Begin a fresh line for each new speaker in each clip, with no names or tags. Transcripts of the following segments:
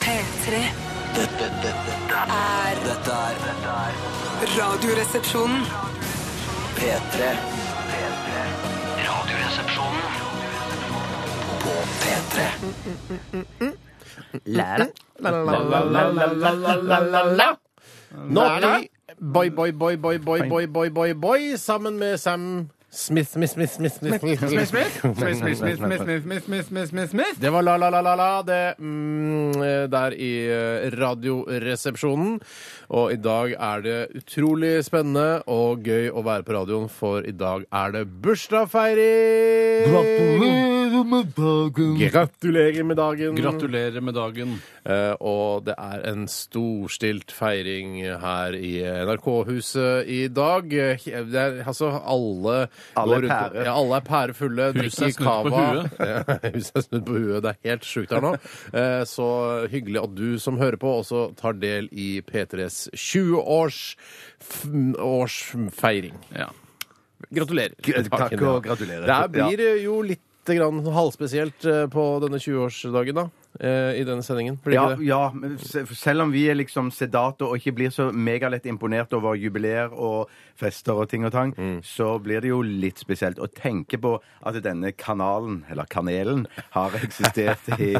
P3
Dette, dette, dette,
er
dette er dette er
Radioresepsjonen.
P3. P3. Radioresepsjonen på P3.
La-la-la-la-la-la-la-la. Naughty Boy Boy Boy Boy Boy Boy Boy Boy Boy sammen med Sam Smith Smith Smith Smith Smith Smith
Smith, Smith, Smith, Smith, Smith, Smith, Smith, Smith, Smith, Smith, Smith.
Det var la-la-la-la-la det mm, eh, der i eh, Radioresepsjonen. Og i dag er det utrolig spennende og gøy å være på radioen, for i dag er det bursdagsfeiring! Gratulerer med dagen!
Gratulerer med dagen.
Eh, og det er en storstilt feiring her i NRK-huset i dag. Eh, Det er, altså, alle
Alle
går
er
rundt-
pære.
Ja, alle er pærefulle.
Huset er
drikker
snudd på
cava. Ja, Huset er snudd på huet. Det er helt sjukt her nå. Eh, Så hyggelig at du som hører på, også tar del i P3s 20-årsfeiring.
Ja.
Gratulerer.
Takk
Takken,
og
ja.
gratulerer.
Det her blir eh, jo litt grann halvspesielt eh, på denne 20-årsdagen, da. eh, I denne sendingen. Blir
Ja,
ikke det?
ja, men se- selv om vi er liksom sedate og ikke blir så megalett imponert over jubileer og fester og ting og tang, så blir det jo litt spesielt å tenke på at denne kanalen, eller kanelen, har eksistert i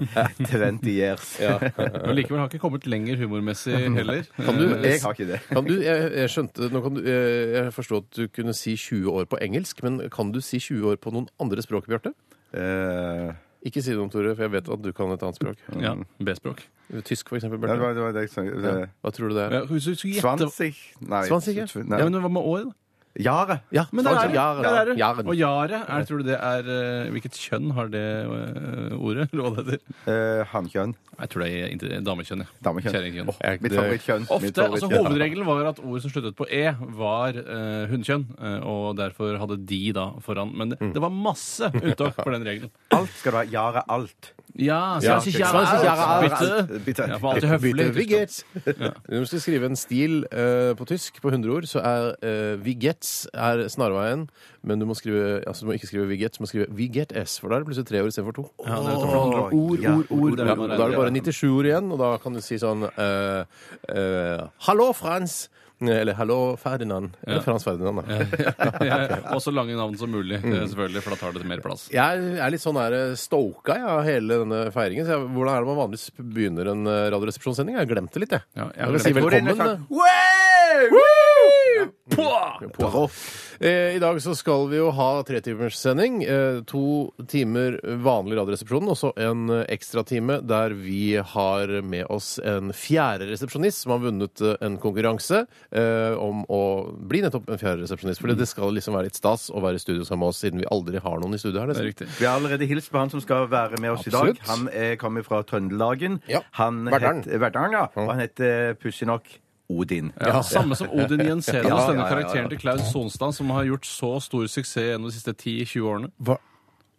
20 years.
Men likevel har ikke kommet lenger humormessig heller.
Kan du,
Jeg har ikke det.
Eh, Kan du, jeg, jeg skjønte, nå kan du, jeg, jeg forstod at du kunne si 20 år på engelsk, men kan du si 20 år på noen andre språk, Bjarte?
Eh,
Ikke si noe, Tore, for jeg vet at du kan et annet språk.
Ja, B-språk.
Tysk, for eksempel,
det
Bjarte.
var det var det jeg sa. Det-
Hva tror du det er?
Ja, hvis du skulle gjette-
20? Nei.
Svansik, ja.
Ja,
Nei.
men hva med år, da?
Jaret.
Ja,
Men det er
altså,
det.
jaren.
Det er det.
Jaren.
Og jare, er, tror du det er eh, Hvilket kjønn har det eh, ordet? Eller hva det heter?
Eh, Hannkjønn.
Jeg tror det er inte- damekjønn. ja.
Damekjønn.
Kjerringkjønn.
Jeg-
Mitt
det-
favorittkjønn. Mitt
Ofte, altså
favorittkjønn.
Hovedregelen var at ord som sluttet på E, var uh, hunnkjønn. eh, og derfor hadde de da foran. Men det, det var masse uttak for den regelen.
Alt skal du ha. Jaret alt.
Ja,
Ja,
svanske,
svanske,
jære,
jære,
bytte.
Bytte.
Ja, for alltid høflig.
Bytte Vigets. Når du skal skrive en stil eh, på tysk på 100 ord, så er uh, Vigets er snarveien, men du må, skrive, altså, du må ikke skrive Vigets, du må skrive Vigetes, for da er det plutselig tre ord istedenfor to.
Ja, det er for det handler om ord,
Ja.
ord, ord.
Ja, og da er det bare 97 ord igjen, og da kan du si sånn eh, eh, Hallo, Frans! Eller Hallo, Ferdinand. Eller Frans Ferdinand, da.
Ja, Og så lange navn som mulig, eh, selvfølgelig, for da tar det mer plass.
Jeg er litt sånn her eh, stoka jeg, av hele denne feiringen. Så jeg, hvordan er det man vanligvis begynner en eh, radioresepsjonssending? Jeg har glemt det litt, jeg.
Ja, jeg
jeg
har
vil si
glemt
det.
velkommen.
Hvor
eh, på- Eh, I dag så skal vi jo ha tretimerssending. Eh, to timer vanlig Radioresepsjonen, og så en eh, ekstratime der vi har med oss en fjerde resepsjonist som har vunnet eh, en konkurranse eh, om å bli nettopp en fjerde resepsjonist. For
Mm.
det skal liksom være litt stas å være i studio sammen med oss, siden vi aldri har noen i studio her.
Det er
nesten.
riktig.
Vi har allerede hilst på han som skal være med oss i
Absolutt.
dag. Han er, kommer fra Trøndelagen.
Ja.
Han
Verdalen.
het- eh, Verdalen, ja. Og han heter eh, pussig nok Odin.
Ja, Samme som Odin Jensenius,
Ja, ja, ja,
denne
ja.
karakteren til Klaus Sonstad, som har gjort så stor suksess gjennom de siste 10-20 årene.
Hva,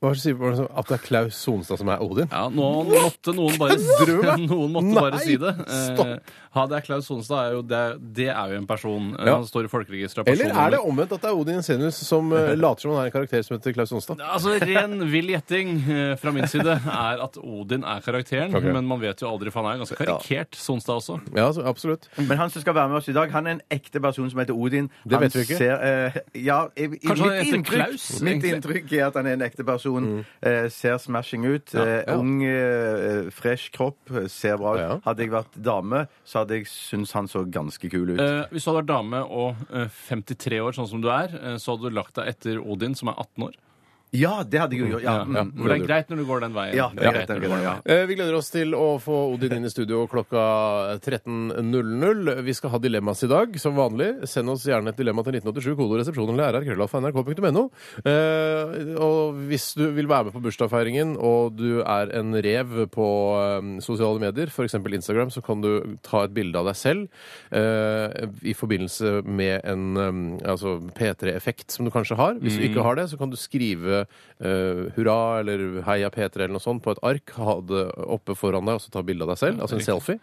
hva sier hva er det som- At det er Klaus Sonstad som er Odin?
Ja, nå måtte noen bare, noen måtte bare
Nei,
si det.
stopp.
Eh, ha, det er Klaus Sonstad er jo, det, er- det er jo en person. Eh,
Ja.
Han står i folkeregisteret. av
Eller er det
personnummer.
omvendt at det er Odin Jensenius som eh, later som han er en karakter som heter Klaus Sonstad?
Altså, Ren vill gjetting eh, fra min side er at Odin er karakteren,
Ok.
men man vet jo aldri, for han er jo ganske karikert, Sonstad også.
Ja, så, absolutt.
Men han som skal være med oss i dag, han er en ekte person som heter Odin.
Det
han
vet vi ikke.
Ser, eh, ja, i, i,
Kanskje han
mitt
heter
inntrykk,
Klaus,
Mitt
egentlig?
inntrykk er at han er en ekte person. Eh, ser smashing ut. eh,
Mm. ja.
Ung, eh, fresh kropp. eh, Ser bra ut.
Ja.
Hadde jeg vært dame, så hadde jeg syntes han så ganske kul ut.
Eh, hvis du hadde vært dame og eh, 53 år, sånn som du er, eh, så hadde du lagt deg etter Odin, som er 18 år.
Ja, det hadde jeg jo gjort. Ja,
Ja,
mm.
For det er greit når du går den veien.
ja, det er greit.
når du går den veien.
Ja.
Eh, Vi gleder oss til å få Odin inn i studio klokka 13.00. Vi skal ha dilemmas i dag, som vanlig. Send oss gjerne et dilemma til 1987, kode resepsjon eller rr.krøllalfa.nrk.no. Eh, Og hvis du vil være med på bursdagsfeiringen, og du er en rev på eh, sosiale medier, f.eks. Instagram, så kan du ta et bilde av deg selv eh, i forbindelse med en eh, altså P3-effekt som du kanskje har. Hvis du
Mm.
ikke har det, så kan du skrive eh, hurra eller heia P3 eller noe sånt på et ark, ha det oppe foran deg og så ta bilde av deg selv, altså en selfie.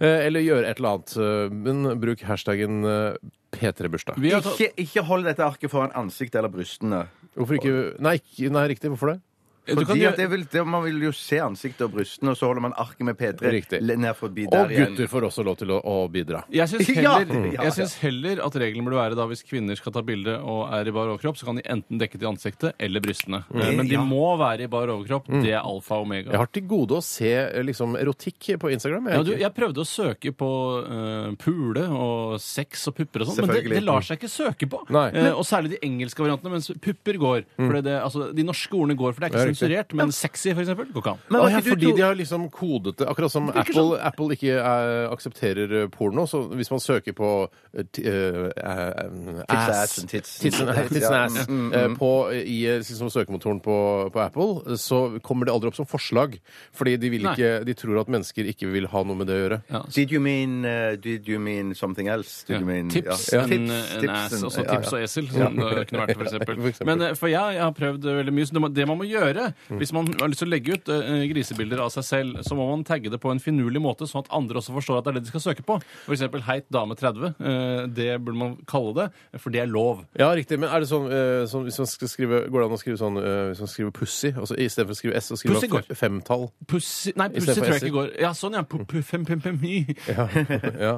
Eh, eller gjøre et eller annet. eh, Men bruk hashtaggen eh, P3-bursdag.
Vi har tatt-
Ikke, ikke hold dette arket foran ansiktet eller brystene.
Hvorfor ikke Nei, ikke- nei riktig. Hvorfor det?
Du kan
Fordi
gjøre-
at det vil, det, Man vil jo se ansiktet og brystene, og så holder man arket med P3
Riktig.
le- ned forbi der
Og gutter får også lov til å, å bidra.
Jeg syns
Ja!
heller,
Ja,
jeg
ja.
syns heller at regelen burde være da hvis kvinner skal ta bilde og er i bar overkropp, så kan de enten dekke til ansiktet eller brystene.
Mm.
Eh, Men de må være i bar overkropp. Det er alfa og omega.
Jeg har til gode å se eh, liksom, erotikk på Instagram. Jeg,
Ja, du, jeg prøvde å søke på eh, pule og sex og pupper og sånn, men det,
Selvfølgelig.
det lar seg ikke søke på.
Nei.
Eh, og særlig de engelske variantene, mens pupper går. For det, altså, de norske ordene går, for det er
Ja, riktig.
ikke sensurert. Men sexy, for eksempel, går ikke an.
Men
Å,
var
ja,
ikke du
fordi
to-
de har liksom kodet det. Akkurat som Apple, Apple ikke eh, aksepterer eh, porno. Så hvis man søker på eh, ti- eh, eh, ass
assen, tits.
Tits and ass, tits and ass
Ja,
eh, på, i eh, liksom, søkemotoren på, på Apple, eh, så kommer det aldri opp som forslag. Fordi de, vil
Nei.
ikke, de tror at mennesker ikke vil ha noe med det å gjøre.
Did you mean eh, Did you mean something else? Did
Ja.
you mean,
Tips,
ja.
En,
Tips,
en
tips
ass,
and-
også
ja,
tips
ja.
og esel, som det kunne vært, for eksempel.
for eksempel. Mm.
Men eh, for jeg, jeg har prøvd eh, veldig mye, så det, må, det man må gjøre hvis man har lyst til å legge ut eh, grisebilder av seg selv, så må man tagge det på en finurlig måte, sånn at andre også forstår at det er det de skal søke på. For eksempel heit dame 30. eh, det burde man kalle det, for det er lov.
Ja, riktig. Men er det sånn, eh, sånn hvis man skal skrive, går det an å skrive sånn eh, Hvis man skriver 'pussy', altså, istedenfor å skrive 's', så skriver
Pussy
man
går.
f- femtall?
Pussy Nei,
I stedet
pussy
for
tror jeg
esel.
ikke går. Ja, sånn, ja. Pu- pu- fem- fem- fem- my.
Ja. ja.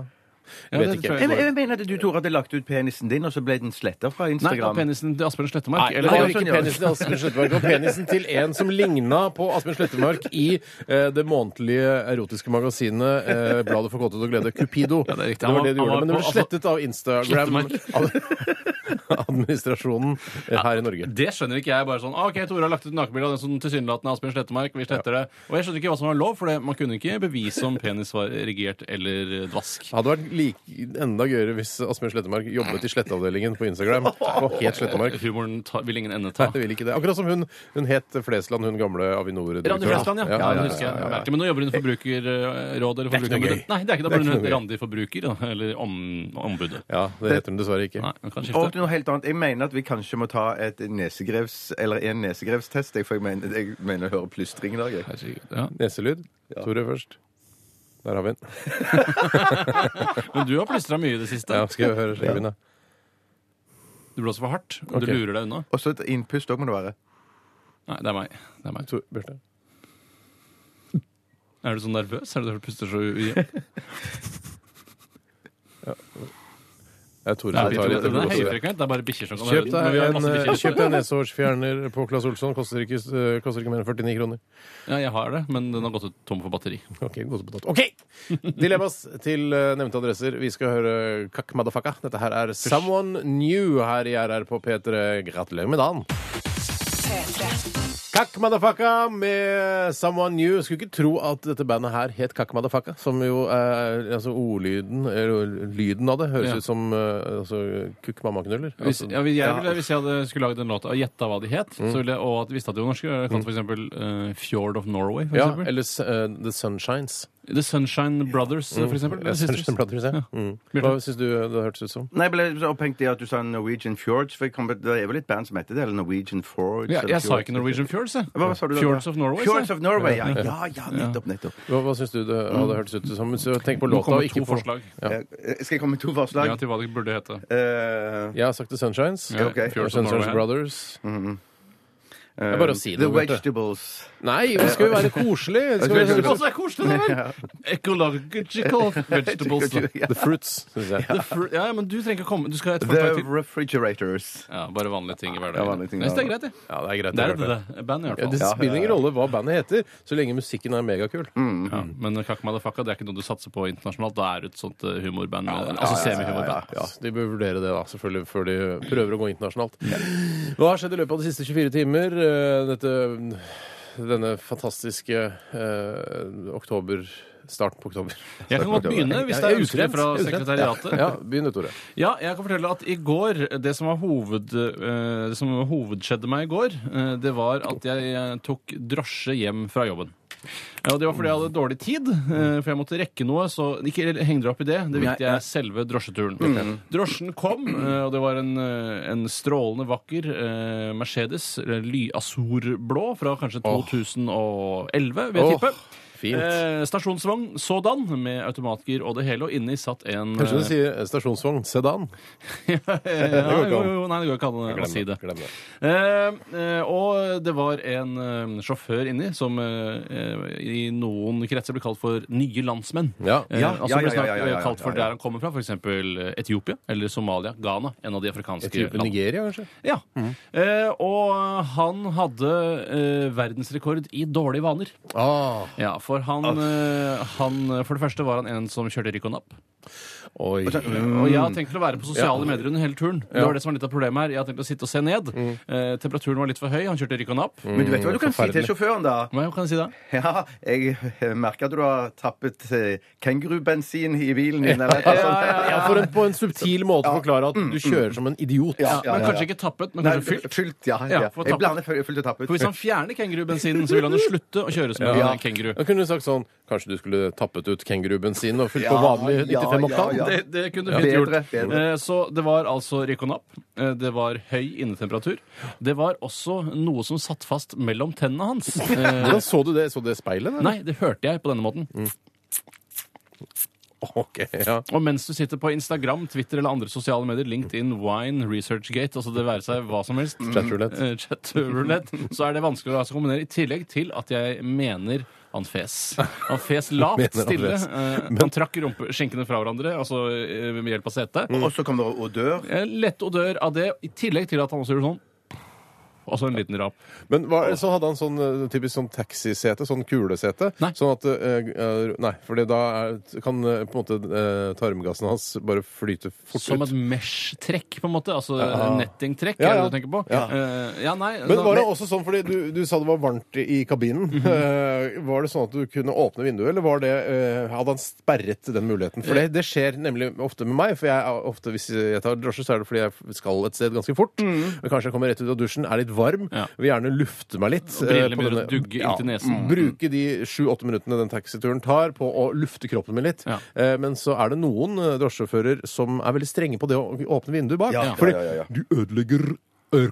Ja,
Vet
det
ikke.
tror
Jeg,
jeg går.
jeg mener at du, Tore, hadde lagt ut penisen din, og så ble den sletta fra
Nei, av
Instagram.
penisen til Asbjørn Slettemark.
Nei,
eller-
det var
sånn,
ikke
ja.
penisen til Asbjørn Slettemark. Det var penisen til en som ligna på Asbjørn Slettemark i eh, det månedlige erotiske magasinet eh, Bladet for kåthet og glede, Cupido.
Ja, det er riktig.
var det
Han
du
var-
gjorde. Men det ble
han var-
slettet av Instagram-administrasjonen eh, her i Norge.
Det skjønner ikke jeg. bare sånn, ah, ok, Tore har lagt ut nakenbilde av den som tilsynelatende er Asbjørn Slettemark. vi sletter det. Og jeg skjønner ikke hva som var lov, for det, man kunne ikke bevise om penis var erigert eller eh,
Det
dvask.
hadde vært like, enda gøyere hvis Asbjørn Slettemark jobbet i sletteavdelingen på Instagram. Og het Slettemark.
Humoren ta, vil ingen ende
Nei,
ta.
det vil ikke det. Akkurat som hun, hun het Flesland, hun gamle
Randi
Avinor-direktøren.
Flesland, ja. ja, det husker jeg. jeg. merker. Men nå jobber hun i Forbrukerrådet. eller
Det er ikke noe
Forbrukerombud.
gøy.
Nei, det
Det
er ikke
er
da hun
ikke noe gøy.
heter Randi Forbruker, da, eller om, Ombudet.
Ja, det heter hun dessverre ikke.
Nei, hun kan
Og
skifte.
til noe helt annet. Jeg mener at vi kanskje må ta et nesegrevs, eller en nesegrevstest. jeg, For jeg mener, jeg mener å høre plystring i dag. jeg.
Herregud, Ja.
Neselyd. Tore først. Der har vi den.
Men du har plystra mye i det siste.
Ja, skal jeg høre skal jeg begynne?
Du blåser for hardt, og
Ok.
du lurer deg unna.
Og så et innpust òg må det være.
Nei, det er meg. Det er meg.
Tor- Bjarte.
Er du så nervøs? Er det derfor du puster så ujevnt?
Det er Tore
Det
som tar
er
litt blod.
høyfrekvent. Det er bare bikkjer som kan høre
Kjøp
det. Men
deg
vi har
en, eh,
masse bikkjer.
kjøp deg en neshårsfjerner på Claes Olsson. Koster ikke, eh, koster ikke mer enn 49 kroner.
Ja, jeg har det, men den har gått ut tom for batteri.
Ok, gode på tatt. Ok! Dilemmas til eh, nevnte adresser. Vi skal høre Kakk Madafaka. Dette her er Someone New her i RR på P3. Gratulerer med dagen! Kakk Madafaka med Someone New. Skulle ikke tro at dette bandet her het Kakk Madafaka, som jo er altså ordlyden, eller lyden av det, høres
Ja.
ut som eh, altså, kukk mammaknuller.
Hvis,
Altså,
ja, hvis jeg, ville, hvis jeg hadde skulle laget en låt og gjetta hva de het, så ville jeg, og at visste at de var norske, jeg kalt for eksempel eh, Fjord of Norway. For
ja,
eksempel.
eller s- eh, The Sunshines.
The Sunshine Brothers, eh, for eksempel.
Mm. Ja,
Eller Sisters.
Sunshine Brothers, ja. Mm. Hva syns du det hørtes ut som?
Nei, jeg ble så opphengt i at du sa Norwegian Fjords. For jeg kom, på- det er vel et band som heter det? Eller Norwegian Fjords?
Ja,
eller
jeg sa
Fjords.
ikke Norwegian Fjords, jeg.
Hva sa du da?
Fjords of Norway, sa jeg.
Fjords of Norway, ja. Ja, ja, nettopp, nettopp.
Hva, hva syns du det hadde hørtes ut som? Så Tenk på
Nå
låta
kommer
og ikke
to
på
forslag
Ja.
Eh, Skal jeg komme med to forslag?
ja, til hva det burde hete.
Eh,
Jeg har sagt The Sunshines.
Ja,
ok.
Og
Fjords of
Sunshines
Norway.
Brothers.
eh,
er bare å si det,
The
Bjarte.
Vegetables.
Nei, det skal jo være koselig! Det skal
Det
være
også er koselig, det vel! Ecological vegetables. da.
Ja.
The Fruits, syns jeg.
The fru- Ja, men du trenger ikke komme. Du skal ha et forslag
The
til.
Refrigerators.
Ja, bare vanlige ting i
Ja,
hverdagen.
vanlige ting i
Jeg synes det er
hverdagen.
greit, det.
Ja, det er greit.
Det er
Bjarte.
det, det. Bandet, i
Ja,
hvert
det
fall.
spiller ingen rolle hva bandet heter, så lenge musikken er megakul.
Ja, men Kakk Madafaka det er ikke noe du satser på internasjonalt. Da er du et sånt eh, humorband. altså semi-humorband.
Ja, De bør vurdere det da, selvfølgelig, før de prøver å gå internasjonalt. Hva har skjedd i løpet av de siste 24 timer? Eh, Dette, denne fantastiske eh, oktober... Starten på oktober.
Jeg kan godt begynne, hvis det
Jeg
er ønskelig
utredd,
fra
jeg er utredd.
sekretariatet.
Ja, begynn du, Tore.
Ja, jeg kan fortelle at i går Det som var hoved, eh, det som hovedskjedde meg i går, eh, det var at jeg eh, tok drosje hjem fra jobben. Ja, og Det var fordi jeg hadde dårlig tid, eh, for jeg måtte rekke noe. Så ikke heng dere opp i det. Det viktige er selve drosjeturen.
Mm.
Drosjen kom, eh, og det var en, eh, en strålende vakker eh, Mercedes eh, lyasurblå fra kanskje 2011, vil jeg
Åh.
tippe.
Fint.
Eh, stasjonsvogn sådan, med automatgir og det hele, og inni satt en eh,
Kanskje du sier eh, stasjonsvogn sedan?
ja,
går ikke
jo,
an.
jo, Nei, det går ikke an å- å si det.
glem det.
Eh, eh, og det var en eh, sjåfør inni som eh, eh, i noen kretser ble kalt for nye landsmenn.
Ja.
Eh,
Ja, ja, ja, ja,
altså ble
ja,
snart, eh,
ja,
kalt
ja,
for
ja.
der han kommer fra, f.eks. Etiopia eller Somalia, Ghana, en av de afrikanske
Et type
landene.
Nigeria, kanskje?
Ja.
Mm.
Eh, og han hadde eh, verdensrekord i dårlige vaner.
Ah,
Ja, For han, eh, han For det første var han en som kjørte rykk og napp.
oi.
Mm.
Og jeg har tenkt å være på sosiale
Ja.
medier under hele turen. Det var det som var litt av problemet her. Jeg har tenkt å sitte og se ned.
Mm.
Eh, temperaturen var litt for høy. Han kjørte rykk og napp.
Men du vet hva du kan si
forferdelig.
til sjåføren, da?
Hva kan jeg si da?
Ja, jeg merker at du har tappet eh, kengurubensin i bilen din. Eller, noe sånt.
Ja, Mm. for en, på en subtil måte forklare at du kjører som en idiot.
Ja, ja, ja,
Men
ja.
kanskje ikke tappet, men
Nei,
kanskje fylt.
fylt. Ja,
Ja,
ja.
for
Jeg
tappet.
blander fyll- fylt og tappet.
For hvis han fjerner kengurubensinen, så vil han jo slutte å kjøre som en
Ja.
kenguru.
Da kunne du sagt sånn Kanskje du skulle tappet ut kengurubensin og fylt på
Ja,
vanlig
ja,
95 oktan?
ja, ja.
Det, det kunne
Ja.
fint gjort.
Bedre, bedre.
Eh, Så det var altså rykk og napp. Eh, Det var høy innetemperatur. Det var også noe som satt fast mellom tennene hans. Eh,
Hvordan så du det? Så du det i speilet? eller?
Nei, det hørte jeg på denne måten.
Mm.
Ok, ja.
Og mens du sitter på Instagram, Twitter eller andre sosiale medier, LinkedIn, Wine, ResearchGate, altså det være seg hva som helst,
Chatroulette.
eh, chatroulette, så er det vanskelig å la seg kombinere. I tillegg til at jeg mener han fes. Han fes
Mener
lavt,
han
stille.
fes.
eh, Han trakk rumpe, skinkene fra hverandre, altså eh, med hjelp av setet.
Og så kom det odør.
Eh, Lett odør av det, i tillegg til at han også gjorde sånn. Og så en liten rap.
Men hva, så hadde han sånn eh, typisk sånn taxisete, sånn kulesete.
Nei.
Sånn at eh, eh, Nei, for da er, kan eh, på en måte eh, tarmgassen hans bare flyte fort
Som
ut.
et mesh-trekk, på en måte. Altså nettingtrekk,
Ja,
er
ja.
det du tenker på?
Ja.
Eh, ja nei,
Men
da-
var det også sånn, fordi du, du sa det var varmt i kabinen. Eh, var det sånn at du kunne åpne vinduet, eller var det, eh, hadde han sperret den muligheten? For det, det skjer nemlig ofte med meg, for jeg er ofte, hvis jeg tar drosje, så er det fordi jeg skal et sted ganske fort. Men kanskje jeg kommer rett ut av dusjen, er litt varm,
Ja.
vil gjerne lufte meg litt.
Og brillene
eh, på
begynner å
denne-
dugge inntil nesen.
mm. Bruke de sju-åtte minuttene den taxituren tar på å lufte kroppen min litt.
Ja.
Eh, men så er det noen eh, drosjesjåfører som er veldig strenge på det å åpne vinduet bak.
Ja.
Fordi
Ja, ja, ja, ja.
du ødelegger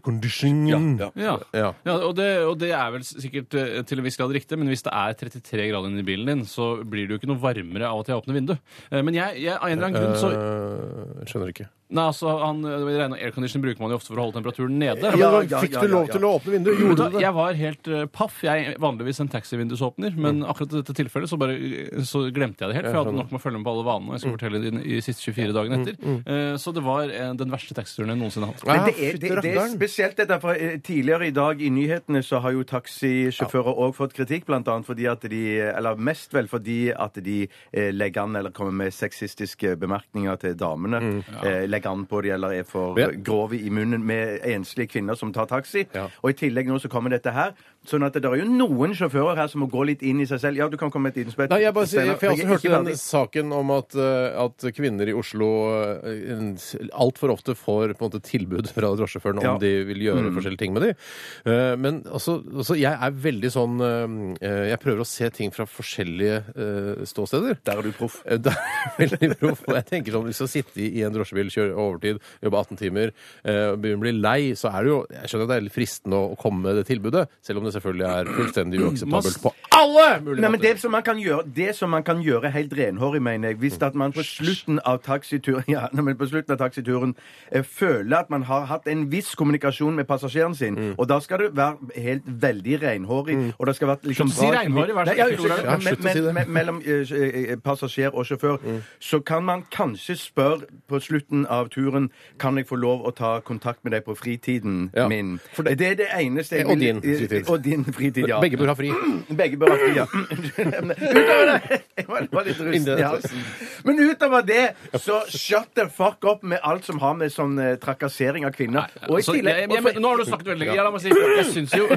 airconditioningen.
Ja, ja.
Ja.
Ja.
Ja, og, det, og det er vel sikkert eh, til en viss grad riktig, men hvis det er 33 grader inni bilen din, så blir det jo ikke noe varmere av at jeg åpner vinduet. Eh, Men jeg, jeg av en eller annen grunn så
Eh, skjønner ikke.
Nei, altså, han, jeg regner Aircondition bruker man jo ofte for å holde temperaturen nede.
Ja, men
ja,
hva- fikk
ja,
du
ja,
lov
ja.
til å åpne vinduet? Gjorde
Da,
du det?
jeg var helt eh, paff. Jeg er vanligvis en taxivindusåpner, men akkurat i dette tilfellet så, bare, eh, så glemte jeg det helt. For jeg hadde nok med å følge med på alle vanene. og
Mm.
Jeg skulle fortelle det i de siste 24 dagene etter. Eh, Så det var eh, den verste taxituren jeg noensinne har hatt.
Men
Ah,
det er,
fytti
det, det er
rakkeren.
spesielt dette, for eh, tidligere i dag i nyhetene så har jo taxisjåfører òg fått kritikk, blant annet fordi at de Eller mest vel fordi at de eh, legger an eller kommer med sexistiske bemerkninger til damene.
Mm.
eh, legger an på de eller er for
Ja.
grove i munnen med enslige kvinner som tar taxi.
Ja.
Og i tillegg nå så kommer dette her. Sånn at det er jo noen sjåfører her som må gå litt inn i seg selv. Ja, du kan komme med et innspill.
Nei, jeg bare sier, for jeg
Jeg
også
er
hørte
ikke
den
ferdig.
saken om at, eh, at kvinner i Oslo eh, altfor ofte får på en måte tilbud fra drosjesjåføren om
Ja.
de vil gjøre forskjellige ting med de. Eh, Men altså, altså, jeg er veldig sånn eh, Jeg prøver å se ting fra forskjellige eh, ståsteder.
Der er du proff.
Eh, Det er veldig proff. Og jeg tenker sånn, Hvis du sitter i en drosjebil, kjører overtid, jobber 18 timer, eh, og begynner å bli lei, så er det jo Jeg skjønner at det er litt fristende å å komme med det tilbudet, selv om det selvfølgelig er fullstendig uakseptabelt på alle mulige
Nei, men
måter.
det som man kan gjøre, det som man kan gjøre helt renhårig, mener jeg,
Mm.
hvis at man på slutten av taxituren, ja, nei, men på slutten av taxituren eh, føler at man har hatt en viss kommunikasjon med passasjeren sin,
Mm.
og da skal du være helt veldig renhårig, og det skal være liksom
Slutt å si
bra-
renhårig, hver
Nei, ja,
snill, Olav.
slutt-
Ja, slutt å
men-
si det. Mm.
men- Mellom eh, eh, passasjer og sjåfør, så kan man kanskje spørre på slutten av turen, kan jeg få lov å ta kontakt med deg på fritiden
Ja.
min?
For
det, er det eneste jeg
Og
vil-
din fritid.
Og din fritid, ja.
Begge bør ha fri.
Begge bør ha fri, ja. Utover det Jeg var- var litt rusten i halsen. Men utover det, så shut the fuck up med alt som har med sånn eh, trakassering av kvinner Og i
Så, jeg, altså, jeg,
tillegg
men, nå har du snakket veldig lenge. Ja, la meg si, jeg syns jo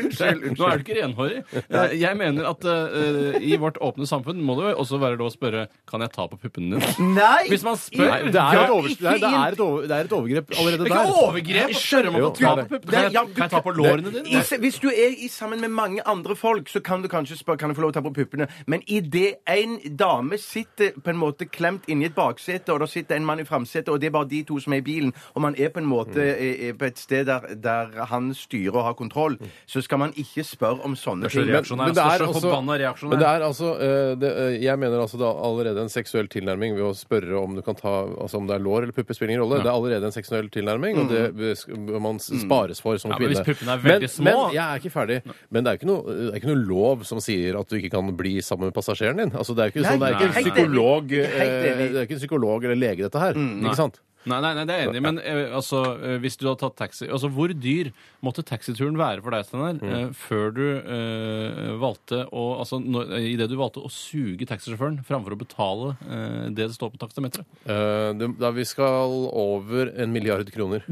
Unnskyld.
Nå er du ikke renhårig. Eh, Jeg mener at eh, i vårt åpne samfunn må det jo også være lov å spørre Kan jeg ta på puppene dine.
Nei!
Hvis man spør
Nei,
Det er, et
Ja,
over, det, er, det, er et over, det er et overgrep allerede
Det er ikke
der.
overgrep! Skjønner man
Jo,
på å
det
ta
er
på
det.
puppene? Kan jeg-
Ja,
Kan jeg ta på
Det,
låret puppene dine?
I, se- hvis du er i, sammen med mange andre folk, så kan du kanskje spørre kan du få lov å ta på puppene. Men idet en dame sitter eh, på en måte klemt inni et baksete, og det sitter en mann i framsetet, og det er bare de to som er i bilen, og man er på en måte
Mm.
eh, eh, på et sted der, der han styrer og har kontroll,
Mm.
så skal man ikke spørre om sånne ting.
reaksjonær, altså, så forbanna reaksjonær.
men det er altså eh, det, eh, Jeg mener altså da allerede en seksuell tilnærming ved å spørre om du kan ta Altså om det er lår eller puppe spiller ingen rolle. Det er allerede en seksuell tilnærming, og det eh, sk- bør man s- spares for som
Mm. Ja, men
kvinne.
hvis puppene er
men,
veldig små-
men jeg er ikke ferdig. Men det er ikke, noe, det er ikke noe lov som sier at du ikke kan bli sammen med passasjeren din. Altså Det er ikke, sånn, det er ikke en
Nei, helt
enig.
psykolog eh,
Helt enig.
Det er ikke en psykolog eller lege, dette her.
Mm, Nei.
Ikke sant?
Nei, nei, nei, det er jeg enig i, men eh, altså, eh, hvis du hadde tatt taxi Altså, hvor dyr måtte taxituren være for deg, Steinar, eh,
Mm.
før du eh, valgte å Altså, når, i det du valgte å suge taxisjåføren framfor å betale eh, det det står på taksameteret?
Eh, det, da vi skal over en milliard kroner.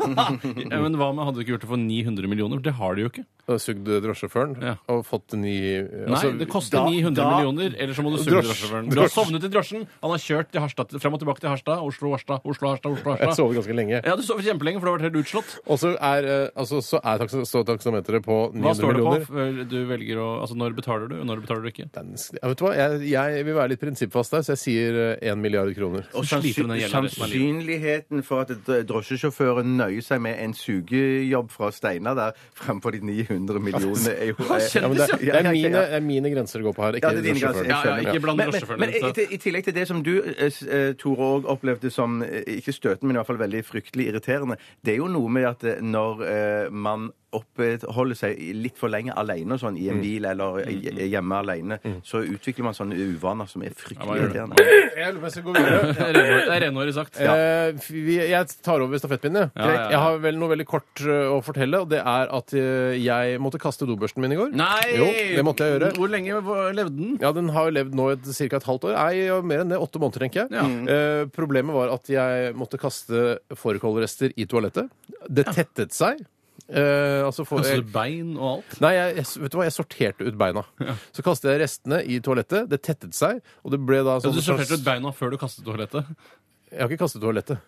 Ja, men hva med hadde du ikke gjort det for 900 millioner? Det har de jo ikke.
Da Sugd drosjesjåføren
Ja.
og fått ni
Nei,
altså,
det koster
da-
900
da-
millioner, eller så må du suge
Drosje-
drosjesjåføren. Du har
drosje.
sovnet i drosjen, han har kjørt til Harstad, til- frem og tilbake til Harstad, Oslo-Harstad, Oslo-Harstad,
Jeg
Oslo-Harstad.
sov ganske lenge.
Ja, du sover kjempelenge, for du har vært helt utslått.
Og så er, eh, altså, så er taks så taksameteret på
Hva
900
står det på
millioner.
før du velger å Altså, når betaler du, og når betaler du ikke?
Den, ja, vet du hva? Jeg, jeg vil være litt prinsippfast der, så jeg sier eh, 1 milliard kroner.
Og
Så sliter hun den
sannsy-
gjelden resten av livet.
sannsynligheten for at dr- drosjesjåføren nøyer seg med en sugejobb fra Steinar der fremfor de 900 millionene er jo
Ja, men det, er- det, er mine, det er mine grenser det går på her. Ikke
Ja, det er dine grenser.
drosjesjåføren.
Jeg skjønner.
Ja, ja, ikke
Men-
bland
men-
drosjesjåføren
Men,
ut, da.
i, i tillegg til det som du, eh, s- eh, Tore, òg opplevde som eh, ikke støtende, men i hvert fall veldig fryktelig irriterende, det er jo noe med at eh, når eh, man oppholder seg i- litt for lenge alene og sånn,
Mm.
i en bil eller i- hjemme alene, så utvikler man sånne uvaner som er
Mm, Ja, hva
fryktelig
gjør det?
irriterende.
Jeg lurer på om jeg skal gå videre.
Det er renhårig- det er renhårig sagt.
Eh, f- vi- jeg tar over stafettpinnen. jeg.
Ja, ja, ja.
Jeg har vel noe veldig kort eh, å fortelle, og det er at eh, jeg måtte kaste dobørsten min i går.
Nei!
Jo, det måtte jeg gjøre.
Hvor lenge var- levde den?
Ja, Den har jo levd nå et, cirka et halvt år. Nei, ja, mer enn det. Åtte måneder, tenker jeg. Eh, problemet var at jeg måtte kaste fårikålrester i toalettet. Det tettet seg. Eh, altså for,
Altså bein og alt?
Nei, jeg, jeg, vet du hva? jeg sorterte ut beina. Så kastet jeg restene i toalettet. Det tettet seg, og det ble da
Ja,
sånn
du sorterte ut beina før du kastet toalettet?
Jeg har ikke kastet toalettet.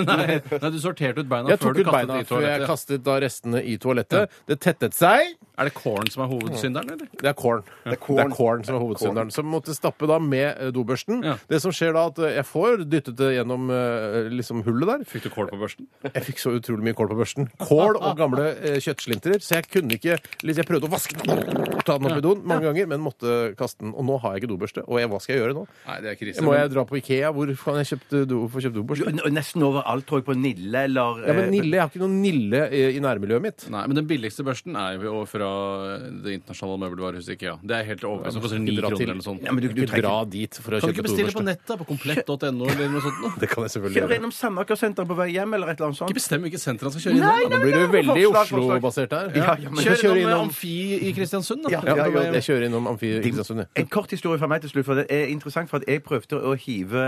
Nei, nei du sorterte ut beina
Jeg tok
før du
ut
kastet
beina
det i
før jeg
toalettet.
kastet da restene i toalettet. Det tettet seg.
Er det corn som er hovedsynderen, eller?
Det er corn. Det er corn, som er hovedsynderen. Som måtte stappe da med eh, dobørsten.
Ja.
Det som skjer da, at eh, jeg får dyttet det gjennom eh, liksom hullet der.
Fikk du kål på børsten?
Jeg fikk så utrolig mye kål på børsten. Kål og gamle eh, kjøttslinter. Så jeg kunne ikke liksom, Jeg prøvde å vaske den, ta den opp i doen mange ganger, men måtte kaste den. Og nå har jeg ikke dobørste. Og jeg, hva skal jeg gjøre nå?
Nei, det er krise.
Må jeg dra på Ikea? Hvor kan jeg kjøpt, do, få kjøpt dobørste?
Og Nesten overalt, tror jeg, på Nille eller
Ja, men
eh,
Nille, Jeg har ikke noen Nille eh, i nærmiljøet mitt.
Nei, men Den billigste børsten er jo fra det internasjonale møbelvarehuset IKEA. Det er helt overveis. Den koster
Ikke
9
dra
kroner
til-
eller noe sånt.
Ja, men du, du
Ikke
trenger
dra dit for å
Kan du
kjøpe
ikke bestille på
dobørste.
nettet? da, På komplett.no eller noe sånt? nå?
Det kan jeg selvfølgelig
Kjør
gjøre.
innom Sandaker-senteret på vei hjem, eller et eller annet sånt.
Ikke bestem hvilket senter han skal kjøre innom.
Nå blir du veldig
forslag, forslag.
Oslo-basert her.
Ja, ja, men-
Kjør
Kjør
kjøre
innom eh,
innom
Amfi i Kristiansund, da.
Ja,
ja,
ja,
jeg,
ja.
jeg kjører innom Amfi i Kristiansund. jeg.
En kort historie fra meg til slutt, for det er interessant. For at jeg prøvde å hive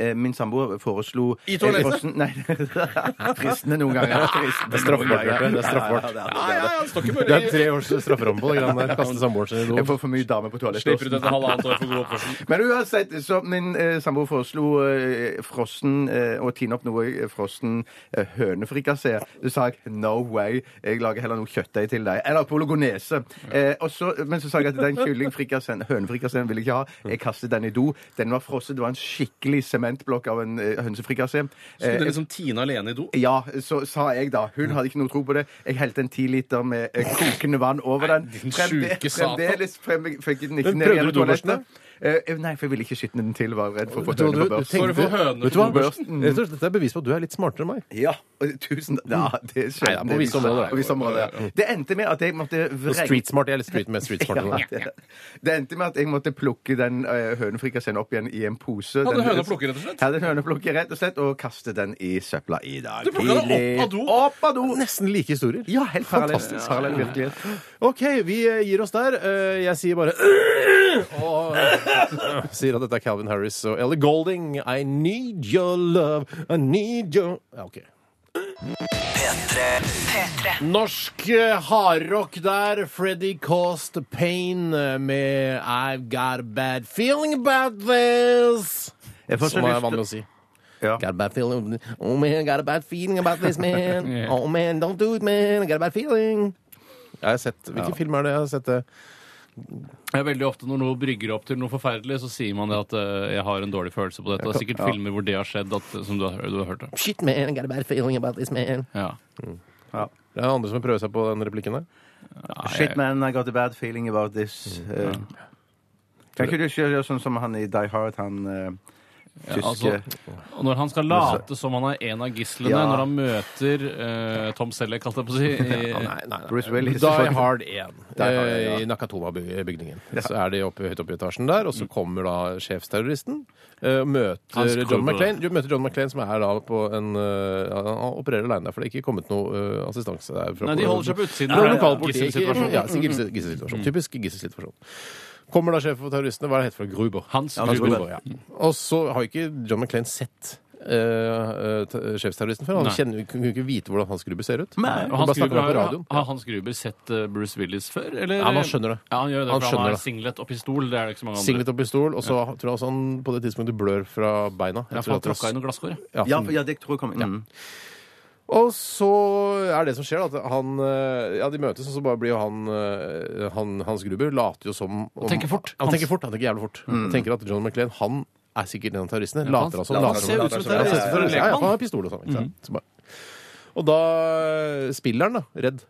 eh, Min samboer foreslo
I toalettet?
Eh, frossen- Nei. Fristende noen ganger. Fristende
Det er straffbart.
noen ganger.
Bjarte. Det er straffbart.
Ja, ja, ja, det står ikke
Det er
mulig.
tre års strafferamme på det greiene der. Kaste samboeren sin i
Jeg
do.
får for mye damer på toalettet.
Slipper ut etter halvannet år for god oppførsel.
Men uansett, så min eh, samboer foreslo eh, frossen eh, å tine opp noe eh, frossen eh, hønefrikassé. Så sa jeg no way, jeg lager heller noe kjøttdeig til deg. Eller pologonese. Eh, og så, men så sa jeg at den kyllingfrikasseen, hønefrikasseen, vil jeg ikke ha. Jeg kastet den i do. Den var frosset. Det var en skikkelig sementblokk av en eh, hønsefrikassé.
Skulle
Eh,
dere liksom tine alene i do?
ja, så sa jeg da. Hun hadde ikke noe tro på det. Jeg helte en ti liter med eh, kokende vann over den.
Nei, din
Fremde-
sjuke satan.
Fremdeles frem, fikk den ikke
Men
ned
prøvde
igjen
du
på toalettet.
dobørsten,
Eh, nei, for jeg ville ikke skyte den til. Var redd for å få
Vet du hva
høne
du-
på børsten.
For å få høner
Vet du hva?
på
Rett og slett, Dette er bevis på at du er litt smartere enn meg.
Ja, og tusen takk. Ja, det skjedde.
Nei, på visse områder, da.
På visse områder, ja. Det endte med at jeg måtte
Så
vrenge
streetsmart. Jeg er litt street, mer streetsmart enn
Ja,
deg.
det, det endte med at jeg måtte plukke den uh, hønefrikasseen opp igjen i en pose.
Hadde
Den-
høna plukket, rett og slett?
Hadde en høneplukker, rett og slett, og kaste den i søpla i dag.
Du plukket den opp av do?
Opp av do!
Nesten like historier.
Ja, helt parallell,
Fantastisk.
parallell virkelighet.
OK, vi eh, gir oss der. Eh, Jeg sier bare og eh, sier at dette er Calvin Harris og Ellie Golding. I need your love, I need your Ja, OK. Norsk eh, hardrock der. Freddy Caused Pain eh, med I've Got a Bad Feeling About This.
Jeg får så
Som er
lyst til-
vanlig å si.
Ja.
Got a bad feeling. Oh man, got a bad feeling about this man.
Yeah.
Oh man, don't do it, man. I Got a bad feeling. Jeg har sett, Hvilken film er det jeg har sett eh? det?
Det er veldig ofte Når noe brygger opp til noe forferdelig, så sier man det at eh, 'jeg har en dårlig følelse på dette'. Det er sikkert filmer hvor det har skjedd, at, som du har, du har hørt det.
Shit, man. I Got a bad feeling about this man.
Ja.
Ja.
Det er andre som prøver seg på den replikken der.
Ah,
Shit, man, I got a bad feeling about this. eh. Kan ikke du ikke gjøre sånn som han i Die Hard, han uh, tyske
altså, Og når han skal late som han er en av gislene,
Ja.
når han møter eh, Tom Selleck, holdt jeg på å si i-
Bruce Willis.
Die Hard 1
Die Hard 1, ja.
eh, i Nakatoma-bygningen. Så er de oppe, høyt oppe i etasjen der, og så kommer da sjefsterroristen eh, og
Han
møter
skrur
John
på
McClain. Du møter John McClain, som er da på en eh, ja, Han opererer alene der, for det er ikke kommet noe eh, assistanse der. fra-
Nei, de holder seg på utsiden.
Fra
Det er
lokalpolitiet.
gisselsituasjon.
Ja, sin gissel- gisselsituasjon. Typisk gisselsituasjon. Kommer da sjefen for terroristene, hva er det heter for noe? Gruber?
Hans
Hans
Gruber.
Gruber, ja. Og så har ikke John McClain sett eh, eh, t- sjefsterroristen før. Han
Nei.
kjenner, kunne ikke vite hvordan Hans Gruber ser ut.
Nei,
han
og
bare
Hans
snakker
Gruber,
om det på
har,
radioen.
har Hans Gruber sett eh, Bruce Willis før? Eller?
Ja, men han skjønner det.
Ja, han gjør det,
Han
for han
skjønner
har
det.
singlet og pistol. Det er det ikke så mange andre.
Singlet og pistol, og så tror jeg også han på det tidspunktet blør fra beina. Jeg
ja,
tror
for han
at det-
tråkka i noen glasskår. ja.
Ja, for- ja, det tror jeg kommer mm.
Og så er det som skjer, da, at han eh, Ja, de møtes, og så bare blir jo han, eh, han Hans Gruber later jo som om,
tenker fort.
Han
Hans. Mm.
tenker fort, han tenker jævlig fort. Han tenker at John McLean, han er sikkert en av terroristene.
Ja,
later
han-
han som.
han
later
ser
som-
ut som eh,
Ja, han ser ut som
terrorist.
terrorist. Ja, ja, for han har pistol og sånn. ikke sant? Så bare- Og da eh, spiller han, da. Redd.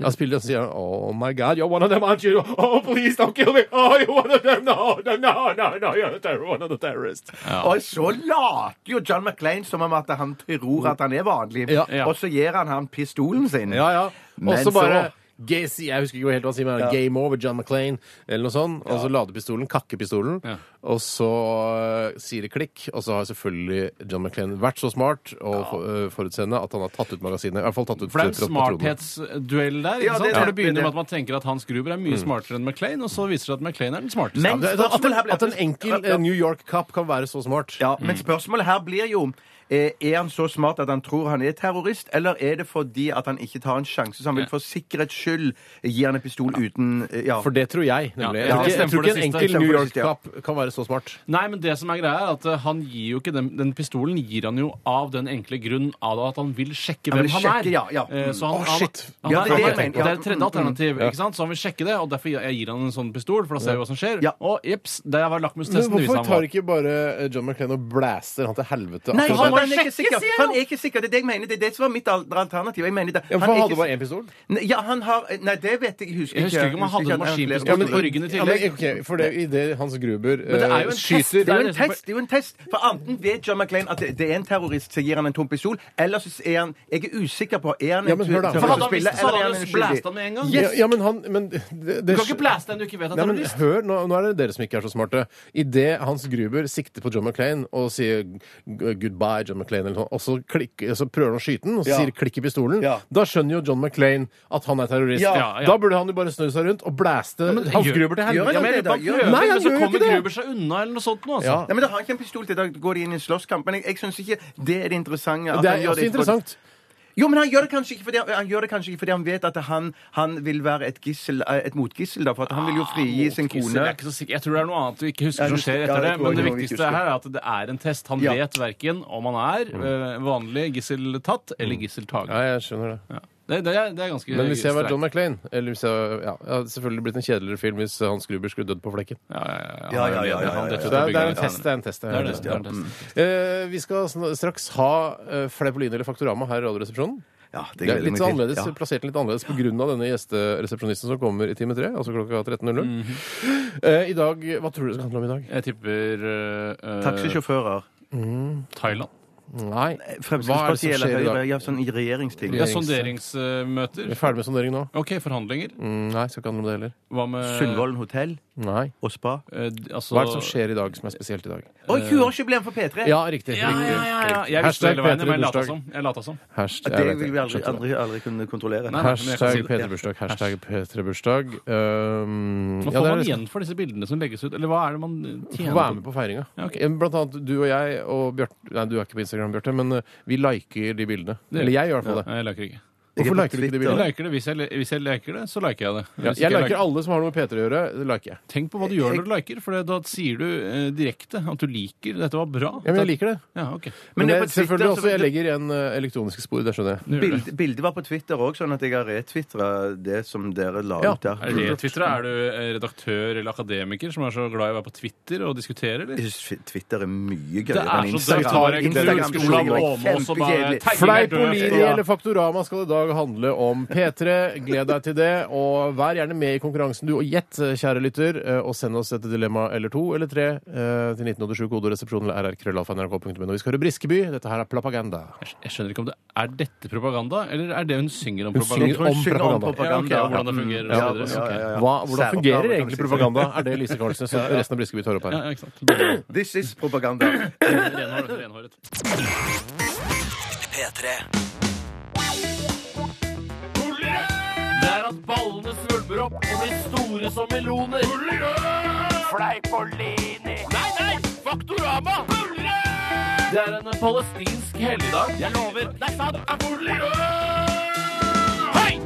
Han spiller og sier han, Oh my God, you're one of them, aren't you? Oh, please don't kill me! Oh, you're one of them! No, no, no, no, no you're a terror, one of the terrorists!
Og så later jo John McClain som om at han tror at han er vanlig,
Ja.
Ja.
og så gir han ham pistolen sin.
Ja, ja.
Men
Og så
så-
bare Gacy, jeg husker ikke helt hva han sier, men Game Over, John McClain, eller noe sånt. Og så lader pistolen, kakker pistolen,
Ja.
og så eh, sier det klikk. Og så har selvfølgelig John McClain vært så smart og for- eh, forutseende at han har tatt ut magasinet. I hvert fall tatt ut
For det er
fra
en
patronen.
smarthetsduell der. ikke
Ja,
sant?
det er det,
For det
det er
begynner
det.
med at man tenker at Hans Gruber er mye
Mm.
smartere enn McLean, og så viser det seg at McLean er den smarteste.
Men-
Ja, det- At, en- at en enkel eh, New York-kapp kan være så smart.
Ja, Men spørsmålet her blir jo eh, er han så smart at han tror han er terrorist, eller er det fordi at han ikke tar en sjanse, så han vil for sikkerhets skyld gi han en pistol uten eh, ja.
For det tror jeg. nemlig.
Ja,
Jeg tror ikke, jeg
stemmer for
tror ikke
det
en
siste.
enkel
Stemmer
New
for det siste, ja.
York-kapp kan være så smart.
Nei, men det som er greia er at eh, han gir jo ikke den, den pistolen gir han jo av den enkle grunn av at han vil sjekke
Han
hvem
vil
han
sjekke,
er.
ja, ja.
Eh, Så
Å,
han,
shit.
han,
Ja,
han,
det er det
det,
jeg mener, ja.
det er et tredje
Mm,
alternativ, ikke sant? så han vil sjekke det. Og derfor gir- jeg gir han en sånn pistol, for da ser vi hva som skjer.
Ja.
Og jips, der var
Men
lakmustesten.
hvorfor
viser han
tar
hva.
ikke bare eh, John McClain og blaster han til helvete?
Nei,
akkurat
han,
der?
må
Altså, han er ikke
sjekke,
sikker.
sier
Han er ikke sikker. Det er det jeg mener. Det er det som var mitt al- alternativ. Jeg mener det.
ja, for
er
han hadde
ikke
bare én pistol?
Nei, Ja, han har Nei, det vet jeg, jeg husker
Jeg husker ikke om han hadde
at
en
flere-
maskinpistol. Ja, men- på ryggen i
Ja,
tillegg.
men, ok, for det, i det Hans Gruber
Men det er
eh,
jo en test.
skyter
Det er jo en
det som-
test! det er jo en test For Enten vet John McClain at det det er en terrorist, så gir han en tom pistol, eller så er han Jeg er usikker på Er han en
Ja, men hør da.
terrorist
For
hadde han
som spiller,
visst det, så
eller er
hadde han
han en
jo blastet
skyldig?
han med en gang.
Yes.
ja, ja, men han men det, det,
Du kan ikke blaste en du ikke vet at
Nei,
han
men
har lyst.
hør, nå, nå er det dere som ikke er så smarte. Idet Hans Gruber sikter på John McClain og sier g- 'goodbye, John McClain', eller noe, og så, klikk, så prøver han å skyte den, og så
Ja.
sier 'klikk i pistolen',
Ja.
da skjønner jo John McClain at han er terrorist.
Ja.
Ja, ja.
Da burde han jo bare snu seg rundt og blaste
Men
Hans
gjør-
Gruber til helvete.
Gjør han
Ja, men jeg
det
lurer på
da?
om
Gjør-
han
Nei, han
prøvde, men
gjør
så
jo
kommer
ikke det.
Gruber seg unna, eller noe sånt nå, altså.
Ja.
Nei, men Da har ikke han pistol til, da går de inn i en slåsskamp. Men jeg, jeg syns ikke det er det interessante. at
Det
han
er
gjør
også
for-
interessant.
Jo, men han gjør det kanskje ikke fordi han, han, gjør det kanskje ikke fordi han vet at han, han vil være et gissel, eh, et motgissel, da, for at han vil jo frigi sin
Kissel, Jeg,
kone.
er ikke så sikker. jeg tror Ah, det er noe annet du ikke husker
Jeg
som
husker-
skjer
ja,
etter det.
jeg tror
Men det
jeg ikke
viktigste
husker.
her er at det er en test. Han
Ja.
vet verken om han er eh, vanlig gissel tatt eller gissel
Mm. Ja,
taget.
jeg skjønner det.
Ja. Det, det, er, det er ganske
Men hvis jeg var
streit.
John McClain eller hvis jeg, ja, Det hadde selvfølgelig blitt en kjedeligere film hvis Hans Gruber skulle dødd på flekken.
Ja, ja, ja.
Ja, ja,
Han er
ja, ja,
leder, han
ja,
Så
detter ut
det er,
av
det er
bygningen.
en test. det er en test. jeg
Det er
hører
det, det er en test.
Eh, vi skal sn- straks ha eh, Fleipolini eller Faktorama her i Radioresepsjonen.
Ja,
Det er
det gleder jeg
litt sånn
meg til.
annerledes,
Ja.
Plassert litt annerledes pga. denne gjesteresepsjonisten som kommer i time tre, altså klokka 13.00.
Mhm.
Eh, I dag, Hva tror du det skal handle om i dag?
Jeg tipper eh, eh,
Taxisjåfører.
Thailand.
Nei, Eh, hva er det som
Fremskrittspartiet eller
skjer i
Høyre.
dag?
Ja, sånn i regjeringsting.
Ja,
Regjerings- Vi
sonderingsmøter.
er ferdig med sondering nå.
OK, forhandlinger.
Mm, nei, skal ikke handle om det heller.
Hva med
Sundvolden hotell
Nei.
og spa.
eh, d- altså,
Hva er det som skjer i dag som er spesielt i dag?
Og 20-årsjubileum for P3!
Ja, riktig.
Eh, Ja, ja, ja, ja.
riktig.
Jeg visste det hele veien,
Peter i
men jeg lata
bursdag.
som. Jeg lata som.
Hashtag, jeg
Det
vet
vil vi aldri, aldri, aldri kunne kontrollere.
Nei, nei. men jeg kan si
Hashtag
det.
P3-bursdag. Hashtag P3-bursdag. Um,
Hva
ja,
får
det er-
man igjen for disse bildene som legges ut? Eller hva er det man tjener
Vær med på feiringa.
Ja, ok.
Blant annet du og jeg og Bjarte Nei, du er ikke på Instagram, Bjarte, men eh, vi liker de bildene.
gjør
Eller jeg gjør i hvert fall det.
Nei, Jeg liker ikke.
Jeg
Hvorfor
er på
liker du ikke det
Twitter.
Jeg
bildet?
liker det. Hvis jeg, hvis jeg liker det, så liker jeg det.
Ja,
Hvis
jeg
ikke
liker alle som har noe med P3 å gjøre. Det liker jeg.
Tenk på hva du gjør når du liker, for det- da sier du eh, direkte at du liker dette var bra.
Ja, men jeg liker det.
Ja, ok.
Men
Men
det er
jeg,
på Twitter,
selvfølgelig
så-
også, jeg legger igjen eh, elektroniske spor. Det skjønner jeg.
Nå gjør du det.
Bild, bildet var på Twitter òg, sånn at jeg har retvitra det som dere la
Ja,
ut der.
Er det Twitter? Er du eh, redaktør eller akademiker som er så glad i å være på Twitter og diskutere, eller?
Jeg synes Twitter er mye
Det
gøyere
er
enn
så dødt å
Instagram.
være
Instagram
Knut Olav
er
Åmås og bare
kjempekjedelig.
Tegne
Fleipolini
Ja.
eller Faktorama skal i dag handle om P3. Gled deg til det. Og vær gjerne med i konkurransen, du. Og gjett, kjære lytter, eh, og send oss et dilemma eller to eller tre eh, til 1987 kodoresepsjonen eller rrkrøllalfa.nrk.no. Vi skal høre Briskeby. Dette her er propaganda.
Jeg skj- Jeg skjønner ikke om det er dette propaganda, eller er det hun synger om
Hun
propaganda?
synger
Hun synger om
Om
Ja, ok,
propaganda.
og hvordan det fungerer
Ja,
og så
ja, ja,
videre.
Hva,
ja.
hvordan
Særoppgave,
fungerer
kan vi
egentlig
si.
propaganda? Er det Lise Karlsnes og resten av Briskeby tar opp
Ok.
her?
Ja, ikke sant.
This is propaganda.
Renhåret, renhåret.
P3.
Det er at ballene svulmer opp og blir store som meloner. Fleipolini. Nei, nei! Faktorama! Det er en palestinsk helligdag. Jeg lover. Det er sant. Hei!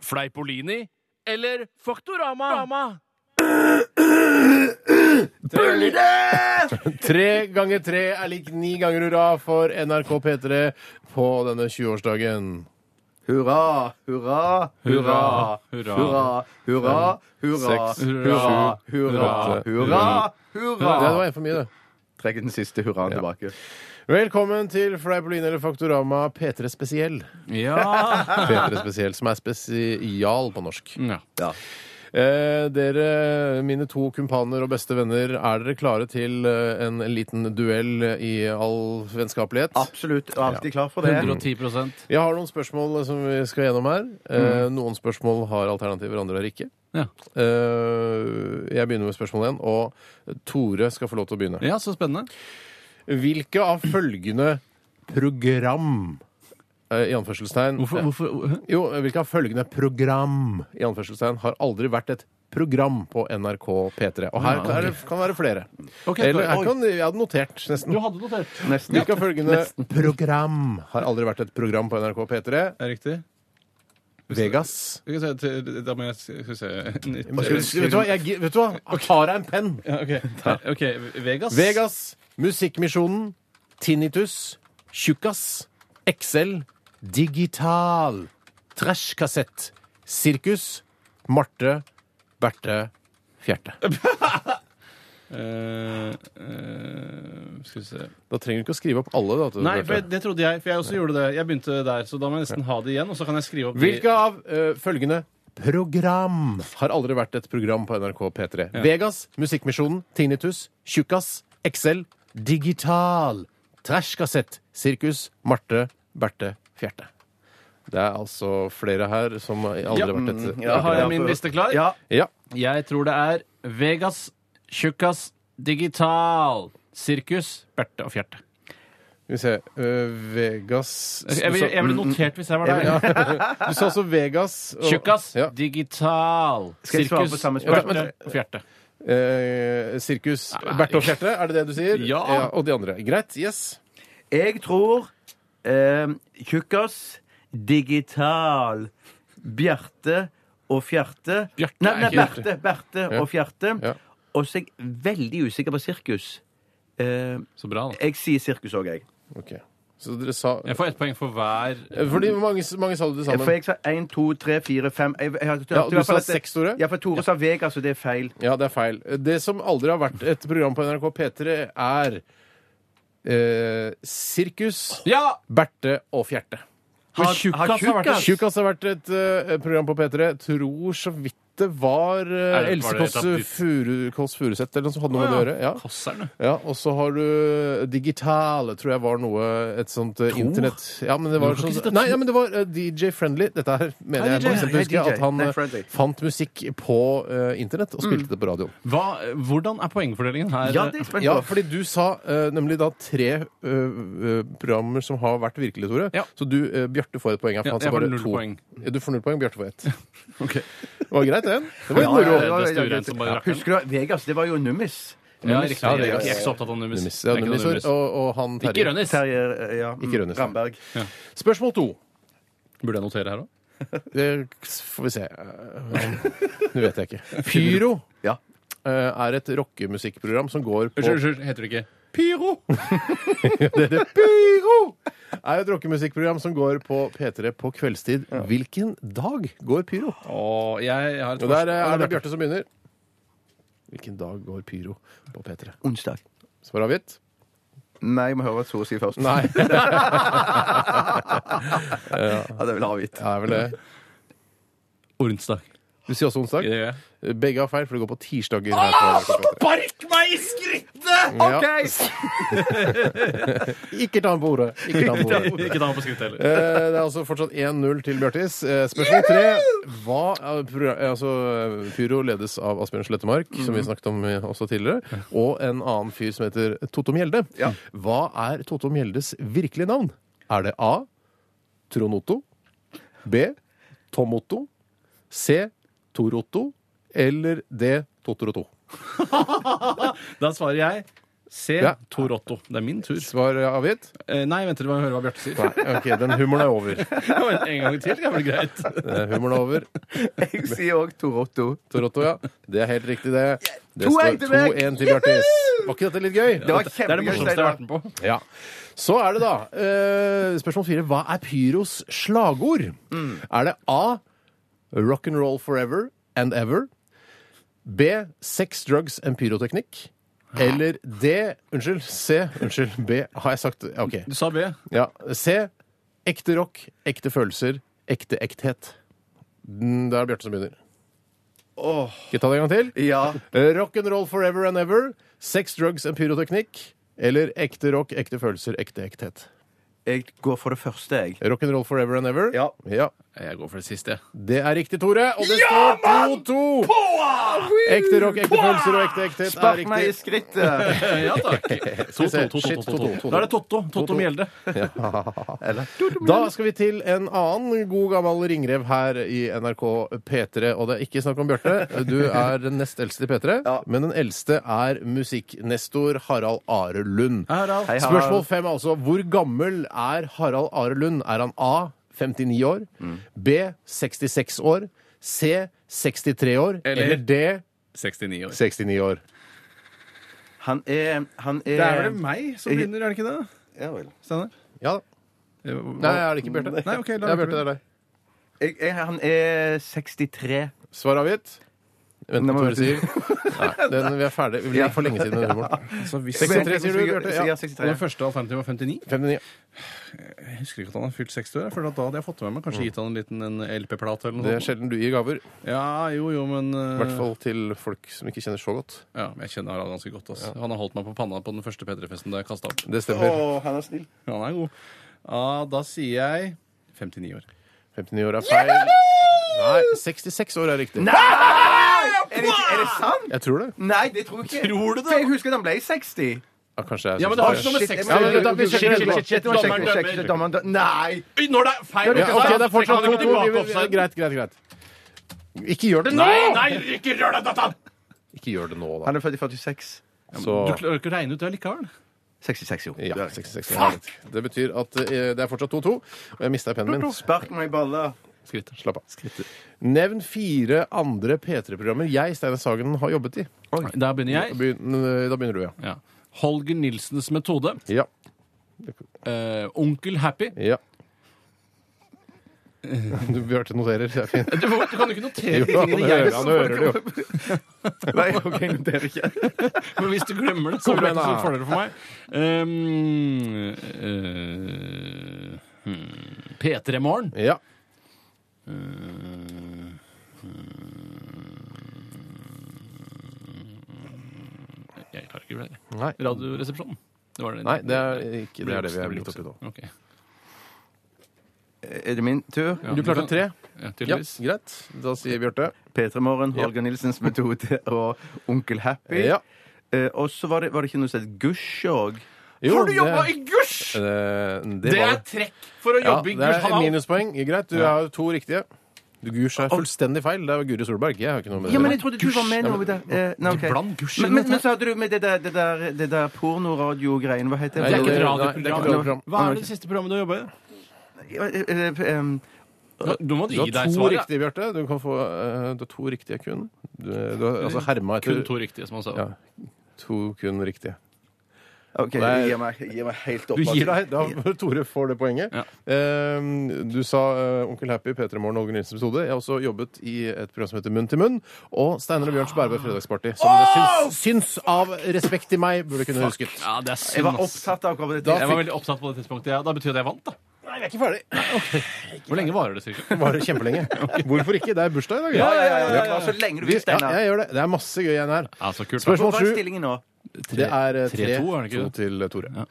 Fleipolini eller Faktorama?
Tre ganger tre er lik ni ganger hurra for NRK P3 på denne 20-årsdagen.
Hurra, hurra, hurra, hurra, hurra, hurra,
Seks,
hurra,
sju,
hurra,
åtte,
hurra,
Det var
hurra.
en for mye, det.
Trekk den siste hurraen tilbake.
Velkommen til Fleipolini eller Faktorama P3 Spesiell.
Ja.
P3 Spesiell, som er spesial på norsk.
ja.
Eh, dere, mine to kumpaner og beste venner, er dere klare til eh, en liten duell i all vennskapelighet?
Absolutt. og Alltid klar for det.
110
Jeg har noen spørsmål som vi skal gjennom her. Eh, Noen spørsmål har alternativer, andre har ikke.
Mm. Ja.
Eh, jeg begynner med spørsmål én, og Tore skal få lov til å begynne.
ja, så spennende.
Hvilke av følgende program eh, i anførselstegn
Hvorfor, hvorfor
Jo, hvilke av følgende program i anførselstegn har aldri vært et program på NRK P3? Og her kan, er det, kan være flere.
Ok,
Eller
oi.
jeg, kan, jeg hadde notert, nesten.
Du hadde notert.
Nesten.
Hvilke av følgende program har aldri vært et program på NRK P3?
Er riktig.
Vegas.
Skal vi se, til- da må jeg skal vi se
Skal du- Vet du hva? Jeg, gi- vet du hva? Har jeg en penn?
Ja, ok. Eh, OK. Vegas.
Vegas, Musikkmisjonen, Tinnitus, Tjukkas, Excel, Digital, Trashkassett, Sirkus, Marte, Berthe, Fjerte.
Eh, eh, skal vi se
Da trenger du ikke å skrive opp alle. Da, til
Nei,
Bjarte.
for jeg, det trodde jeg, for jeg også gjorde det. Jeg begynte der, så da må jeg nesten ha det igjen. Og så kan jeg skrive opp de-
Hvilke av eh, følgende program har aldri vært et program på NRK P3? Vegas, Musikkmisjonen, Tinnitus, Tjukkas, Excel, Digital, Trashkassett, Sirkus, Marte, Berthe, Fjerte. Det er altså flere her som aldri
Ja.
har vært et
Da har
ja,
jeg min
for-
liste klar.
Ja.
Ja.
Jeg tror det er Vegas, Tjukkas, Digital, Sirkus, Berte og Fjerte.
Skal vi se eh, Vegas
Jeg ville jeg ville notert hvis jeg var
Ja.
der.
Du sa altså Vegas og-
Tjukkas,
ja.
Digital,
Skal jeg svare på
Sirkus,
samme
spørsmål?
Berte og Fjerte.
eh, Sirkus,
Nei.
Berthe og Fjerte, er det det du sier?
Ja.
Og de andre. Greit. Yes.
Jeg tror eh, Tjukkas, Digital, Bjarte og Fjerte
Bjarte
Nei,
er
nei
ikke
Berte, Berte og Fjerte.
Ja.
Og så er jeg veldig usikker på sirkus. Eh,
Så bra, da.
jeg sier sirkus òg, jeg.
Ok. Så dere sa
Jeg får ett poeng for hver
Eh, Fordi hvor mange, hvor mange sa du det sammen?
For jeg sa 1, 2, 3, 4, 5 jeg, jeg, jeg, jeg,
Ja,
jeg,
du sa seks, Tore.
Ja, for Tore sa Vegas, så det er feil.
Ja, det er feil. Eh, Det som aldri har vært et program på NRK P3, er eh, Sirkus,
Ja!
Berthe og Fjerte.
Har
Har- har
Tjukkas har vært
Tjukkas?
Tjukkas har vært et eh, program på P3. Tror så vidt det var eh,
Er det-
Else
var det
Kåss
et av ditt-
Furu- Kåss Furuseth eller noe som hadde noe med det å gjøre. Ja.
Kosserne.
Ja, og så har du Digitale, tror jeg var noe Et sånt eh, internett Ja, men det var,
kan ikke si
sånn,
det.
nei, ja, men det var eh, DJ Friendly. Dette her mener
Ja,
jeg.
DJ,
bare eksempel
ja,
husker jeg
DJ.
At han
Nei,
eh,
Friendly.
fant musikk på eh, internett
Mm.
og spilte det på radioen.
Hva, hvordan er poengfordelingen her?
Ja, det er spennende.
Ja, fordi du sa eh, nemlig da tre eh, eh, programmer som har vært virkelige, Tore.
Ja.
Så du, eh, Bjarte, får et poeng. her, for
Ja,
han sa
jeg får
bare
null
to.
poeng.
Ja, Du får null poeng, Bjarte får ett.
Ok.
Det var greit, det. Det var
Ja,
litt moro.
ja,
Det
ja,
beste
ja, ja,
uren som bare
ja.
rakk den.
Husker du Vegas? Det var jo Nummis.
Ja, riktig.
Ja,
jeg
det er-
er ikke så opptatt av Nummis.
Numis,
Det
ja,
er ikke noe
Numis,
Numis.
og, og han
Ikke
Terje.
Rønnis.
Terje eh, ja.
Ikke Rønnes.
Ramberg.
Spørsmål to.
Burde jeg notere her òg?
Det får vi se. Nå vet jeg ikke. Pyro
Ja.
eh, er et rockemusikkprogram som går på
Unnskyld, unnskyld, heter det ikke Pyro?
Det heter Pyro! Er et rockemusikkprogram som går på P3 på kveldstid. Hvilken dag går Pyro?
Å, jeg har et
Og der
spørsmål.
eh, er det Bjarte som begynner. Hvilken dag går Pyro på P3?
Onsdag.
Svar avgitt?
Nei, jeg må høre hva Tore sier først.
Nei. Det
Ja, det er vel avgitt.
er vel det.
Onsdag.
Du sier også onsdag?
Ja, ja.
Begge har feil, for det går på tirsdager. Her på P3.
Spark meg i skrittet!
Ikke ta den på ordet. Ikke ta den på ordet.
Ikke ta ham på skrittet heller.
Eh, Det er altså fortsatt 1-0 til Bjartis. Eh, Spørsmål tre. Hva er progra- eh, altså, Pyro ledes av Asbjørn Slettemark, som vi snakket om eh, også tidligere, og en annen fyr som heter Totto Mjelde. Hva er Totto Mjeldes virkelige navn? Er det A. Trond Otto? B. Tom Otto? C. Tor Otto? Eller D. Totoroto?
Da svarer jeg C.
Ja.
Torotto. Det er min tur.
Svar avgitt?
Eh, Nei, vent til du må høre hva Bjarte sier.
Nei, OK, den humoren er over.
en gang til kan bli greit.
Eh, Humoren er over.
Jeg sier òg Tore Otto.
Toronto, ja. Det er helt riktig, det. Det
2-1
står
til meg!
2-1 til Bjartis. Var ikke dette litt
Det
gøy?
var
Det er det
kjempegøy.
morsomste jeg har vært med på.
Ja. Så er det da eh, spørsmål fire. Hva er Pyros slagord? Er det A. Rock'n'roll forever and ever? B. Sex, drugs and pyroteknikk? Eller D. Unnskyld. C. Unnskyld. B. Har jeg sagt OK.
Du sa B.
Ja. C. Ekte rock, ekte følelser, ekte ekthet. Mm, Det er Bjarte som begynner. Skal jeg ta det en gang til?
Ja.
Rock'n'roll forever and ever. Sex, drugs and pyroteknikk. Eller ekte rock, ekte følelser, ekte ekthet.
Jeg går for det første, jeg.
Rock'n'roll forever and ever.
Ja.
Jeg går for det siste. jeg.
Det er riktig, Tore. Og det står 2-2. Ekte rock, ekte følelser og ekte ekthet er
Spark meg i
riktig.
skrittet!
Eh, Ja takk.
vi se.
Totto, Totto,
Shit,
Totto,
Totto, Totto.
Totto. Da er det Totto. Totto Mjelde.
Da skal vi til en annen god gammel ringrev her i NRK P3. Og det er ikke snakk om Bjarte. Du er den nest eldste i P3,
Ja.
men den eldste er musikknestor Harald Are Lund.
Harald.
Hei, Harald.
Spørsmål fem er altså hvor gammel er Harald Are Lund? Er han A 59 år, B 66 år, C 63 år eller,
Eller-
D
69 år.
69 år?
Han er Han er
Det er
Eh,
vel meg som begynner, er det ikke det?
Ja vel.
Steinar?
Ja. Nei, er det ikke Bjarte?
Eh, Nei, ok,
Det
la
er Bjarte, det er deg.
Jeg, jeg, han er 63.
Svar avgitt? Vent,
Nei,
hva
men-
Tore sier. Nei, den, vi er ferdig. Vi ble for lenge siden med den humoren.
Altså, hvis
63 sier du, Bjarte?
Ja,
Ja.
63.
det første alternativet var 59.
59.
Jeg husker ikke at han har fylt 60 år. Jeg føler at Da hadde jeg fått med meg kanskje gitt han en liten en LP-plate eller
Mm. Det
noe.
er
sånt.
sjelden du gir gaver.
Ja, jo, jo, men eh,
I hvert fall til folk som ikke kjenner så godt.
Ja, men Jeg kjenner Harald ganske godt. ass. Han har holdt meg på panna på den første P3-festen da jeg kasta opp.
Det stemmer.
Å, han er snill.
Han er god. Ja, da sier jeg 59 år.
59 år er feil. Nei, 66 år er riktig.
Er det, er det sant?
Jeg tror det.
Nei, det tror jeg ikke.
Tror du det?
For jeg husker at han ble 60.
Ja, kanskje jeg
Ja,
synes
men det har
det
ikke noe med sex
Ja, men
å
da-
gjøre.
vi-
Shit, shit, shit, shit,
Dommeren
dommeren
dømmer.
dømmer.
Dommeren dømmer. Nei!
Oi, Når det er feil!
Ja, ok, det er fortsatt
Trekker han ikke
2-2.
tilbake
Vi- vi-
offside?
Greit, greit, greit. Ikke gjør det nå!
Nei, nei, ikke rør deg, Datan!
Ikke gjør det nå, da.
Han er født i 46.
Du
Så
klarer ikke å regne ut det likevel.
66, jo.
ja, 66 er greit. Det betyr at eh, det er fortsatt 2-2. Og jeg mista pennen min.
Spark meg i balla.
Skritt.
Slapp av. Nevn fire andre P3-programmer jeg, Steinar Sagen, har jobbet i.
Da begynner jeg.
Begynn, da begynner du, ja.
Ja. Holger Nilsens metode.
Ja.
Eh, Onkel Happy.
ja. Du Bjarte noterer. Det er fint.
Du, må- du kan jo ikke notere
Jo, han
tingene jeg
hører, han hører det jo.
Nei, ok, noterer ikke.
Men hvis du glemmer det, så
Kom
blir det
igjen,
ikke
da.
sånn fordel for meg. Um, eh, hmm, P3 Morgen.
Ja.
Jeg klarer ikke det.
Nei.
Radioresepsjonen. Det var det.
Nei, det er ikke det, er det vi er
blir
blitt oppi nå.
jukse. Ok.
Er det min tur?
Ja,
Du klarte
kan-
tre?
Ja,
Ja,
tydeligvis.
greit. Da sier Bjarte.
P3 Morgen, Holger Nilsens metode og Onkel Happy.
Ja.
Eh, og så var det, var det ikke noe som het Gush òg.
Jo,
Har du
det-
jobba i gusj?!
Eh, Det,
Det
var
er trekk for å
Ja,
jobbe i
det
gusj!
er
Harald.
minuspoeng. Greit, du har to riktige. Du Gurs er fullstendig feil. Det er Guri Solberg. Jeg har ikke noe med det
Ja,
å
men
gjøre.
jeg trodde du var med nå. i det. Eh, nei, ok.
Bland Gush
Men,
inn i
men,
dette.
men så hadde du med det der, det der, det der pornoradiogreiene. Hva heter
Nei,
Det er ikke et
Nei,
radioprogram.
det er ikke et radioprogram.
Hva er det siste programmet du har jobba i?
Eh, eh, eh, em,
Nå, nå må du
Du har
gi deg
to
svaret.
riktige, Bjarte. Du, kan få, eh, du har to riktige kun. Du, du har altså herma etter
Kun to riktige, som han sa.
Ja. To kun riktige.
OK,
Nei.
gi meg, gi meg helt opp.
Du gir deg. Da Tore får det poenget.
Ja.
Eh, du sa eh, Onkel Happy, P3 Morgen og Holger Nilsens episode. Jeg har også jobbet i et program som heter Munn til munn. Og Steinar og Bjørns Bærberg Fredagsparty. Som dere syns, syns av respekt til meg burde kunne husket.
Ja, det er synd,
Jeg var
ass.
opptatt av akkurat
Da
det.
Jeg var veldig opptatt på det tidspunktet. Ja, da betyr det at jeg vant, da.
Nei, vi er ikke ferdig.
Hvor lenge varer det, cirka?
Bare kjempelenge. Hvorfor ikke? Det er bursdag i dag.
Ja, ja, ja, ja, ja. Så lenge du vil,
Vi- Ja,
Steinar.
jeg gjør det. Det er masse gøy igjen her.
Ja, så kult. da.
Spørsmål
Hva er
sju.
stillingen nå?
Det er eh,
3-2, er det
3-2
ikke det?
til eh, Tore.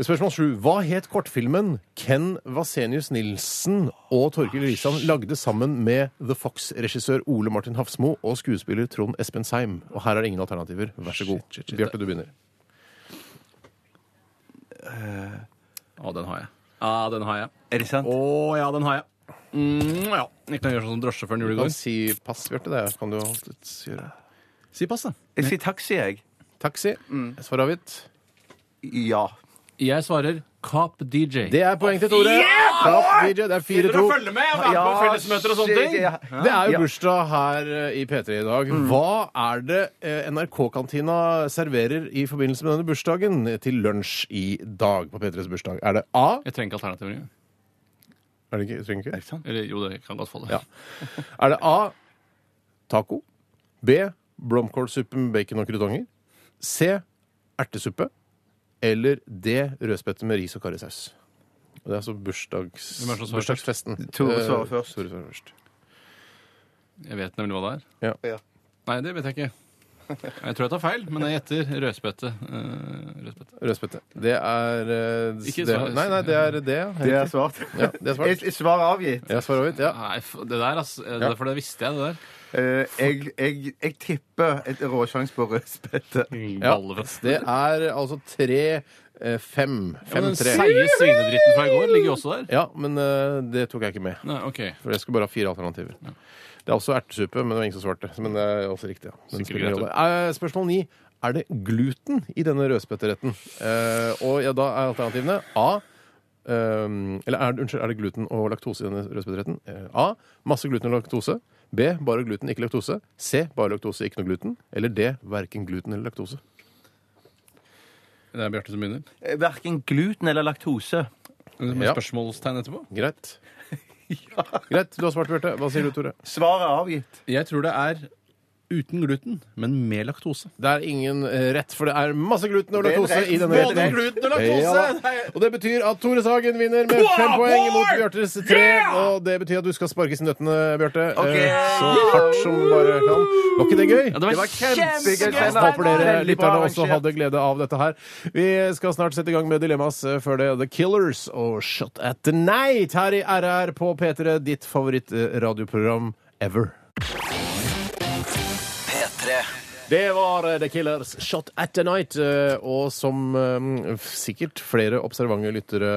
Spørsmål 7. Hva het kortfilmen Ken Vasenius Nilsen og Torkil Risan lagde sammen med The Fox-regissør Ole Martin Hafsmo og skuespiller Trond Espen Seim? Og her er det ingen alternativer. Vær så god. Bjarte, du begynner.
Å, den har jeg. Ja, den har jeg.
Er det sant?
Å ja, den har jeg. Mm, ja. Jeg kan gjøre sånn som drosjesjåføren gjorde i
Du kan
går.
si pass, Bjarte. Det kan du alltid gjøre.
Si pass, da.
Jeg sier taxi, jeg.
Taxi.
Mm.
Svar avgitt.
Ja.
Jeg svarer Cop DJ.
Det er poeng til Tore. Klapp, DJ. Det er 4-2.
følge med og være med på fellesmøter og sånne
shit,
ting.
ja.
Det er jo bursdag her eh, i P3 i dag.
Mm.
Hva er det eh, NRK-kantina serverer i forbindelse med denne bursdagen eh, til lunsj i dag på P3s bursdag? Er det A?
Jeg trenger ikke alternativer. engang.
Er det ikke? Trenger ikke?
Eller jo, det kan godt få det.
Ja. Er det A taco? B blomkålsuppe med bacon og krutonger? C ertesuppe? Eller D rødspette med ris og karrisaus? Og Det er altså bursdags,
Hvem er det som svarer
bursdagsfesten.
Tore
Eh,
svarer først.
Tore svarer først.
Jeg vet nemlig hva det er.
Ja.
Ja.
Nei, det vet jeg ikke. Jeg tror jeg tar feil, men jeg gjetter rødspette. Eh, rødspette.
Rødspette. Det er eh,
Ikke
det,
svar-
Nei, nei, det er det.
Det er svart.
Ja, det er svart.
Jeg- jeg Svar avgitt.
Jeg svarer ut, ja.
Nei, f- det der, altså. eh, det- For det visste jeg, det der.
Eh, jeg, jeg, jeg tipper et råsjanse på rødspette.
ja.
Ballefest.
Det er altså tre, eh, fem.
Ja, men
Fem,
den
tre.
seige svinedritten fra i går ligger jo også der.
Ja, men eh, det tok jeg ikke med.
Nei, ok.
For jeg skulle bare ha fire alternativer. Det er også ertesuppe, men det var ingen som svarte. Men det er også riktig, ja. Men
Sikkert
spiller ingen
greit,
rolle. Eh, Spørsmål ni. Er det gluten i denne rødspetteretten? Eh, og ja, da er alternativene A ehm, Eller er, det- unnskyld, er det gluten og laktose i denne rødspetteretten? Eh, A. Masse gluten og laktose. B. Bare gluten, ikke laktose. C. Bare laktose, ikke noe gluten. Eller D. Verken gluten eller laktose.
Det er Bjarte som begynner.
Eh, Verken gluten eller laktose.
Med
Ja.
spørsmålstegn etterpå.
Greit. Greit, Du har svart, Bjarte. Hva sier du, Tore?
Svaret er avgitt.
Jeg tror det er uten gluten, men med laktose.
Det er ingen eh, rett, for det er masse gluten og
Det er en
laktose
rett.
i denne
Både
retten.
gluten og
Ja, da. og det betyr at Tore Sagen vinner med fem poeng mot Bjartes tre. Og det betyr at du skal sparkes i nøttene, Bjarte.
Ok.
Eh, Så hardt som bare kan. Var ikke det gøy?
Ja, det var,
Det var kjempegøy,
kjempegøy!
Jeg
Steinar.
håper dere
Veldig bra
lytterne også
arrangert.
hadde glede av dette her. Vi skal snart sette i gang med Dilemmas eh, før det. The Killers og Shot at the Night her i RR på P3, ditt favorittradioprogram ever.
P3.
Det var eh, The Killers Shot at the Night. eh, Og som eh, f- sikkert flere observante lyttere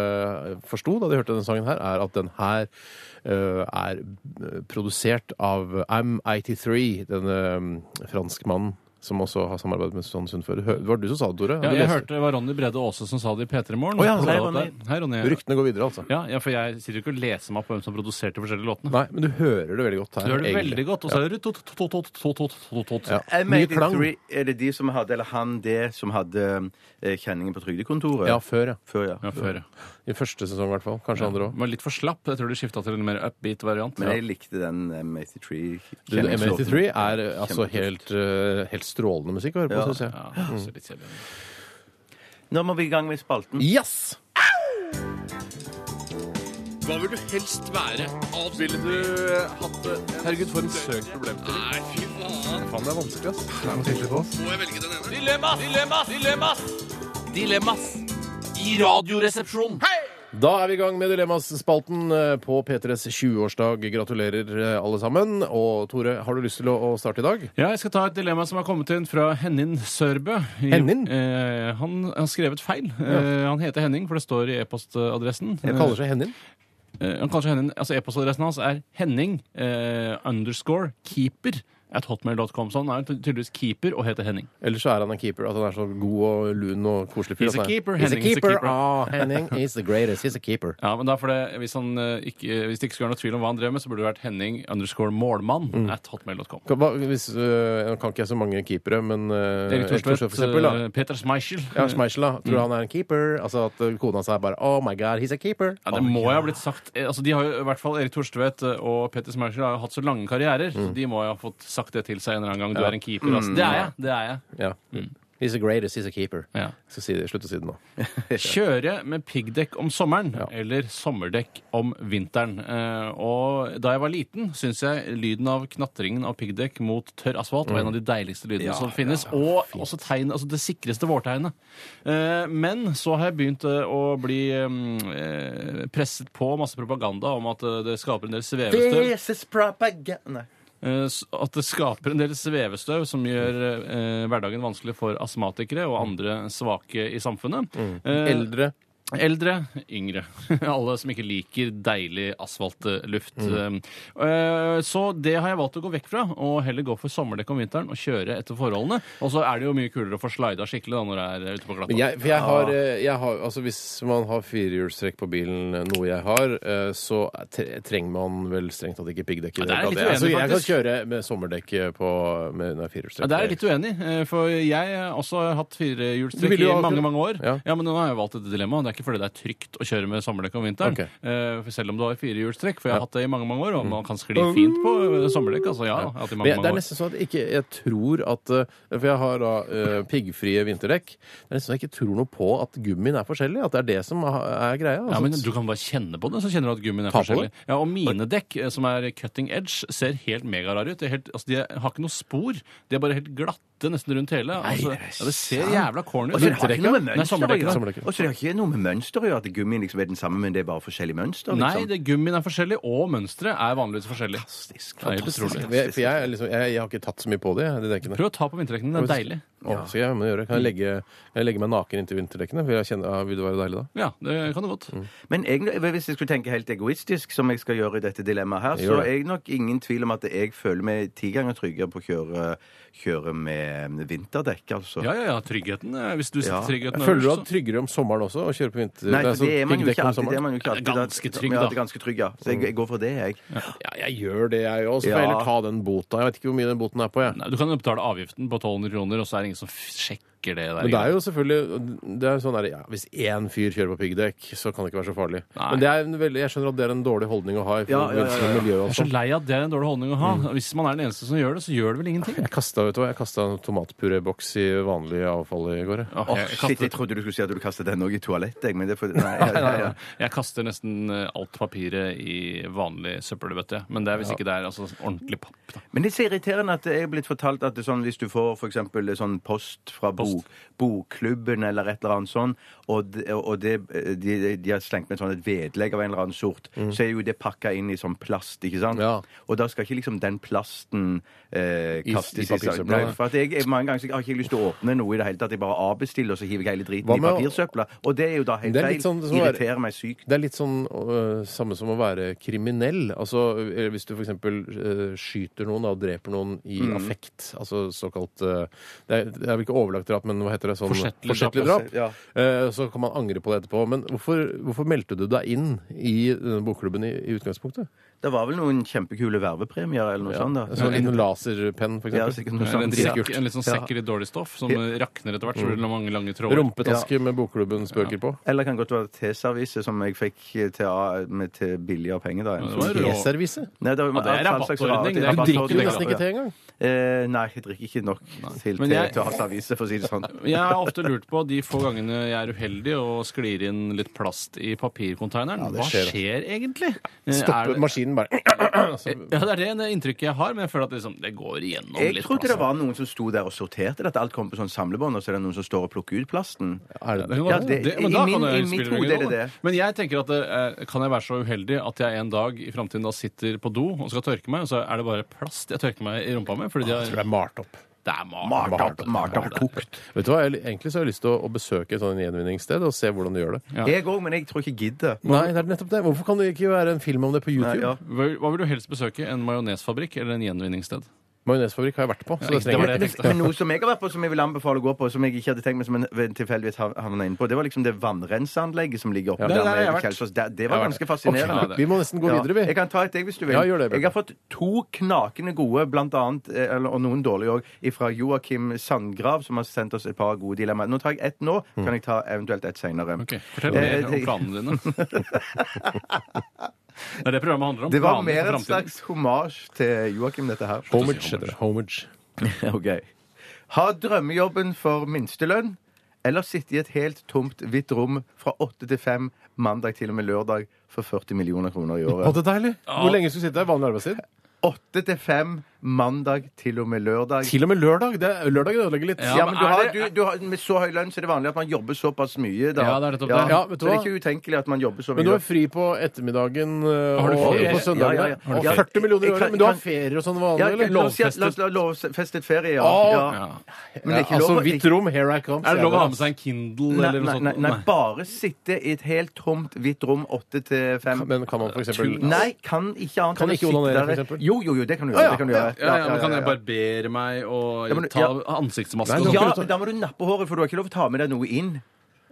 eh, forsto da de hørte denne sangen her, er at den her eh, er eh, produsert av M83, denne eh, franskmannen. Som også har samarbeidet med Susanne Sundfør. Hø- Det var du som sa det, Tore.
Ja,
Du
jeg
leste-
hørte det var Ronny Brede Aase som sa det i P3 Morgen.
Å ja,
Plukket
hei,
det opp
Ronny.
der. Hei, Ronny.
Ryktene går videre, altså.
Ja, ja, for jeg sitter jo ikke og leser meg opp på hvem som produserte de forskjellige låtene.
Nei, men du hører det veldig godt her.
Du hører det
egentlig.
veldig godt, og så er det tot, tot, tot, tot, tot, tot, tot, tot.
Ja. Mye klang.
M83, er det de som hadde, eller han det, som hadde eh, kjenningen på trygdekontoret?
Ja, før, ja.
Før, ja.
Ja, før, ja.
I første sesong, i hvert fall. Kanskje andre
Den
òg.
var litt for slapp. Jeg tror de skifta til en mer upbeat variant.
Men jeg likte den eh, M83.
M83 er eh, altså
Kjempekult.
helt, eh, helt strålende musikk å høre på,
Ja.
synes jeg.
Ja, det ser litt kjedelig ut.
Nå må vi i gang med spalten.
Yes!
Hva vil du helst være? Ville du eh, hatt det? Herregud, for en søk problemstilling. Nei, fy faen.
Faen, det er vanskelig, ass.
Må jeg velge den ene? Dilemmas! Dilemmas! Dilemmas! Dilemmas! I radioresepsjonen.
Da er vi i gang med Dilemmas-spalten eh, på P3s 20-årsdag. Gratulerer, eh, alle sammen. Og Tore, har du lyst til å å starte i dag?
Ja, jeg skal ta et dilemma som har kommet inn fra Hennin Sørbø. I-
Hennin?
Eh, han har skrevet feil. Eh, han heter Henning, for det står i e-postadressen.
Han kaller seg Hennin.
Eh, han kaller seg Henning. Altså E-postadressen hans er Henning eh, underscore keeper at hotmail.com. Så han er tydeligvis keeper og heter Henning.
Eller så er han en keeper. At han er så god og lun og koselig fyr. altså.
He's a
at han er-
keeper,
He's a keeper.
Henning is a keeper.
Ah, Henning is the greatest. He's a keeper.
Ja, men da for det, hvis, han, eh, ikke, eh, hvis det ikke skulle være noe tvil om hva han drev med, så burde det vært Henning underscore målmann
Mm.
at hotmail.com.
Kan, hva- hvis, øh, nå kan ikke jeg så mange keepere, men øh,
Erik mm. Thorstvedt,
for eksempel, da.
eh, Peter Schmeichel.
Ja, Schmeichel, da. Tror du han er en keeper? Altså at øh, kona hans er bare Oh my God, he's a keeper.
Ja, det må jo ha blitt sagt. Eh, Altså, de har jo, i hvert fall Erik Thorstvedt eh, og Petter Schmeichel har jo hatt så lange karrierer, så de må jo ha fått sagt det til seg en eller annen gang. Du er en keeper, altså. Det er jeg! det er jeg.
Ja.
Mm.
He's the greatest, he's a keeper.
Ja.
Så si det, Slutt å si det nå.
Kjøre med piggdekk om sommeren eller sommerdekk om vinteren. Eh, og da jeg var liten, syns jeg lyden av knatringen av piggdekk mot tørr asfalt var en av de deiligste lydene som finnes. og også tegn, altså det sikreste vårtegnet. Eh, men så har jeg begynt eh, å bli eh, presset på masse propaganda om at eh, det skaper en del svevestøv.
is propaganda.
Eh, s- At det skaper en del svevestøv som gjør eh, hverdagen vanskelig for astmatikere og andre svake i samfunnet. Eh,
Eldre.
Eldre, yngre. Alle som ikke liker deilig asfaltluft.
Mm.
Ehm, Eh, Så det har jeg valgt å gå vekk fra, og heller gå for sommerdekk om vinteren og kjøre etter forholdene. Og så er det jo mye kulere å få slida skikkelig da når det er ute på glatta.
Men jeg, for jeg har, eh, jeg har Altså hvis man har firehjulstrekk på bilen, eh, noe jeg har, eh, så tre- trenger man vel strengt tatt ikke piggdekk. i
Ja, der er
hele tatt.
jeg litt
altså,
uenig,
jeg kan
faktisk.
kjøre med sommerdekk eh, på med, når jeg har firehjulstrekk.
Ja, Der er jeg litt uenig, eh, for jeg har også hatt
Du
firehjulstrekk
ville jo
i
ha-
mange mange år.
Ja.
Ja. men nå har jeg valgt et dilemma. Det er ikke fordi det er trygt å kjøre med sommerdekk om vinteren.
Ok.
eh, for Selv om du har firehjulstrekk, for
Ja. Mm.
jeg har hatt det i mange mange år, og man kan skli fint på eh, sommerdekk. altså ja, jeg har hatt det i
Men
mange,
jeg, det er
mange år.
nesten sånn at jeg ikke jeg tror at eh, For jeg har da eh, piggfrie vinterdekk. Det er nesten så jeg ikke tror noe på at gummien er forskjellig. At det er det som er, er greia.
Ja,
altså.
men Du kan bare kjenne på det, så kjenner du at gummien er
Ta på det.
forskjellig. Ja, Og mine dekk, eh, som er cutting edge, ser helt megarare ut. De, er helt, altså, de har ikke noe spor. De er bare helt glatte nesten rundt hele. Altså,
det er
ja, det ser jævla corny
Og
ut.
så det har ikke noe med
Nei,
mønster å
sommerdekk,
gjøre.
sommerdekk.
Og så det har ikke noe med mønster å gjøre at gummien liksom er den samme, men det er bare forskjellig mønster.
Nei,
Liksom.
det, gummien er forskjellig, og mønsteret er vanligvis forskjellig.
Fantastisk.
Det er helt
fantastisk.
utrolig.
For jeg, for jeg, er liksom, jeg, jeg har ikke tatt så mye på det, jeg, de dekkene.
Prøv å ta på vinterdekkene. Det er deilig. Mm.
Å, skal jeg, men gjøre. Kan, jeg legge, kan jeg legge meg naken inntil vinterdekkene? For jeg kjenner, ah, vil det være deilig da?
Ja, det kan du godt.
Men egentlig, hvis jeg skulle tenke helt egoistisk, som jeg skal gjøre i dette dilemmaet her,
Gjør
så
det.
er jeg nok ingen tvil om at jeg føler meg ti ganger tryggere på å kjøre, kjøre med vinterdekk, altså.
Ja, ja, ja. Tryggheten. eh, Hvis du
Ja.
setter tryggheten
Føler du
øverst,
deg tryggere om sommeren også? Å kjøre på vinter...
Nei,
Nei,
for
altså,
det er man jo
piggdekk
ikke
om
alltid. Det er
sommeren.
man jo ikke alltid.
Ganske trygg,
Ja,
da.
det er ganske trygg, ja. Så jeg, jeg går for det, jeg.
Ja, jeg gjør det, jeg òg. Så får jeg
Ja.
heller ta den bota. Jeg vet ikke hvor mye den boten er på, jeg.
Nei, Du kan jo betale avgiften på 1200 kroner, og så er det ingen som f- sjekker det der.
Men det er jo selvfølgelig det er jo sånn der, ja, Hvis én fyr kjører på piggdekk, så kan det ikke være så farlig.
Nei.
Men det er en veldig, jeg skjønner at det er en dårlig holdning å ha. i
Ja, ja, ja, ja.
forbindelse med miljø og
Jeg er så
sånn.
lei at det er en dårlig holdning å ha.
Mm.
Hvis man er den eneste som gjør det, så gjør det vel ingenting.
Jeg kastet, vet du hva, jeg kasta en tomatpureboks i vanlig avfall i går. jeg.
Åh,
Åh,
jeg, jeg,
shit, jeg
kaster,
trodde du skulle si at du kastet den også i toalettet, jeg, men det er for... Nei, ja, ja, ja.
jeg kaster nesten eh, alt papiret i vanlig søppelbøtte. Men det er hvis ikke det er altså, ordentlig papp. Da.
Men det er så irriterende at jeg er blitt fortalt at det er sånn, hvis du får for eksempel sånn post fra bok, bokklubben eller et eller annet sånn, og, det- og det, de, de har slengt med sånn et vedlegg av en eller annen sort, så er jo det pakka inn i sånn plast, ikke sant?
Mm. Ja.
Og da skal ikke liksom den plasten eh,
I- i
kastes i
papirsøpla,
søpla. Nei,
nei.
for at jeg, jeg, mange ganger så har jeg ikke lyst til å åpne noe i det hele tatt. Jeg bare avbestiller, og så hiver jeg hele driten
Hva
i
med å-
papirsøpla. Og det er jo da helt
Det er
feil.
litt sånn- sånn være-
irriterer meg sykt.
Det er litt sånn øh, samme som å være kriminell. Altså øh, Hvis du f.eks. Øh, skyter noen da, og dreper noen i affekt, altså såkalt øh, det, er, det er vel ikke overlagt drap, men hva heter det? Sånn,
Forsettlig
drap.
drap.
Ja.
Eh, så kan man angre på det etterpå. Men hvorfor, hvorfor meldte du deg inn i denne bokklubben i, i utgangspunktet?
Det var vel noen kjempekule vervepremier eller noe sånt da.
Så en laserpenn, Sånn for
sånn, Ja,
eksempel.
sikkert noe
Eller en,
sånt.
drik-
Ja. Mm.
sekk, en litt sånn sekk i litt dårlig stoff som eh, rakner etter hvert. Så blir det mange lange tråder.
Rumpetaske med bokklubbens bøker på.
Eller kan godt være T-servise, som jeg fikk til, med, til billigere penger. da.
det var jo-
T-servise?
Nei, det,
Ja, det er
alt slags rare-
rabattordning, det
Du
er- Rabattordning,
drikker jo
rabattordning,
nesten ikke te engang.
Eh, nei, jeg drikker ikke nok til,
Men
til,
jeg-
til å ha servise, for å si det sånn.
Jeg har ofte lurt på de få gangene jeg er uheldig og sklir inn litt plast i papirkonteineren.
det
Hva
skjer.
skjer egentlig? Eh, er
Stoppe
det-
maskinen bare
Ja, det er det, det inntrykket jeg har, men jeg føler at det, liksom, det går igjennom
Jeg
litt. altså.
trodde det
plast.
var noen som sto der og sorterte dette. Alt kom på sånn samlebånd, og så er det noen som står og plukker ut plasten.
Er det
Det kan
Ja,
godt
det-
være. men
i
da
min-
kan det
i
jo
mitt
spille ingen
hode er det
rolle.
det.
Men jeg tenker at eh, kan jeg være så uheldig at jeg en dag i framtiden da sitter på do og skal tørke meg, og så er det bare plast jeg tørker meg i rumpa med?
Ah,
Fordi de
Jeg tror det
har,
er malt opp.
det er malt.
Mart opp,
Malt.
mart opp, kokt.
Vet du hva, jeg, Egentlig så har jeg lyst til å, å besøke et sånt gjenvinningssted og se hvordan de gjør det.
Ja.
Jeg òg, men jeg tror ikke jeg gidder.
Nei, det er nettopp det. Hvorfor kan det ikke være en film om det på
Nei,
YouTube?
ja.
Hva hva vil du helst besøke? En majonesfabrikk eller en gjenvinningssted?
Majonesfabrikk har jeg vært på. Så det
Ja, det var
trenger
det
jeg
jeg
ikke.
tenkte.
Men noe som jeg har vært på, som jeg vil anbefale å gå på, som jeg ikke hadde tenkt meg, som jeg tilfeldigvis hav- havna inne på, det var liksom det vannrenseanlegget som ligger oppe
Ja, der har jeg
nede
vært.
ved Kjelsås. Det, det var
har
ganske fascinerende.
Ok,
Vi må nesten gå
Ja,
videre, vi.
Jeg kan ta et, jeg, hvis du vil.
Ja, gjør det, Bjørte.
jeg har fått to knakende gode, blant annet, eh, eller, og noen dårlige òg, fra Joakim Sandgrav, som har sendt oss et par gode dilemmaer. Nå tar jeg ett nå, kan jeg ta eventuelt Eh, ett seinere.
Mm. Ok, Fortell mer om planene dine. Det er det programmet handler om.
Det var
planer
mer
for
en
fremtiden.
slags hommage til Joakim, dette her.
Homage heter det. Homage.
Ok. Ha drømmejobben for minstelønn, eller sitte i et helt tomt, hvitt rom fra åtte til fem mandag til og med lørdag for 40 millioner kroner i
Å,
året.
det er deilig! Hvor lenge skulle du sitte der? Vanlig arbeidstid?
Åtte til fem mandag til og med lørdag.
Til og med lørdag. Det er, lørdagen ødelegger litt.
Ja,
Ja, men
men
du
er
har,
det-
du, du har, Med så høy lønn så er det vanlig at man jobber såpass mye. Da.
Ja, det er nettopp det.
Ja, vet du
så det
hva?
er ikke utenkelig at man jobber så mye.
Men du har fri på ettermiddagen øh,
Har du
og
ferie?
på søndagen.
Ja, ja, ja. Har du
Og 40 millioner i
Jeg
året.
kan-
Men du har
kan-
ferier og sånn
ja,
vanlig,
la,
eller?
oss si at- la, oss- la, la, oss- festet ferie, ja.
Å!
ja.
Ja.
Men det er ikke
Ja,
lov
altså,
å-
hvitt rom, here I come.
Er det lov å ha med
sier jeg da.
seg en Kindle
Nei,
eller noe
nei, nei,
sånt?
nei, bare sitte i et helt tomt hvitt rom åtte til fem
Men kan man for eksempel
Nei, kan ikke annet
Kan
enn å
ikke
sitte
onanere,
der-
for eksempel?
Jo, jo, jo, det kan du
Å,
gjøre.
ja,
Det kan du gjøre.
Ja, ja, men Kan jeg
ja.
barbere meg og
Ja, men-
ta
ja.
ansiktsmaske?
Nei,
og sånn?
nå-
Ja,
sånt?
men da må du nappe håret, for du har ikke lov å ta med deg noe inn.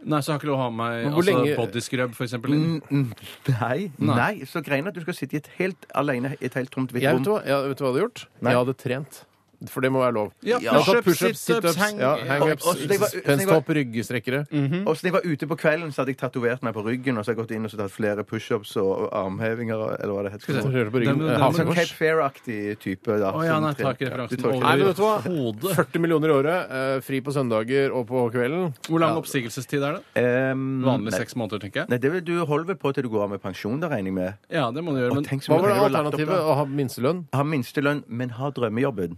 Nei, så har ikke lov å ha med
hvor
altså,
lenge-
bodyscrub, for eksempel.
Mm, mm, Nei. Nei, så greiene at du skal sitte i et helt alene i et helt tomt hvitt
Jeg vet,
rom.
hva, jeg vet hva jeg hadde gjort. Jeg hadde trent. For det må være lov.
Ja,
Jeg hadde tatt
push-ups, situps, hang-
ja, hang-ups,
Og- og- så det var- så det var-
penstopp, ryggestrekkere.
Mm.
Og så når jeg var ute på kvelden, så hadde jeg tatovert meg på ryggen, og så har jeg gått inn og så tatt flere pushups og armhevinger, eller hva det heter.
Skal vi se.
Røre på
Den-
ryggen.
den-
Ja,
Sånn
den-
hakekors.
Cape Fair-aktig type. Da,
Å ja,
som
nei,
tre-
tar ikke
Ja, du
referansen
tar ikke
over
Nei, men vet du hva?
hodet.
40 millioner i året, eh, fri på søndager og på kvelden.
Hvor lang oppsigelsestid er det?
Ehm,
Vanlig
nei.
seks måneder, tenker jeg.
Nei, det vil du holde vel på til du går av med pensjon, det regner jeg med.
Ja, det må du
Og
gjøre, men
tenk så
Hva
mye
var det
penger du har lagt opp,
alternativet?
da.
Å ha minstelønn?
Ha minstelønn, men ha drømmejobben.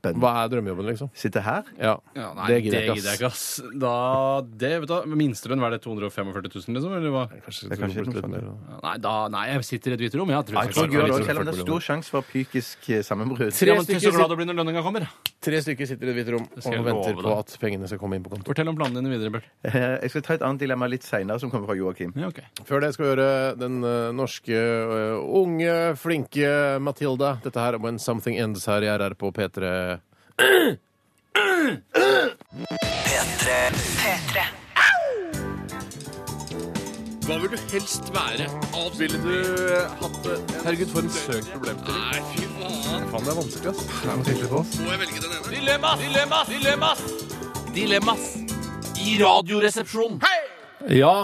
Bønn.
Hva er drømmejobben, liksom?
Sitte her?
Ja,
ja, nei, det gidder jeg ikke, ass. Da, det, vet du, hva, Minstelønn, var det 245 000, liksom? Eller hva?
Kanskje
Det er kanskje
det
noe sånt,
blir litt
ja.
mer, da.
Ja, Nei, da, nei, jeg sitter i et hvitt rom. Jeg tror
Ja,
jeg
jeg tror
skal
jeg gjør
klare
det
det.
også, selv om det er stor sjanse for psykisk eh, sammenbrudd.
Tre
Ja, men tenk så
stykker
glad du blir når lønninga kommer.
Tre stykker sitter i et hvitt rom
skal
og
jeg
venter
love
på
deg.
at pengene skal komme inn på konto.
Fortell om planene dine videre, Bjørt.
Eh, Jeg skal ta et annet dilemma litt seinere, som kommer fra Joakim.
Ja, ok.
Før det skal vi gjøre den eh, norske eh, unge, flinke Matilda. Dette her er When Something Ends her i RR på P3.
Hva vil du helst være? Ville du eh, hatt det? Herregud, for en søk problemstilling. Nei, fy faen. Faen, det er vanskelig, ass. Må jeg velge den ene? Dilemmas! Dilemmas! Dilemmas! Dilemmas! I radioresepsjonen.
Ja,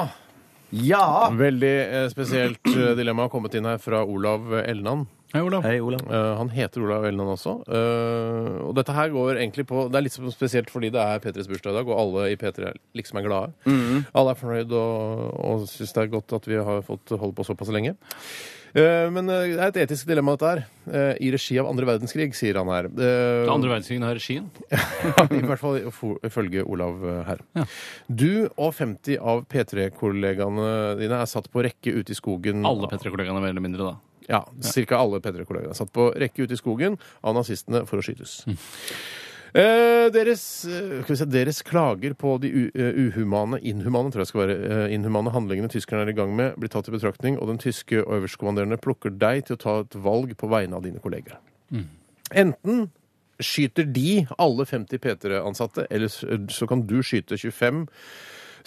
Ja!
Veldig eh, spesielt eh, dilemma har kommet inn her fra Olav Elnan.
Hei, Olav.
Hei, Olav.
Eh, han heter Olav Elnan også. Eh, og dette her går egentlig på Det er litt spesielt fordi det er P3s bursdag i dag, og alle i P3 liksom er glade.
Mhm.
Alle er fornøyd og, og syns det er godt at vi har fått holde på såpass lenge. Eh, men eh, det er et etisk dilemma, dette her. Eh, I regi av andre verdenskrig, sier han her. Eh,
Den andre verdenskrigen har regien.
I hvert fall ifo- ifølge Olav eh, her. Du og 50 av P3-kollegaene dine er satt på rekke ute i skogen
Alle P3-kollegaene mer eller mindre, da.
Ja, ca. alle P3-kollegaene satt på rekke ute i skogen av nazistene for å skytes. Eh, deres, eh, skal vi se, deres klager på de u eh, uhumane, inhumane, tror jeg skal være, eh, inhumane handlingene tyskerne er i gang med, blir tatt i betraktning, og den tyske øverstkommanderende plukker deg til å ta et valg på vegne av dine kolleger.
Mm.
Enten skyter de alle 50 P3-ansatte, eller s- så kan du skyte 25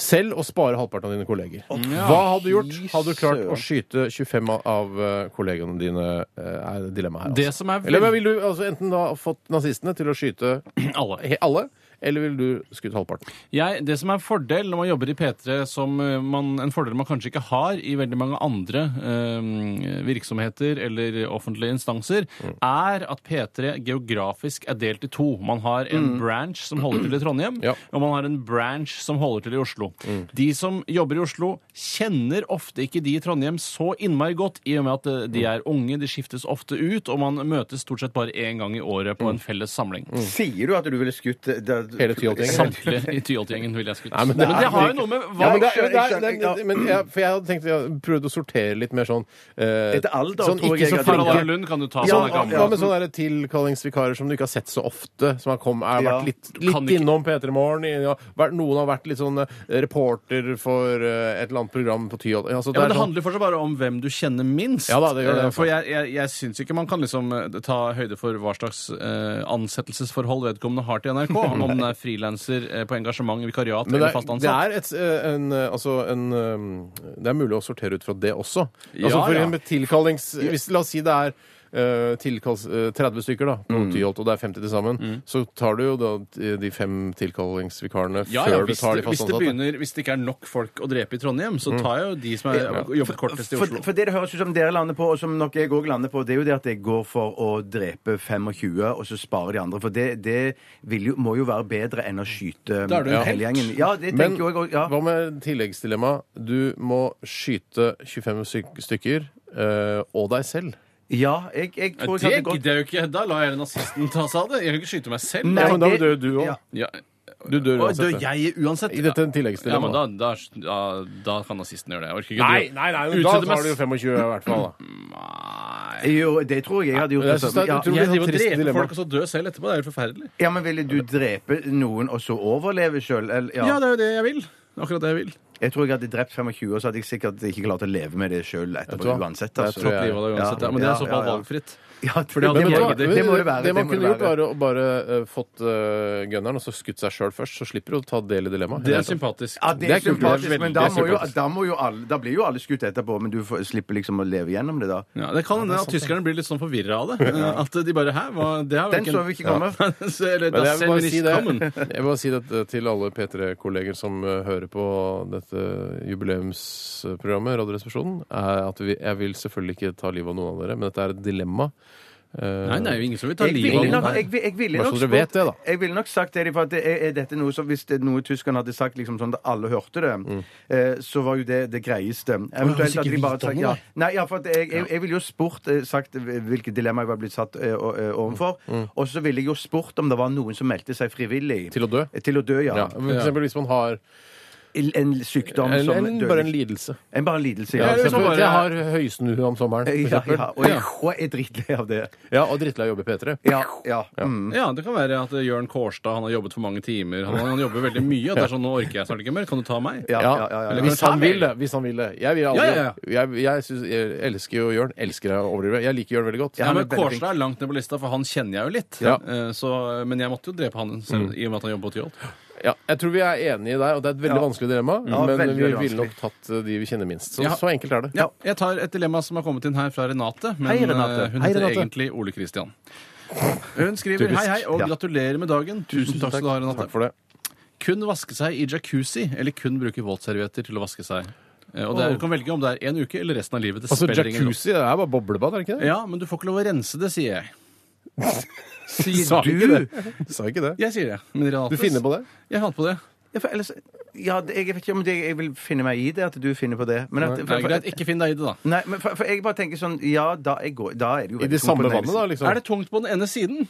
selv og spare halvparten av dine kolleger. Hva hadde du gjort? Hadde du klart å skyte 25 av- av eh, kollegene dine? eh, Er dilemmaet her.
Det som er
Eller
veld-
vil du altså, enten da fått nazistene til å skyte
Alle.
he- alle, eller vil du skutt halvparten?
Jeg, det som er en fordel når man jobber i P3, som eh, man, en fordel man kanskje ikke har i veldig mange andre eh, virksomheter eller offentlige instanser, er at P3 geografisk er delt i to. Man har en branch som holder til i Trondheim,
Ja.
og man har en branch som holder til i Oslo. De som jobber i Oslo, kjenner ofte ikke de i Trondheim så innmari godt, i og med at eh, de er unge, de skiftes ofte ut, og man møtes stort sett bare én gang i året på en felles samling.
Sier du at du ville skutt eh, da,
Hele Tyholt-gjengen.
Samtlige i Tyholt-gjengen, ville jeg skulle
Nei, men
men,
det
det
er
har jo
ikke-
noe med
Ja,
hva
men det, er-
skjønner,
det er- det er-
skjønner, ja.
men jeg, for jeg hadde tenkt, jeg prøvde å sortere litt mer sånn eh,
Etter alder,
sånn,
tror
ikke
jeg
så
jeg hadde
Harald
flinke-
Arne Lund kan du ta
Ja,
sånn er gammel.
hva med sånne der tilkallingsvikarer som du ikke har sett så ofte? Som har, kom, er,
Ja.
vært litt,
Kan
litt
ikke-
innom P3 Morgen. i- Ja, vært- noen har vært litt sånn eh, reporter for eh, et eller annet program på Tyholt. Altså, det er
Ja, men Det
sånn-
handler fortsatt bare om hvem du kjenner minst.
Ja da, det gjør det,
Eh,
altså.
For jeg, jeg, jeg syns ikke man kan liksom eh, ta høyde for hva slags eh, ansettelsesforhold vedkommende har til NRK. om den er frilanser eh, på engasjement, vikariat
Men det
eller
er,
fast
det
ansatt.
er, et, eh, en, eh, altså en, eh, det er mulig å sortere ut fra det også. Altså
Ja,
for
ja.
eksempel tilkallings... Hvis, la oss si det er eh, tilkalls, eh, 30 stykker da, på
Mm.
Tyholt, og det er 50 til sammen, så tar du jo da eh, de- de fem tilkallingsvikarene
Ja, ja,
før
hvis,
du tar de
det,
fast
hvis, det
ansatte. Mm.
begynner, hvis det ikke er nok folk å drepe i Trondheim, så tar jeg jo de som er, jobbet kortest i
For,
Oslo.
for det det høres ut som dere lander på, og som nok jeg òg lander på, det er jo det at jeg går for å drepe 25, og så sparer de andre. For det, det vil jo, må jo være bedre enn å skyte eh,
Da er du en helt.
hele gjengen. Ja, det
Men
tenker jo jeg òg. Ja.
hva med tilleggsdilemma? Du må skyte 25 styk- stykker eh, og deg selv.
ja, jeg, jeg
Det
tror jeg hadde gått
gidder jeg jo ikke. Da lar jeg nazisten ta seg av det. Jeg kan ikke skyte meg selv.
Nei,
ja, men da
det-
dør du òg.
ja.
Ja.
Du dør
Å,
uansett.
Dør jeg uansett?
I dette
Ja, men
tilleggsdilemmaet.
da, da, da, da kan nazisten gjøre det. Jeg orker ikke
nei,
å-
nei, nei, da
Utsette meg
tar du jo 25 i hvert fall. da
Nei.
Jo, det tror jeg jeg hadde gjort.
Jeg
det
synes det
samme.
er
Ja.
utrolig-
Jeg
sånn
driver og
trist
dreper
dilemma.
folk og så dør selv etterpå. Det er jo forferdelig.
Ja, men ville du drepe noen og så overleve sjøl?
Ja.
Ja.
det er jo det jeg vil. Akkurat det jeg vil.
Jeg tror jeg hadde drept 25, og så hadde jeg sikkert ikke klart å leve med det sjøl
Vet du hva?
etterpå uansett.
Det
Altså.
tror jeg-
Livet av det uansett, ja. Men det er i så fall valgfritt.
Ja, det,
det
det,
hadde
Men
må,
vet
jeg gidder.
du
det,
hva?
må det være.
Det man
må
kunne gjort,
være.
var å bare eh, fått eh, gunneren og så skutt seg sjøl først. Så slipper du å ta del i dilemmaet.
Det er sympatisk.
Ja, det
Det
er
er kult, det
sympatisk,
er
men
veldig
da, må jo,
sympatisk.
da, må jo alle, da blir jo alle skutt etterpå, men du får, slipper liksom å leve gjennom det da.
Ja, det kan hende at tyskerne blir litt sånn forvirra av det. At de bare Hæ? Hva? Det har
Den så vi ikke komme.
Ja. Så- Eller
Men
da
jeg vil bare si det,
selvministkommen.
jeg vil bare si dette til alle P3-kolleger som eh, hører på dette jubileumsprogrammet, Radioresepsjonen, er at vi, jeg vil selvfølgelig ikke ta livet av noen av dere, men dette er et dilemma. Eh,
Nei, det er jo ingen som vil ta
Jeg
livet av
ville nok,
noen.
jeg, vil- jeg ville
Bare
nok
så dere vet det, da.
spurt- jeg ville nok sagt det, for at det er, er dette noe som hvis det er noe tyskerne hadde sagt liksom sånn at alle hørte det,
Mm.
eh, så var jo det det greieste. Eventuelt at de bare sagt ja. Nei, ja, for at jeg, jeg, jeg ville jo spurt eh, sagt hvilket dilemma jeg var blitt satt eh, o- eh, overfor,
Mm,
og så ville jeg jo spurt om det var noen som meldte seg frivillig.
Til å dø?
Til å dø, ja.
Ja, for eksempel hvis man har
En sykdom
en,
som
en,
dødelig-
bare en lidelse.
en bare en lidelse,
Ja,
ja.
hvis
for eksempel,
man bare-
jeg har høysnue om sommeren. for
Ja,
eksempel.
ja, og jeg, og jeg er dritlei av det.
ja, og drittlei av å jobbe i P3.
Ja, ja. Mm.
Ja, det kan være at Jørn Kårstad han har jobbet for mange timer. Han, han jobber veldig mye. At det er sånn Nå orker jeg snart ikke mer. Kan du ta meg?
Ja,
Ja, ja, ja, ja.
Eller Hvis
Ta
han
meg.
vil det. Hvis han vil det. Jeg, vil aldri,
Ja, ja,
jeg, jeg, synes, jeg elsker jo Jørn. Elsker jeg å overdrive. Jeg liker Jørn veldig godt.
Ja,
Ja,
han
men
er veldig flink.
Kårstad er langt ned på lista, for han kjenner jeg jo litt.
Ja.
Eh, Så, men jeg måtte jo drepe han selv, i og med at han jobber på Tyholt.
Ja, jeg tror vi er enige der, og det er et veldig
Ja.
vanskelig dilemma.
Ja,
men
veldig,
vi
veldig
ville nok tatt eh, de vi kjenner minst. Så,
Ja.
så enkelt er det.
Ja, jeg tar et dilemma som har kommet inn her fra Renate. Men
Hei, Renate.
eh, hun
Hei,
heter
Renate.
egentlig Ole Kristian. Hun skriver
Typisk.
hei, hei, og
Ja.
gratulerer med dagen. Tusen takk skal du ha, Renate.
Takk for det.
Kun vaske seg i jacuzzi, eller kun bruke våtservietter til å vaske seg. Eh, Og det er, du kan velge om det er en uke eller resten av livet. Det
Altså,
spiller ingen rolle.
Jacuzzi det er bare boblebad, er det ikke det?
Ja, men du får ikke lov å rense det, sier jeg.
Sa
Sier
ikke
du?
det. Sa ikke det.
Jeg sier det. Men Renate
Du finner på det?
Jeg fant på det.
Ja, for ellers, ja, det- jeg vet ikke om det, jeg vil finne meg i det, at du finner på det. Men at,
Det er greit. Ikke finn deg i det, da.
Nei, men for, for jeg bare tenker sånn Ja, da, jeg går, da er det jo
I
veldig
det
tungt på
samme
den ene
vannet, da? liksom
Er det tungt på den ene siden?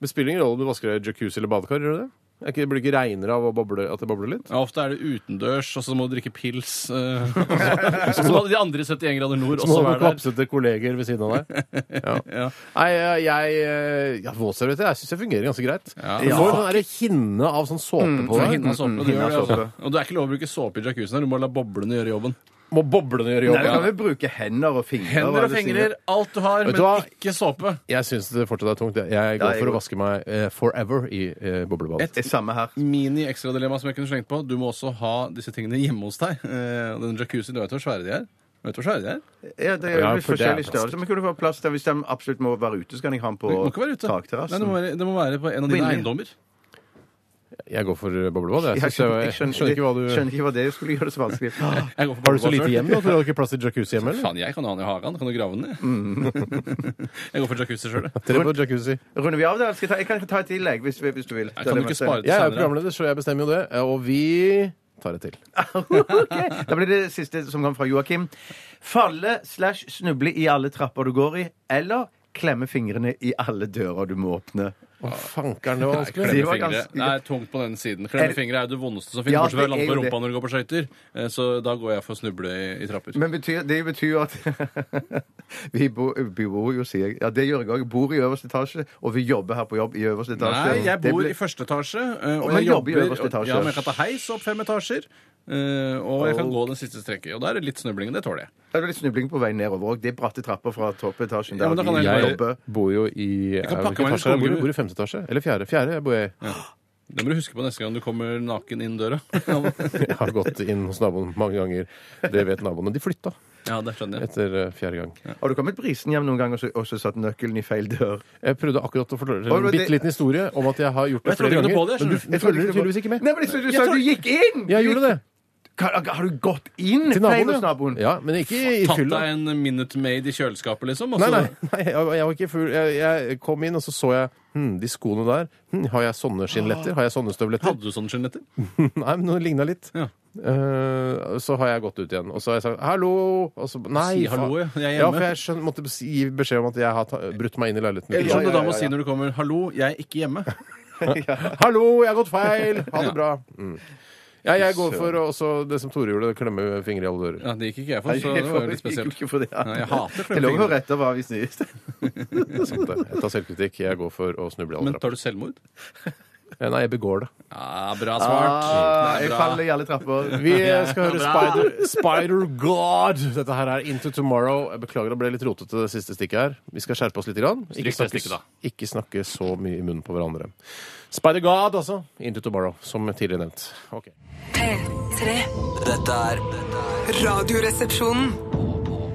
Det spiller ingen rolle om du vasker deg i jacuzzi eller badekar, gjør det det? Er ikke, blir det ikke regnere av å boble, at det bobler litt?
Ja, ofte er det utendørs, og så må du drikke pils. eh, og så- Så må de andre 71 grader nord
Så må
også
du
være der.
klapsete kolleger ved siden av deg. Ja. Nei, eh, jeg, jeg ja, Våtservietter jeg syns jeg fungerer ganske greit. Du får jo sånn der hinne av sånn såpe på
Du har
deg.
hinna såpe, og du
hinna
gjør det,
såpe.
altså. Og det er ikke lov å bruke såpe i jacuzzien. Du må la boblene gjøre jobben.
Må boblene gjøre
siden.
jobben?
Nei, du kan vel bruke hender og fingre.
Hender
hva
og
det
fingre,
sier.
alt du har,
Vet
men
du hva?
ikke såpe.
Jeg syns det fortsatt er tungt. jeg. Jeg går
jeg
for å
går-
vaske meg eh, forever i eh, boblebad.
Et
Det er Samme her.
mini-ekstradilemma som jeg kunne slengt på. Du må også ha disse tingene hjemme hos deg. Eh, og den jacuzzien, du vet hvor svære de er? Vet du hvor svære de er?
Ja, det er
Ja,
jo
for det er
forskjellig størrelse. Men kunne du få plass der hvis de absolutt må være ute, så kan jeg ha den
Du
på
må ikke være ute. Nei, det,
takterrassen.
må være, det må være på en av dine
Billig.
eiendommer.
Jeg går for eh, boblebad. Jeg,
Jeg
synes jeg,
skjønner, jeg skjønner,
skjønner ikke hva du
skjønner ikke hva det skulle gjøre det så vanskelig.
Jeg
Har du så
går for boblebad
lite
selv.
hjem nå? at Du har ikke plass til jacuzzi hjemme, eller?
Faen, jeg kan jo ha den i hagen. Kan du grave den ned?
Mm.
jeg går for jacuzzi sjøl, jeg.
Tre på jacuzzi.
Runder vi av det? eller skal Jeg, ta, jeg kan ta et tillegg hvis, hvis du vil.
Kan du ikke spare til
Jeg er jo
senere?
programleder, så jeg bestemmer jo det. Eh, Og vi tar det til.
Ok, Da blir det siste som kom fra Joakim. Falle slash snuble i alle trapper du går i, eller klemme fingrene i alle dører du må åpne.
Å, fankeren, det var vanskelig.
De
Klemme
var
fingre.
ganske-
Det er tungt på den siden. Klemme
Er-
fingre er jo det vondeste som
Ja,
finnes, bortsett
det
fra å
er
lande på
jo det.
rumpa når du går på skøyter. Eh, Så da går jeg for å snuble i, i trapper.
Men betyr, det betyr jo at Vi bor, vi bor jo, sier jeg. Ja, det gjør jeg òg. Bor i øverste etasje, og vi jobber her på jobb i øverste etasje.
Nei, jeg
Det
bor
ble-
i første etasje. eh,
Og
Og
man jobber
jeg
i
jobber
øverste etasje.
og- Ja, men jeg kan ta heis opp fem etasjer. eh, Og jeg kan
Og-
gå det siste strekket. Og da er det litt snubling. Det tåler jeg.
Det er litt snubling på vei nedover òg. Det er bratte trapper fra toppetasjen.
Ja, men da kan
vi
jeg bare-
jobber.
bor jo i jeg
kan
vet
pakke
ikke
meg inn i
etasje, jeg bor,
skogen.
bor i femte etasje. Eller fjerde. Fjerde jeg bor jeg i.
Det må du huske på neste gang du kommer naken inn døra.
Jeg har gått inn hos naboen mange ganger. Det vet naboene. De flytta
Ja, det skjønner jeg.
etter eh, fjerde gang.
Har du kommet brisen hjem noen gang og så, og så satt nøkkelen i feil dør?
Jeg prøvde akkurat å fortelle
Oi,
en
men det-
bitte liten historie om at jeg har gjort det
Jeg trodde
flere
ikke noe
ganger.
på det, jeg
men du,
skjønner.
du følger tydeligvis ikke med.
Nei, men jeg synes du sa du gikk inn!
Jeg gjorde det.
Har, har du gått inn
Til
feil hos
naboen.
naboen?
Ja, men ikke i i
Tatt
fylla.
deg en Minute Maid i kjøleskapet, liksom? og
Nei,
så-
nei, nei jeg, jeg var ikke full. Jeg, jeg kom inn, og så så jeg hm, de skoene der. Hm, har jeg sånne skinnletter? Har jeg sånne støvletter?
Hadde du sånne skjønnetter?
Nei, men noe ligna litt.
Ja.
Eh, så har jeg gått ut igjen, og så har jeg sagt 'hallo'. Og så, nei,
Si hallo, ja.
faen.
Jeg er
ja,
hjemme.
for jeg skjøn, måtte si- gi beskjed om at jeg har ta, brutt meg inn i leiligheten.
Eller
min.
som du da
ja,
må
ja,
si
ja.
når du kommer 'hallo, jeg er ikke hjemme'.
Hallo, jeg har gått feil! Ha
Ja.
det bra. Mm. Ja, jeg går for også det som Tore gjorde, klemme fingre i alle dører.
Ja, Det gikk ikke jeg for, så
Jeg
det var jo
gikk
litt spesielt.
ikke for det.
Nei, jeg hater
Det lå
klemmefingre.
jo rett over avis nyeste.
Det er sant, det. Jeg tar selvkritikk. Jeg går for å snuble i alle
Men
trapper.
tar du selvmord?
Eh, Nei, jeg begår det.
Ja, bra
Ah,
svart. Det
jeg
er
faller
bra.
i alle trapper.
Vi skal høre Spider, Spider God. Dette her er Into Tomorrow. Jeg beklager, det ble litt rotete det siste stikket her. Vi skal skjerpe oss litt. Grann. Ikke,
det
snakke,
stikket, da.
ikke snakke så mye i munnen på hverandre. Spider God, altså. Into Tomorrow, som tidligere nevnt. Ok.
P3.
Dette er dette er
Radioresepsjonen.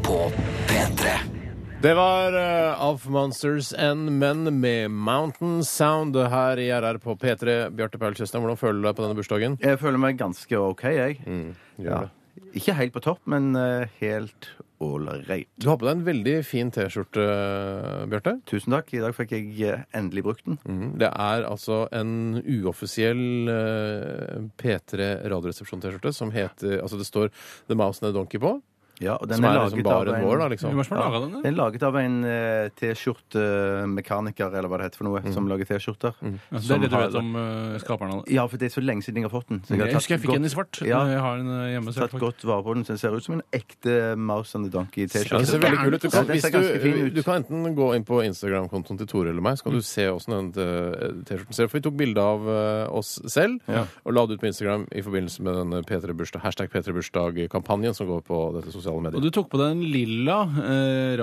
på P3.
Det var eh, Of Monsters and Men med Mountain Sound her i RR på P3. Bjarte Paul Tjøstheim, hvordan føler du deg på denne bursdagen?
Jeg føler meg ganske OK, jeg.
Mm.
Ja. Ikke helt på topp, men eh, helt ålreit.
Du har på deg en veldig fin T-skjorte, eh, Bjarte.
Tusen takk. I dag fikk jeg eh, endelig brukt den.
Det er altså en uoffisiell eh, P3 Radioresepsjon-T-skjorte som heter Altså det står The Mouse and the Donkey på.
Ja, og den
Som
er
er
laget
liksom
av
baren
en-
vår, da,
Hvem
liksom.
er det som har laga den? da?
Den er laget av en eh, T-skjortemekaniker, eller hva det heter for
Mm.
noe, som lager T-skjorter.
Ja, Det er
Som
det du
har-
vet om eh, skaperen av den?
Ja, for det er så lenge siden jeg har fått den. Så
Jeg
har
husker jeg
tatt
fikk en i
godt-
svart.
Ja,
Jeg har en eh, hjemme. så jeg
tatt
får-
godt vare på den, så den ser ut som en ekte Mouse and the
Ja, den ser
Donkey-T-skjorte.
veldig kul ut. Du kan,
Ja, den
hvis
ser ganske fin
du,
ut.
du kan enten gå inn på Instagram-kontoen til Tore eller meg, så kan du se åssen den eh, T-skjorten ser ut. For vi tok bilde av eh, oss selv og la det ut på Instagram i forbindelse med denne P3-bursdag, hashtag P3bursdag-kampanjen som går på dette sosiale
Og
mediet.
du tok på deg en lilla eh,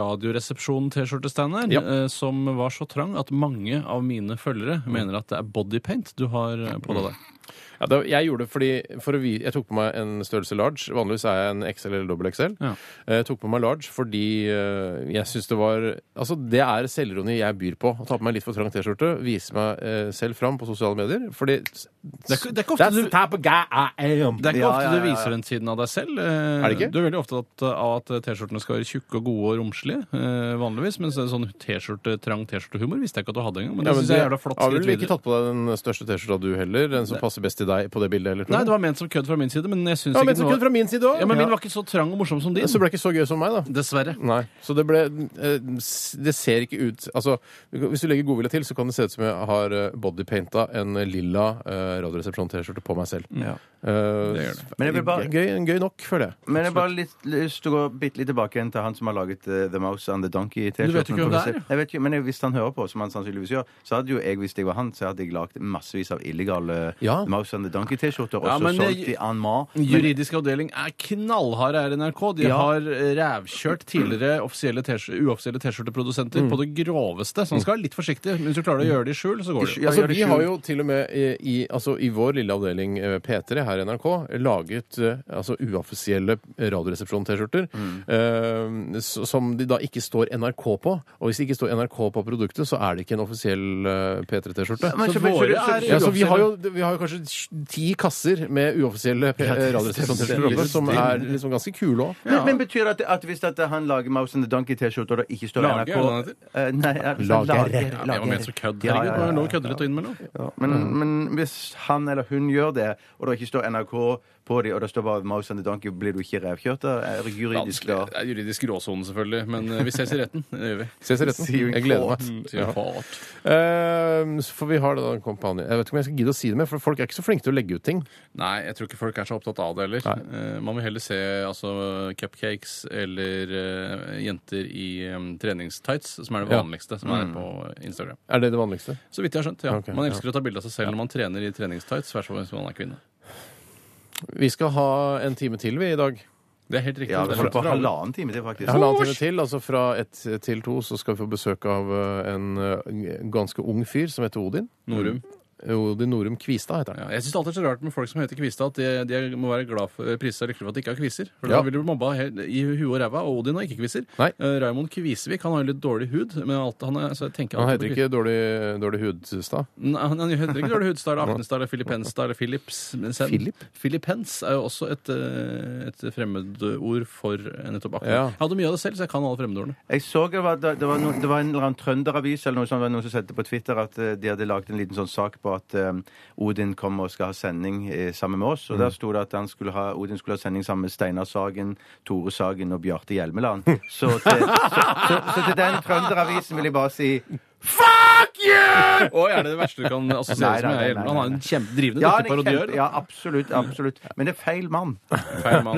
Radioresepsjon-T-skjorte-stander
Ja.
eh, som var så trang at mange av mine følgere mener at det er bodypaint du har eh, på deg der.
Ja, da, jeg gjorde det fordi for å vi, Jeg tok på meg en størrelse large. Vanligvis er jeg en XL eller dobbel XL.
Ja.
Eh, Jeg tok på meg large fordi eh, jeg syns det var Altså, det er selvironi jeg byr på. Å ta på meg litt for trang T-skjorte, vise meg eh, selv fram på sosiale medier. Fordi
Det er ikke- det er ikke ofte
That's
du-
the type of guy I am.
Det er ikke
Ja,
ofte
ja, ja,
du
ja.
viser den siden av deg selv. Eh,
Er det ikke?
Du er veldig ofte opptatt av at eh, T-skjortene skal være tjukke og gode og romslige, eh, vanligvis. Mens det er sånn t-skjorte, trang T-skjortehumor visste jeg ikke at du hadde engang. Men
Ja,
det
men
synes jeg er
du
jævla flott
har vel
skritt
ikke
videre.
tatt på deg den største T-skjorta du heller? Den som passer best til deg på det bildet? Eller,
Nei, det var ment som kødd fra min side, men jeg syns
ja,
ikke
men
den
så
var-
kun fra min side òg.
Ja, men min var ikke så trang og morsom som din.
Så det ble ikke så gøy som meg, da.
Dessverre.
Nei. Så det ble eh, s- Det ser ikke ut Altså, hvis du legger godvilje til, så kan det se ut som jeg har eh, bodypainta en lilla eh, Radioresepsjon-T-skjorte på meg selv.
Ja.
Eh,
Det gjør det.
Men jeg vil bare-
gøy, gøy nok, føler jeg.
Men jeg har bare litt lyst til å gå bitte litt tilbake igjen til han som har laget eh, The Mouse and the Donkey-T-skjorten.
Du vet jo ikke
For
hvem
å
det er,
se- Jeg vet ikke, men jeg- hvis han hører på, som han sannsynligvis gjør, så hadde jo jeg, hvis jeg var han, så hadde jeg lagd massevis av illegale
Ja.
Mouse and the Donkey-T-skjorter, og
Ja,
så
men
solgt
jeg-
de en mas. Men-
Juridisk avdeling er knallharde her i NRK. De
Ja.
har eh, rævkjørt tidligere offisielle T-skjor- uoffisielle
Mm.
T-skjorteprodusenter på det groveste. Så man skal være litt forsiktig. Men hvis du klarer å gjøre det i skjul, så går det.
Ja,
altså,
gjør det
vi har
skjult.
jo til og med i, i, altså, i vår lille avdeling eh, P3 her i NRK laget eh, altså, uoffisielle Radioresepsjon-T-skjorter eh, s- som de da ikke står NRK på. Og hvis det ikke står NRK på produktet, så er det ikke en offisiell eh, P3-T-skjorte.
Men
Så
så- men-
våre
så-
er
Ja, så vi har, jo, vi har jo kanskje ti kasser med uoffisielle P- eh,
stemmer.
Radioresepsjon-T-skjorter oppe, som er liksom ganske kule òg.
Men, men betyr det at, at hvis at han lager Mouse and the Donkey-T-skjorter og det ikke står
Lager,
NRK
er det det
Eh, Nei, altså,
Lager.
Ja, men jeg var ment så kødd.
Ja,
Herregud,
ja,
det
ja,
er lov å
ja.
kødde litt og innimellom.
Ja, men, men hvis han eller hun gjør det, og det ikke står står NRK på de, og det står bare Mouse and the Donkey. Blir du ikke revkjørt da? Er det juridisk
Vanskelig.
da?
Det er juridisk gråsone, selvfølgelig, men eh, vi ses i retten. Det gjør vi.
Ses i retten.
See you in
Jeg gleder
court.
meg.
Mm, sier Fart.
Eh, for vi har da en kampanje Jeg vet ikke om jeg skal gidde å si det mer, for folk er ikke så flinke til å legge ut ting.
Nei, jeg tror ikke folk er så opptatt av det heller. Eh, Man vil heller se altså, cupcakes eller eh, jenter i um, treningstights, som er det
Ja.
vanligste som er på Instagram.
Er det det vanligste?
Så vidt jeg har skjønt, Mm. ja.
Ok,
man elsker å ta bilde av seg selv når man trener i treningstights, hvert fall hvis man er kvinne.
Vi skal ha en time til, vi, i dag.
Det er helt riktig.
Ja,
det
vi
er
får på
langt fra alle.
halvannen time til, faktisk.
Halvannen time til, altså fra ett til to, så skal vi få besøk av eh, en eh, ganske ung fyr som heter Odin. Eh,
Norum.
Odin Norum Kvistad heter han.
Ja, jeg syns det er alltid så rart med folk som heter Kvistad, at de, de må være glad for, prise seg lykkelig for at de ikke har kviser. For
Ja.
da vil du bli mobba helt, i huet og ræva, og Odin har ikke kviser.
Nei.
Eh, Raymond Kvisevik han har jo litt dårlig hud, men alt, han, er, så jeg tenker
Han
alltid på
heter
Kvis-
ikke Dårlig, dårlig hudstad.
Nei, han, han heter ikke Dårlig Hudstad eller Aftenstad eller Filippenstad eller Philips. Men sen,
Philip?
Filippens er jo også et, eh, et fremmedord for eh, nettopp akne.
Ja.
Jeg hadde mye av det selv, så jeg kan alle fremmedordene.
Jeg så det var, det var, noen- det var en eller annen trønderavis eller noe sånt, det var noen som sendte på Twitter at eh, de hadde laget en liten sånn sak på at eh, Odin kom og skal ha sending eh, sammen med oss. Og der sto det at han skulle ha, Odin skulle ha sending sammen med Steinar Sagen, Tore Sagen og Bjarte Hjelmeland. Så til, så, så, så til den trønderavisen vil jeg bare si
Å, er det det verste du kan assosiere
Nei, nei,
som er
nei, nei,
Hjelmeland? Han har en kjempe drivende
ja,
ja,
det er
parodiør.
kjempe, ja, absolutt. absolutt. Men det er feil mann
Feil mann.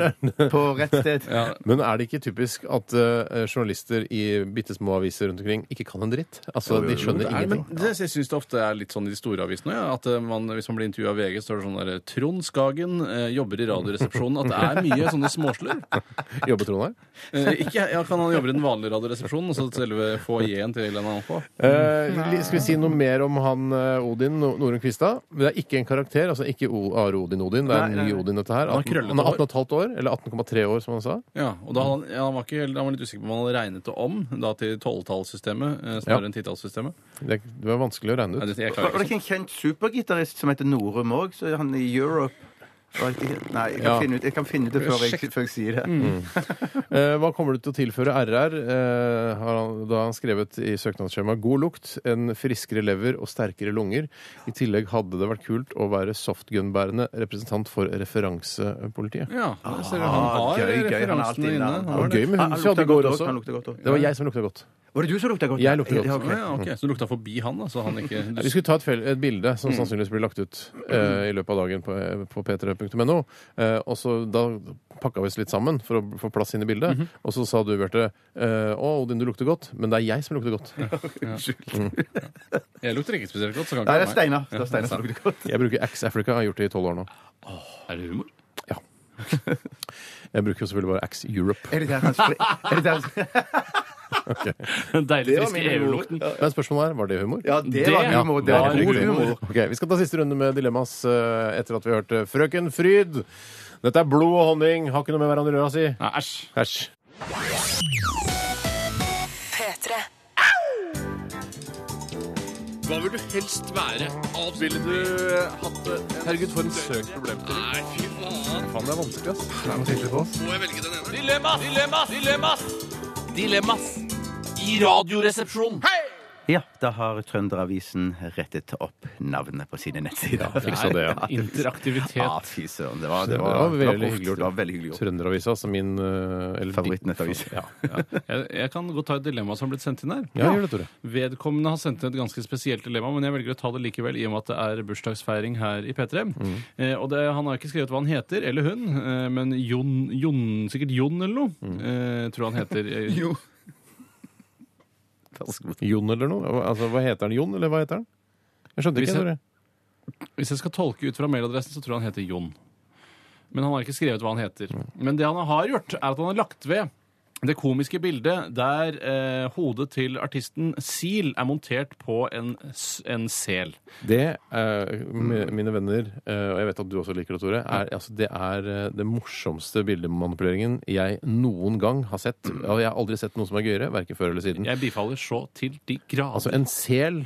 på rett sted.
Ja.
Men er det ikke typisk at eh, journalister i bitte små aviser rundt omkring ikke kan en dritt? Altså, de skjønner
Det er, men
ingenting.
det, jeg syns det ofte er litt sånn i de store avisene. Ja, at eh, man, Hvis man blir intervjua av VG, står det sånn der Trond Skagen eh, jobber i Radioresepsjonen. At det er mye sånne småslurv.
Jobber Trondheim?
Eh, ikke, ja, kan han jobbe i den vanlige Radioresepsjonen, og så selve foajeen til NRK?
Eh, li- skal vi si noe mer om han eh, Odin No- Norum Kvistad? Det er ikke en karakter, altså ikke O- Are Odin Odin. Det er en
Nei, nei,
ny
nei.
Odin, dette her.
har
18,
krøllete
han er
hår.
18,5 år, eller 18,3 år, som han sa.
Ja, og da han, ja, han, var ikke, helt- han var litt usikker på om han hadde regnet det om da til tolvtallssystemet eh, snarere
Ja.
enn titallssystemet.
Det, er- det var vanskelig å regne ut.
Nei, det- jeg
Var
klarer
det
ikke.
ikke en kjent supergitarist som heter Norum òg? Han i Europe? Var det ikke- Nei, jeg kan,
Ja.
finne, ut, jeg kan finne ut det før jeg, før jeg sier
Mm.
det.
Eh, hva kommer du til å tilføre RR? Eh, har han, da har han skrevet i søknadsskjemaet god lukt, en friskere lever og sterkere lunger. I tillegg hadde det vært kult å være softgun-bærende representant for referansepolitiet.
Ja, der ser du, han
Ah,
har
gøy, gøy, han er alltid
referansene
inne.
inne.
Ah,
Han
Det
har
var
det.
gøy med
Han- han
hunden vi hadde
lukter
i går
godt også,
også.
han lukter godt også.
Det var jeg som lukta godt.
Var det du som lukta godt?
Jeg lukter godt.
Ja,
Å,
ok.
Ja, ok, Så du lukta forbi han, da, så han ikke
Vi skulle ta et, fel et bilde som sannsynligvis blir lagt ut eh, i løpet av dagen på, på p3.no. Eh, og så Da pakka vi oss litt sammen for å få plass inn i bildet. Og så sa du, Bjarte, eh, 'Å, Odin, du lukter godt', men det er jeg som lukter godt.
Jeg lukter ikke spesielt godt, så kan
Nei, det
ikke
er
være meg.
Steinar. Det er Steinar som lukter godt.
Jeg bruker Axe Africa, jeg har gjort det i tolv år nå.
Er det humor?
Ja. Jeg bruker jo selvfølgelig bare Axe Europe.
Er det der han spri- er det der han-
Deilig
var
frisk
min humor.
EU-lukten.
Men spørsmålet er, var det humor?
Ja, det var
Det
humor. Det var
var
god
humor.
humor.
Ok, Vi skal ta siste runde med Dilemmas eh, etter at vi hørte Frøken Fryd. Dette er blod og honning, har ikke noe med hverandre å gjøre, si.
Nei, Æsj.
Æsj.
P3.
Hva vil du helst være? Ville du hatt det? Herregud, for en søk problemstilling. Nei, fy faen. Faen, det er vanskelig, ass. Det er noe sikkert på oss. Må jeg velge den ene? Dilemmas! Dilemmas! Dilemmas! Dilemmas! I radioresepsjonen.
Ja, da har Trønderavisen rettet opp navnet på sine nettsider.
Fiksa det, ja.
Ja,
Interaktivitet.
fy søren. Det var,
Det
det
var
var, det var
veldig
proft.
hyggelig gjort.
Det var veldig hyggelig gjort.
Trønderavisa, som min eh, eller-
Favorittnettavis.
Ja.
Jeg, jeg kan godt ta et dilemma som har blitt sendt inn her.
ja, gjør det, Tore.
Vedkommende har sendt inn et ganske spesielt dilemma, men jeg velger å ta det likevel i og med at det er bursdagsfeiring her i P3. Eh, og det, han har ikke skrevet hva han heter, eller hun, eh, men Jon, Jon Sikkert Jon eller noe, eh, tror han heter. Eh,
Jo.
Jon eller noe? Hva- Altså, hva heter han? Jon, eller hva heter han? Jeg skjønte
Hvis
ikke.
jeg-
Tore.
Hvis jeg skal tolke ut fra mailadressen, så tror jeg han heter Jon. Men han har ikke skrevet hva han heter.
Mm.
Men det han har gjort, er at han har lagt ved det komiske bildet der eh, hodet til artisten Seal er montert på en, s- en sel.
Det, eh, mi- mine venner, eh, og jeg vet at du også liker det, Tore, er, altså, det er eh, det morsomste bildemanipuleringen jeg noen gang har sett. Og jeg har aldri sett noe som er gøyere, verken før eller siden.
Jeg bifaller så til de grader.
Mm. Altså en sel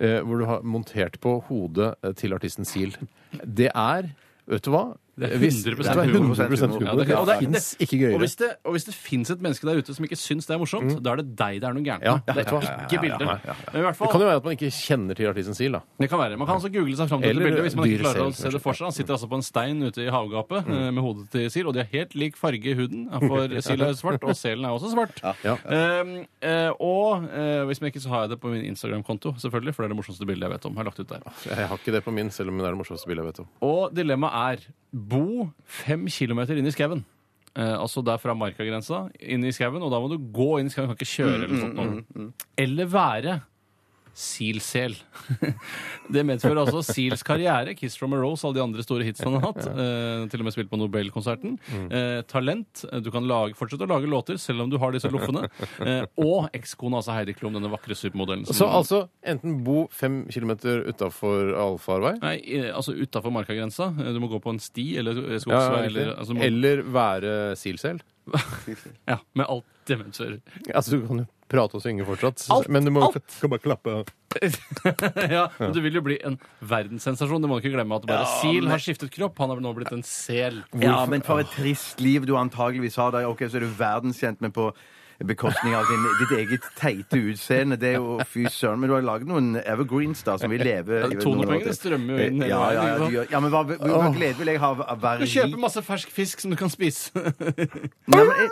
eh, hvor du har montert på hodet eh, til artisten Seal. Det er Vet du hva?
Det er
Hvis-
100
det er 100
humor.
Ja, det
humor.
er- og det er-
fins ikke
Og
gøyere. Mm.
hvis det, og hvis det fins et menneske der ute som ikke syns det er morsomt, da er det deg det er noe gærent
Ja,
med. Det
vet du
er
hva?
ikke bildet.
Ja, ja, ja,
Men i hvert
Det kan
fall,
jo være at man ikke kjenner til artisten Sil, da.
det kan være. Man kan altså google seg fram til
Eller
det bildet hvis man ikke
dyr
klarer å
selv,
se det for seg. Han sitter altså på en stein ute i havgapet
Mm.
eh, med hodet til Sil, og de har helt lik farge i huden, for Sil er svart, og selen er også svart.
Ja.
Ehm, eh, og eh, hvis man ikke, så har jeg det på min Instagram-konto, selvfølgelig, for det er det morsomste bildet jeg vet om. Jeg har lagt ut der.
Jeg har ikke det på min, selv om det er det morsomste bildet jeg vet om.
Og dilemmaet er bo fem kilometer inn i skauen. Eh, altså der fra markagrensa inn i skauen, og da må du gå inn i skauen. Du kan ikke
Mm,
kjøre eller sånt noe. Eller være Silsel. det medfører altså Seals karriere. 'Kiss from a Rose', alle de andre store hitsene han har hatt. Eh, til og med spilt på Nobelkonserten.
Mm.
Eh, talent. eh, Du kan lage, fortsette å lage låter selv om du har disse loffene. Eh, og ekskona, altså Heidi Klum, denne vakre supermodellen.
Så
som-
altså enten bo fem kilometer utafor allfarvei,
Nei, eh, altså utafor markagrensa. Eh, Du må gå på en sti eller eh, skogsvei.
ja, riktig.
eller, altså, du må,
eller være Sil-sel.
Ja, med alt det medfører.
Altså, du kan jo prate og synge fortsatt,
Alt,
men du må
alt.
kan bare klappe.
ja, men du vil jo bli en verdenssensasjon. Du må ikke glemme at bare Sil har skiftet kropp. Han har nå blitt en sel.
Ja, men for et trist liv du antageligvis har der. Ok, så er du verdenskjent, men på bekostning av din, ditt eget teite utseende. Det er jo fy søren. Men du har lagd noen evergreens da, som vil leve
Ja,
i noen år
tonepoengene
til.
strømmer jo inn hele
Ja, ja,
veien,
ja,
ikke
de gjør- ja, men hva, hva- hva glede vil jeg ha av
Du
hver
kjøper masse fersk fisk som du kan spise.
Nei, men eh, jeg-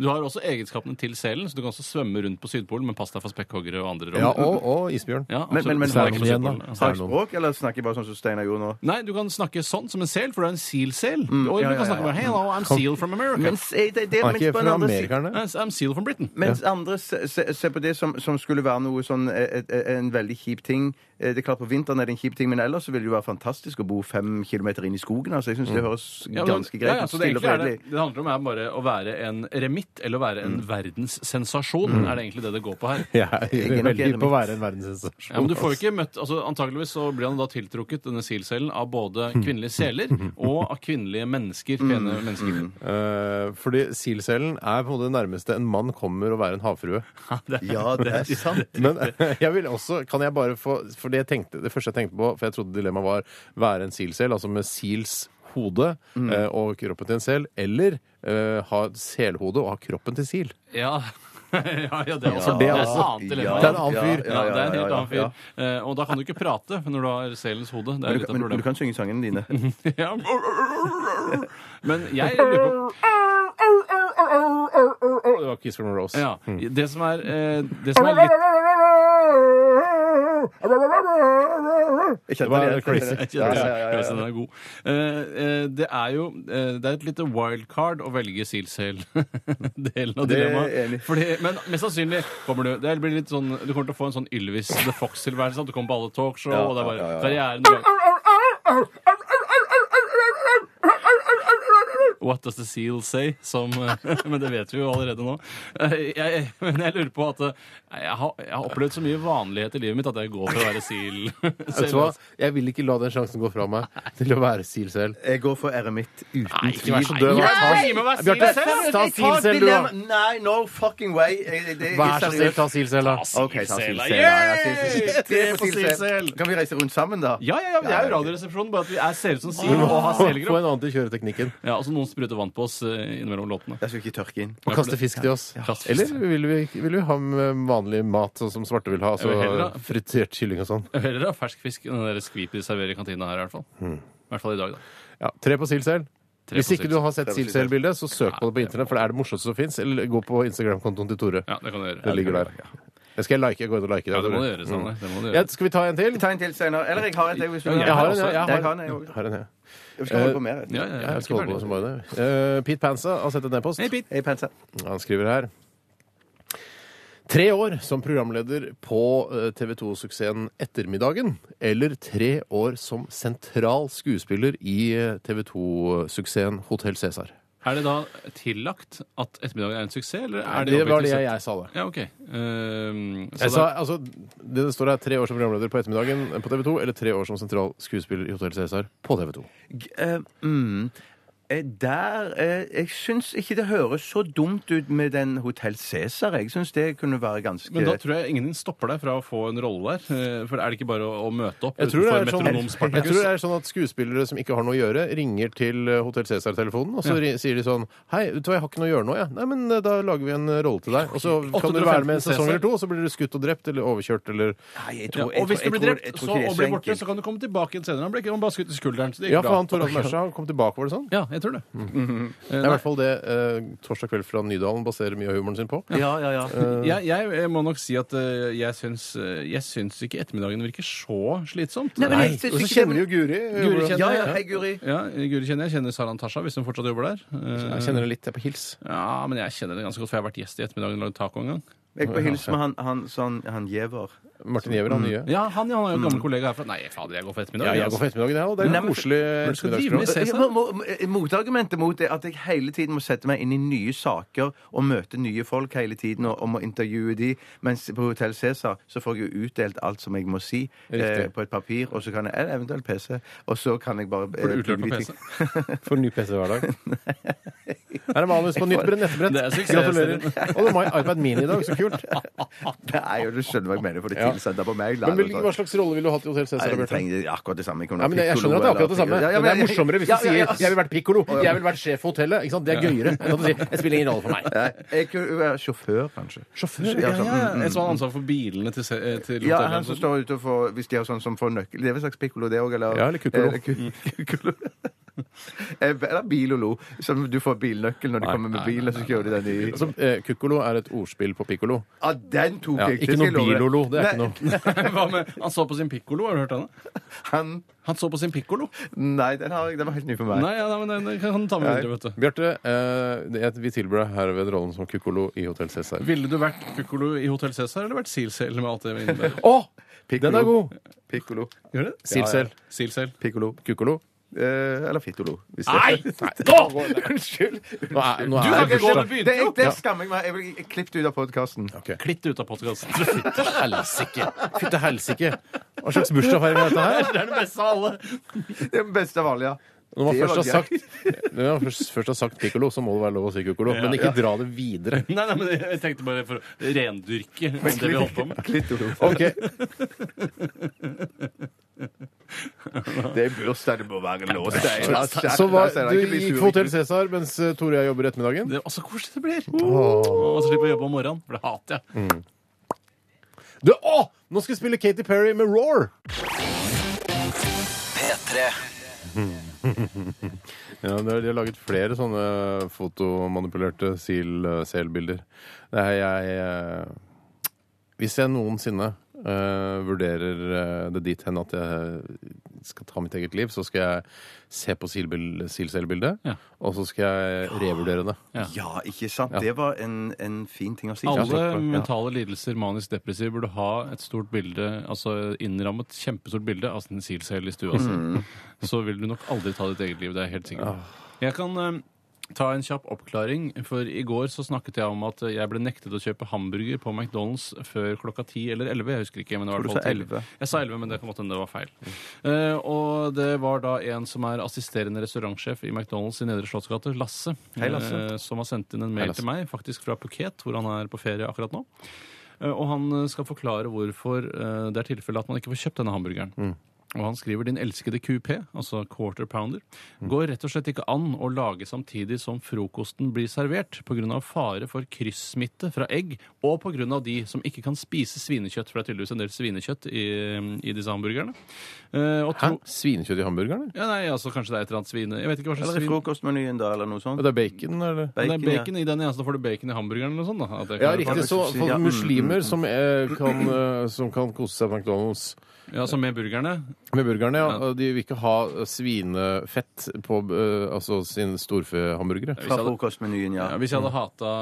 Du har også egenskapene til selen, så du kan også svømme rundt på Sydpolen. Men pass deg for spekkhoggere og andre. rom.
Ja, og, og isbjørn.
Ja, altså,
Men- men- men-
absolutt. Snakk om
Særlig igjen, da.
Sydpolen, ja.
Har jeg språk, eller snakker jeg bare sånn som Steinar gjorde nå?
Nei, du kan snakke sånn som en sel, for du er en seal-sel. og
ja,
du
ja,
kan snakke
ja.
bare, hello, I'm seal from America.
Mens, eh, det, det,
Han er
mens
ikke
på en
fra
andre side-
Amerikerne?
I'm seal from Britain.
Mens andre se- se- ser på det som, som skulle være noe sånn eh, et- eh, en veldig kjip ting. Eh, Det er klart På vinteren er det en kjip ting, men ellers så vil det jo være fantastisk å bo fem kilometer inn i skogen. Altså, jeg syns
Mm.
det høres
Ja, men-
ganske greit
ja, ja,
ut.
så
Stille
det,
og
egentlig er det,
fredelig.
det handler om er bare å være en remitt eller å være en verdenssensasjon. Er det egentlig det det går på her?
Jeg er
er nok
veldig
enig
på å
med-
være en verdenssensasjon.
Ja, men du får jo ikke møtt, altså Antakeligvis så blir han da tiltrukket denne silcellen av både kvinnelige seler og av kvinnelige mennesker. pene mennesker.
Eh, fordi Sil-selen er på en måte det nærmeste en mann kommer å være en havfrue.
Ja, det er sant.
Men eh, jeg vil også, kan jeg bare få For det, jeg tenkte, det første jeg tenkte på, for jeg trodde dilemmaet var være en silsel, altså med sils hode
Mm.
eh, og kroppen til en sel, eller eh, ha et selhode og ha kroppen til sil.
Ja. ja, ja, det er også
det er
et
altså-
annet dilemma.
Det er en annen fyr.
Ja, det er en helt
ja,
annen fyr.
ja.
Eh, og da kan du ikke prate når du har selens hode. Det er
Men
litt
du,
av
men, men du
problemet.
kan synge sangene dine.
Ja. Men jeg lurer på
Det var Kiss from a Rose.
Ja. Det som er, eh, det som er litt
Jeg
Det var
kjenner det.
crazy.
Jeg kjenner Crazy, den er god. Eh, eh, det er jo eh, Det er et lite wildcard å velge Silsel-delen av
Det er jeg
dilemmaet.
enig i.
Fordi, men mest sannsynlig kommer du Det blir litt sånn, Du kommer til å få en sånn Ylvis The Fox-tilværelse. At du kommer på alle talkshow, og det er bare karrieren What does the seal say? Som, eh, men det vet vi jo allerede nå. Eh, Jeg, men jeg lurer på at eh, jeg har, jeg har opplevd så mye vanlighet i livet mitt at jeg går for å være seal.
Vet du hva? Jeg vil ikke la den sjansen gå fra meg til å være silsel.
Jeg går for eremitt uten
ikke vær så
tvil.
død.
Nei!
Bli med og vær
Bjarte,
seal selv.
ta
Jeg tar
silsel, du,
dilemma-
da.
Nei, no fucking way. Jeg- jeg- det-
Vær så
jeg-
snill, ta silsel, da.
OK, ta
Silsel,
silsel.
da.
Ja, ja, silsel.
Yay!
Tre på silsel. Kan vi reise rundt sammen, da?
Ja, ja, ja, det er jo Radioresepsjonen, bare at vi er, ser ut som sild og har
Få en
selgrøp.
annen til å kjøre teknikken.
Ja, altså noen spruter vann på oss eh, innimellom låtene.
Jeg skal ikke tørke inn.
Og kaste fisk til oss.
Kast fisk.
Eller vil vi, vil vi ha med vanlig mat, sånn som svarte vil ha?
Jeg vil heller ha-
Altså fritert kylling og sånn.
Hører dere fersk fisk enn den der skvip de serverer i kantina her, i hvert fall. I hvert fall i dag, da.
Ja, Tre på Silsel.
Tre
Hmm. Hvis
på
ikke
Silsel.
du har sett
Tre på Silsel.
Silsel-bildet, så søk på det på internett, for det er det morsomste som fins. Eller gå på Instagram-kontoen til Tore.
Ja, det kan du gjøre.
Det ligger der. Hmm. Jeg skal like, jeg går inn og like det.
Ja, det må du
Tore.
gjøre, sånn, Sanne. Det må du
Ja,
gjøre.
skal vi ta en til?
Ta en til senere. Eller jeg har en til. Hvis du
Ja,
vil.
Jeg har en,
også.
jeg. Jeg
Jeg
har
har
en,
en, jeg også.
har en, jeg.
Vi skal holde på mer.
Ja, ja, ja,
Jeg skal holde på
ferdig.
som bare det. Eh, Pete Pansa har sett en e-post.
Hei, Pete.
Hei, Pensa.
Han skriver her Tre år som programleder på eh, TV 2-suksessen Ettermiddagen, eller tre år som sentral skuespiller i eh, TV 2-suksessen Hotell Cæsar.
Er det da tillagt at ettermiddagen er en suksess, eller er det
Det var det
objektivt
jeg,
sett?
jeg sa, det.
Ja, OK. Ehm, så
Jeg sa,
da-
altså, det det står her tre år som programleder på Ettermiddagen på TV 2, eller tre år som sentral skuespiller i Hotell Cæsar på TV 2.
G- eh, mm. eh, der eh, Jeg syns ikke det høres så dumt ut med den Hotell Cæsar. Jeg syns det kunne være ganske
Men da tror jeg ingen stopper deg fra å få en rolle der. eh, For er det ikke bare å, å møte opp
Jeg tror, det er
utenfor
sånn,
metronom
jeg
Spartacus?
tror det er sånn at skuespillere som ikke har noe å gjøre, ringer til eh, Hotel Cæsar-telefonen, og så ri- sier de sånn Hei, vet du hva, jeg har ikke noe å gjøre nå, jeg. Nei, men eh, da lager vi en rolle til deg. Og så kan du
815
være med en sesong
Cæsar.
eller to, og så blir du skutt og drept eller overkjørt eller
Nei, jeg
Ja,
tror- jeg
og hvis
tror-
du
jeg tror- jeg
blir drept
tror
så,
ikke det er
og blir
så
borte,
enkelt.
så kan du komme tilbake igjen senere. Han ble ikke han bare skutt i skulderen. Så det gikk
Ja, for
bra.
han Toralf Mersa han kom tilbake, var det sånn?
Ja, jeg tror det. Eh,
Det er i hvert fall det eh, Torsdag kveld fra Nydalen baserer mye av humoren sin på.
Ja, ja, ja.
nei, Mm. jeg, jeg, jeg må nok si at eh, jeg syns, eh, jeg syns ikke ettermiddagen virker så slitsomt.
Nei, men
Og så
jeg synes ikke det-
kjenner vi jo Guri. eh,
Guri
hvordan-
kjenner-
Ja, ja, hei, Guri.
Ja, Guri kjenner jeg. Kjenner Saran Tasha, hvis hun fortsatt jobber der. Eh,
Jeg kjenner det litt, jeg er på hils.
Ja, men jeg kjenner det ganske godt, for jeg har vært gjest i ettermiddagen og lagd taco en gang.
Jeg får hilse med han, han, sånn, han Giæver.
Martin Giæver, han nye.
Ja, han, ja, han er jo en gammel kollega herfra. Nei, fader, jeg går for ettermiddag.
Mm. Ja, jeg går for ettermiddagen, jeg òg. Det er
Nei,
en
men-
koselig
Men skal drive med
ettermiddagsprogram.
Cæsar?
Må- må- må- Motargumentet mot det er at jeg hele tiden må sette meg inn i nye saker og møte nye folk hele tiden og, og må intervjue de, mens på Hotell Cæsar så får jeg jo utdelt alt som jeg må si
Riktig.
eh, på et papir, og så kan jeg eller eventuelt PC, og så kan jeg bare eh,
Får du utlørt
plugge
på
de
PC?
ting.
For ny PC hver dag. Her er manus på nytt brett, nettbrett.
Det er suksess.
Gratulerer. Og du har iPad Mini i dag, så kult.
Nei, og du skjønner hva jeg mener, for det
Ja.
er tilsendt på meg.
Men hvilken- Hva slags rolle ville du hatt i Hotell Cæsar?
Nei, jeg
Bjarte?
trenger akkurat det samme. kunne
Ja, men jeg skjønner at det er akkurat det samme.
Ja, ja,
men det er
jeg-
morsommere hvis
ja,
du
ja, ja.
sier 'jeg vil være pikkolo', 'jeg vil være sjef for hotellet'. Ikke sant? Det er gøyere enn at du sier 'jeg spiller ingen rolle for meg'.
Nei, Jeg kunne være sjåfør, kanskje.
Sjåfør?
Ja,
Ja, Mm,
sånn,
ja, ja. En som har ansvar for bilene til, se- eh, til
Ja,
hotellet.
han som står ute og får Hvis de har sånn som får nøkkel Det er vel slags pikkolo, det òg, eller?
Ja, eller Mm. kukkolo.
ku- kukkolo. Eh, Eller bilolo. Som du får bilnøkkel når de kommer med bilen, og så kjører de den i
Altså, eh, Kukkolo er et ordspill på pikkolo.
Ja, den tok
Ja,
jeg!
ikke
det skal
noe
jeg love deg.
bilolo. Det er ikke
Nei,
noe.
Hva med, han så på sin pikkolo, har du hørt henne?
Han
Han så på sin pikkolo.
Nei, den, har jeg, den var helt ny for meg.
Nei, ja, nei, men den- den kan han ta med videre, vet du.
Bjarte, eh, det- vi tilbyr deg herved rollen som kukkolo i Hotell Cæsar.
Ville du vært pikkolo i Hotell Cæsar, eller vært Silsel med alt det innebærer?
Å! Den er god!
Pikkolo.
Gjør det?
Silsel.
Silsel.
Pikkolo.
Kukkolo.
Eh, eller fittolo. Hvis det-
Nei!
Unnskyld!
Nå er, nå er
Du kan ikke gå med
bursdag.
byen!
Det, jeg, det skammer jeg meg. Jeg vil klippe det ut av podkasten.
Klitt ut av podkasten.
Fytte helsike! Fytte helsike! Hva slags bursdagsfeiring er dette her?
Det er det beste av alle.
Det er den beste av alle, ja.
Når man
Det
først har
var
sagt, når man først, først har sagt pikkolo, så må det være lov å si kukkolo. Men ikke dra det videre.
Nei, nei, men jeg tenkte bare for å rendyrke det vi holdt på med.
Klittolo.
Ok,
Det er bursdag, det må være låst.
Så hva, du gikk på Hotell Cæsar mens eh, Tore og jeg jobber i ettermiddagen?
Det er også koselig det blir. Og så slipper jeg å jobbe om morgenen, for det hater jeg.
Du, å! Nå skal jeg spille Katy Perry med Roar!
P3.
Ja, det er- De har laget flere sånne fotomanipulerte sil- eh, selbilder. Det er jeg eh, Hvis jeg noensinne eh, vurderer eh, det dit hen at jeg skal ta mitt eget liv, så skal jeg se på silbil- sil-selbildet,
Ja.
og så skal jeg revurdere det.
Ja, ikke sant? Det var en, en fin ting å si.
Alle mentale lidelser, manisk depressiv, burde ha et stort bilde, altså innrammet kjempestort bilde av sin silsel i stua si.
Mm.
Så vil du nok aldri ta ditt eget liv, det er jeg helt sikker på. Jeg kan eh, ta en kjapp oppklaring, for i går så snakket jeg om at jeg ble nektet å kjøpe hamburger på McDonald's før klokka 10 eller 11, jeg husker ikke, men det var i
Tror du
hvert
sa
fall 11.
11?
Jeg sa 11, men det kan godt hende det var feil. Eh, og det var da en som er assisterende restaurantsjef i McDonald's i Nedre Slottsgate, Lasse,
Hei, Lasse.
eh, som har sendt inn en mail
Lasse.
til meg, faktisk fra Phuket, hvor han er på ferie akkurat nå. Eh, Og han eh, skal forklare hvorfor eh, det er tilfelle at man ikke får kjøpt denne hamburgeren.
Mm.
Og han skriver din elskede QP, altså quarter pounder, går rett og slett ikke an å lage samtidig som frokosten blir servert pga. fare for kryssmitte fra egg, og pga. de som ikke kan spise svinekjøtt, for det er tydeligvis en del svinekjøtt i, i disse hamburgerne. Eh, og
Hæ?
tro-
Svinekjøtt i hamburgeren? eller?
Ja, nei, altså Kanskje det er et eller annet svine... Jeg vet ikke hva slags
Eller i
svin...
frokostmenyen, da, eller noe sånt.
Det er bacon, eller?
Det er
Bacon, ja.
bacon i den, ja. Så da får du bacon i hamburgeren eller noe sånt. da. At det
Ja,
kan-
riktig. Så
Ja,
for
mm,
muslimer som, eh, kan, eh, som kan kose seg på McDonald's
Ja, så med burgerne
med burgerne, ja, og de vil ikke ha eh, svinefett på eh, altså sine storfehamburgere.
Fra frokostmenyen, ja.
Ja, hvis jeg hadde hata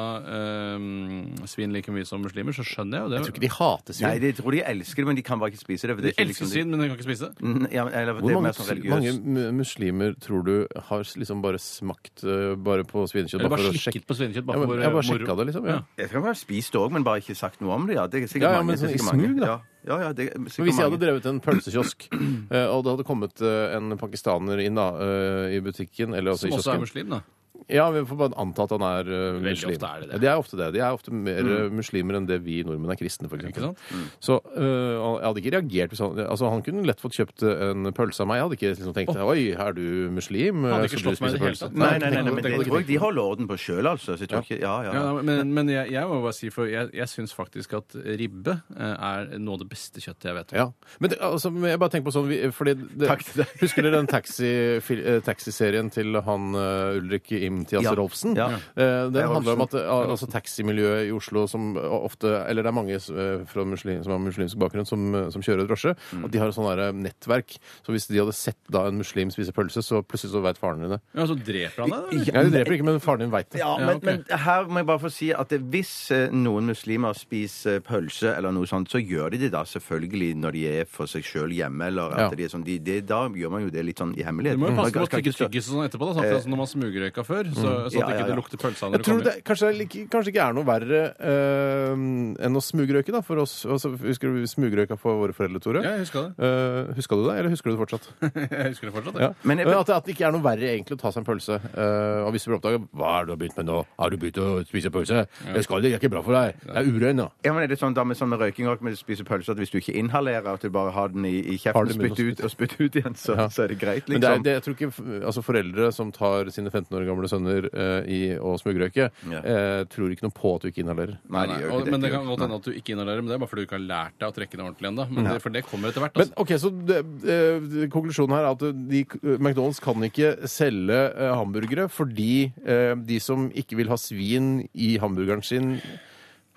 eh, svin like mye som muslimer, så skjønner jeg jo det.
Jeg tror ikke de hater svin.
Nei, de tror de elsker det, men de kan bare ikke spise det. for
de
det er ikke
elsker
liksom
svin, men de kan ikke spise det.
Mm, Ja, men, eller, det
Hvor
er
mange,
mer sånn
sli-
religiøst.
mange mu- muslimer tror du har s- liksom bare smakt eh, bare på svinekjøtt?
Eller bare
for å sjekke-
slikket på svinekjøtt.
Ja,
Bare
men
for
jeg bare
moro.
sjekka det, liksom. Ja.
Ja.
Jeg tror jeg har spist det òg, men bare ikke sagt noe om det. ja. Det er sikkert
Ja, ja,
mange.
men
det er
sånn i
sikkert mange.
smug, da.
Ja, Ja, ja, det er sikkert
Men hvis jeg hadde
mange.
drevet en pølsekiosk, eh, og det hadde kommet eh, en pakistaner inn da, eh, i butikken eller også i
Som også er
kiosken
muslim, da.
Ja, vi får bare anta at han er eh,
Veldig
muslim.
ofte er det det.
Ja, de er ofte det. De er ofte mer eh, muslimer enn det vi nordmenn er kristne, for
Ikke
eksempel.
sant?
Så eh, jeg hadde ikke reagert hvis han Altså, han kunne lett fått kjøpt øh, en pølse av meg. Jeg hadde ikke liksom tenkt Oi, er du muslim?
Hadde
eh, så du
ikke slått meg
spiser
i det hele
pølse?»
tatt.
Nei,
Nei,
nei, nei, men
tenk- tenk-
jeg
tenk-
tror de holder orden på sjøl, altså. Så jeg tror ikke, ja, ja,
Ja,
ja.
da, men men jeg, jeg må bare si, for jeg, jeg syns faktisk at ribbe eh, er noe av det beste kjøttet jeg vet om.
Ja. Men det, altså, men jeg bare tenker på sånn vi- fordi det,
Takk til deg.
Husker dere den taxi, fil- eh, taxiserien til han eh, Ulrik Imtias
Ja.
Rolfsen?
Ja.
Eh, den
er
handler om at eh, altså, taximiljøet i Oslo som øh, ofte Eller det er mange eh, fra muslim, som har muslimsk bakgrunn som, eh, som kjører drosje. At de har et sånt der, eh, nettverk. Så hvis de hadde sett da en muslim spise pølse, så plutselig så veit faren din det.
Ja, Så dreper han deg, da? eller?
Ja, de dreper ikke, men faren din veit det.
Ja, men,
ok.
men her må jeg bare få si at det- hvis eh, noen muslimer spiser eh, pølse eller noe sånt, så gjør de det da selvfølgelig når de er for seg sjøl hjemme, eller at
Ja.
de er sånn de, de, Da gjør man jo det litt sånn i hemmelighet.
Du må jo
Man
passe på å
skal
tygge
ikke stå-
tyggis og sånn etterpå, da,
Eh,
sånn at- sånn når man smugrøyka før.
mm.
Så, sånn
Ja,
at
ja,
ikke
ja.
det lukter pølse
Jeg
av når du
tror
kommer
det kanskje, det er like- kanskje ikke er noe verre eh, enn å smugrøyke, da, for oss. Altså, husker du vi smugrøyka for våre foreldre, Tore?
hjem. Ja, jeg huska det.
Uh, huska du det, eller husker du det fortsatt?
Jeg husker det fortsatt.
Ja.
jeg.
Men
Men
jeg-
at, at det ikke er noe verre egentlig å ta seg en pølse. Eh, og hvis du blir oppdaget Hva er det du har begynt med nå? Har du begynt å spise pølse? Det skal det, det er ikke bra for deg. Det er urein, da.
Ja, men Er det sånn da med, sånn med røyking og med å spise pølse at hvis du ikke inhalerer, at du bare har den i, i
Har
kjeften,
den i munnen
spytt ut og spytt ut igjen, så, så er det greit, liksom?
Men det er, det, jeg tror ikke f- altså foreldre som tar sine 15 år gamle sønner eh, i å smugrøyke,
Ja.
eh, tror ikke noe på at du ikke inhalerer.
Nei, de
Nei,
gjør
og,
ikke
men det
de gjør
kan godt hende at du ikke inhalerer, men det er bare fordi du ikke har lært deg å trekke det ordentlig ennå. Men det- For det kommer etter hvert.
Men
Altså.
ok, så det, eh, Konklusjonen her er at de, eh, McDonald's kan ikke selge eh, hamburgere fordi eh, de som ikke vil ha svin i hamburgeren sin,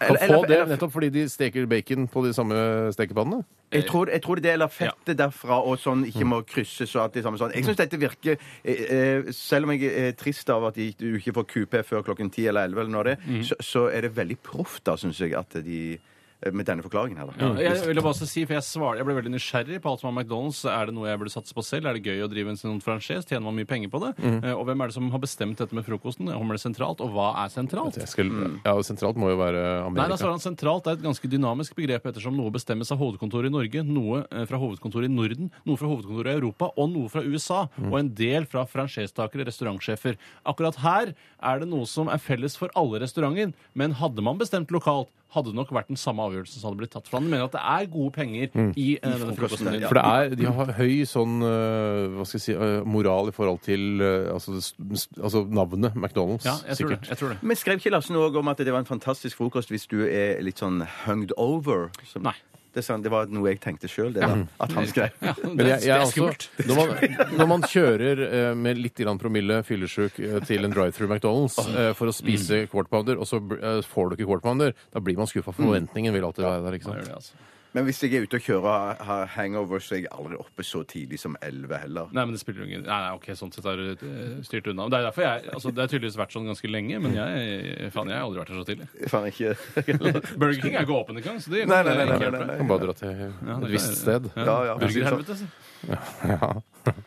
kan
Eller- eller-
få det
eller-
nettopp fordi de steker bacon på de samme stekepannene.
Jeg tror, jeg tror det er eller fettet derfra og sånn ikke må krysses og alt det samme sånn. Jeg syns dette virker eh, eh, Selv om jeg er trist av at de- du ikke får QP før klokken 10 eller 11 eller når det er, så, så er det veldig proft, da, syns jeg, at de eh, Med denne forklaringen her, da. Mm.
Jeg ville bare også si, for jeg, svarer, jeg ble veldig nysgjerrig på alt som er McDonald's. Er det noe jeg burde satse på selv? Er det gøy å drive en sånn franchise? Tjener man mye penger på det? Eh, Og hvem er det som har bestemt dette med frokosten? Kommer det sentralt? Og hva er sentralt?
Jeg skal, ja, sentralt må jo være
Nei, da
Amerika.
svarer han sentralt er et ganske dynamisk begrep ettersom noe bestemmes av hovedkontoret i Norge, noe eh, fra hovedkontoret i Norden, noe fra hovedkontoret i Europa og noe fra USA, og en del fra franchisetakere, restaurantsjefer. Akkurat her er det noe som er felles for alle restauranter, men hadde man bestemt lokalt, hadde det nok vært den samme avgjørelsen som hadde blitt tatt. For han mener at det er gode penger i eh, denne frokosten.
ja.
For det er, de har høy sånn øh, hva skal jeg si, øh, moral i forhold til øh, altså, det st- st- altså navnet McDonald's,
Ja, jeg tror det.
sikkert.
Jeg tror det.
Men skrev ikke Larsen òg om at det var en fantastisk frokost hvis du er litt sånn hunged over? Som-
Nei.
Det, er sånn, det var noe jeg tenkte sjøl, det. Da, at han skrev.
Ja,
Men
det,
jeg,
det
jeg
er
er
skummelt.
også, når, man, når man kjører eh, med litt grann promille, fyllesjuk, eh, til en drive-through McDonald's eh, for å spise quarter pounder, og så bl- eh, får du ikke quarter pounder, da blir man skuffa. Forventningen vil alltid være der. ikke
Man gjør
sant?
det, altså.
Men hvis jeg er ute og kjører og har hangover, så er jeg aldri oppe så tidlig som 11 heller.
Nei, men det spiller jo ingen Nei, nei, ok, sånn sett er det eh, styrt unna. Det er derfor jeg altså, Det har tydeligvis vært sånn ganske lenge, men jeg Faen, jeg har aldri vært her så tidlig.
Faen, ikke
Burger King er ikke åpen engang, så det
Nei, nei, nei,
det er
nei,
ikke
nei,
helt
nei.
Man kan bare dra til et visst sted.
bra.
Ja, ja, precis.
Burgerhelvete. så.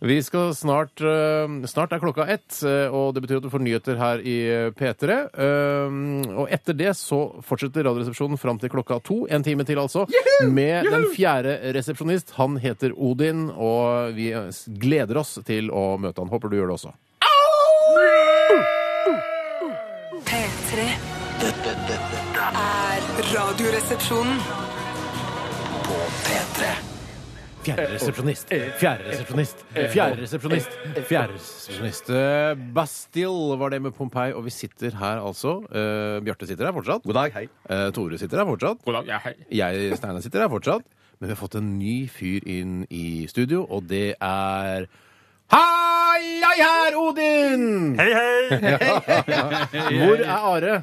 Vi skal snart eh, Snart er klokka ett, eh, og det betyr at du får nyheter her i eh, P3. Eh, Og etter det så fortsetter Radioresepsjonen fram til klokka to, en time til altså, med den fjerde resepsjonist. Han heter Odin, og vi eh, s- gleder oss til å møte han. Håper du gjør det også.
P3
Dette, dette, dette er
er Radioresepsjonen.
på P3.
Fjerde resepsjonist. Fjerde resepsjonist. Fjerde resepsjonist. Fjerde resepsjonist. Eh, Bastille var det med Pompeii, og vi sitter her altså. Eh, Bjarte sitter her fortsatt. God dag.
Hei.
Tore sitter her fortsatt.
God dag, ja, hei.
Jeg, Steinar, sitter her fortsatt. Men vi har fått en ny fyr inn i studio, og det er Hei, hei her, Odin!
Hei, hei!
Hvor er Are?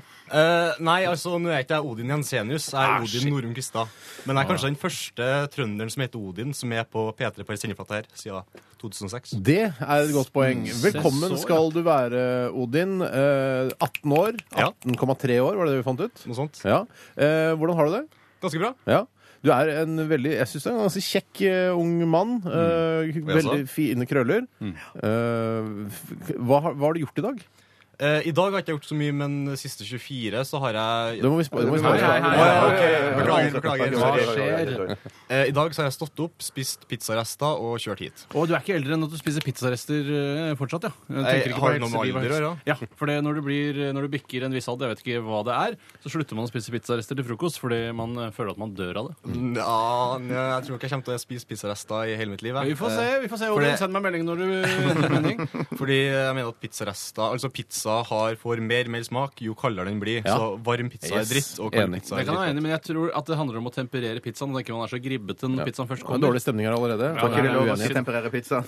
nei, altså, nå er jeg ikke jeg Odin Jensenius, jeg er Odin Norum Kvistad. Men jeg er kanskje den første trønderen som heter Odin, som er på P3 på en sendeflate her siden 2006.
Det er et godt poeng. Velkommen
så, ja.
skal du være, Odin. Eh, 18 år.
Ja.
18,3 år, var det det vi fant ut?
Noe sånt.
Ja. Eh, hvordan har du det?
Ganske bra.
Ja. Du er en veldig jeg synes du er en ganske kjekk eh, ung mann.
Mm.
Eh,
Jaså?
veldig fine krøller. Eh, f- hva, har- hva har du gjort i dag?
Eh, I dag har jeg ikke gjort så mye, men de siste 24 så har jeg
Det må vi spørre
Hei, hei, hei.
Å,
om.
ja, ok. Beklager, beklager.
Sorry.
Eh, I dag så har jeg stått opp, spist pizzarester og kjørt hit.
Og du er ikke eldre enn at du spiser pizzarester eh, fortsatt, ja. Jeg
Nei,
tenker ikke
har
på
det noe med
helseliv og
alder å
helse. Ja, for det, når, du blir, når du bikker en viss alder, jeg vet ikke hva det er, så slutter man å spise pizzarester til frokost fordi man eh, føler at man dør av det.
Mm. Nja, nei, jeg tror ikke jeg kommer til å spise pizzarester i hele mitt liv. jeg.
Vi får se.
eh,
vi får se.
for
Odin,
det-
Send meg melding når du endrer mening.
Eh, Fordi jeg mener at pizzarester Altså pizza har får mer mer smak jo kaldere den blir.
Ja.
Så varm pizza
Yes,
er dritt, og kald
enig.
pizza
Jeg
er
kan være enig,
dritt.
men jeg tror at det handler om å temperere pizzaen. og Ikke man er så gribbete når pizzaen først
Det er
kommer.
Dårlig stemning her allerede.
Ja,
Ikke det er lov å
uenighet.
temperere pizza.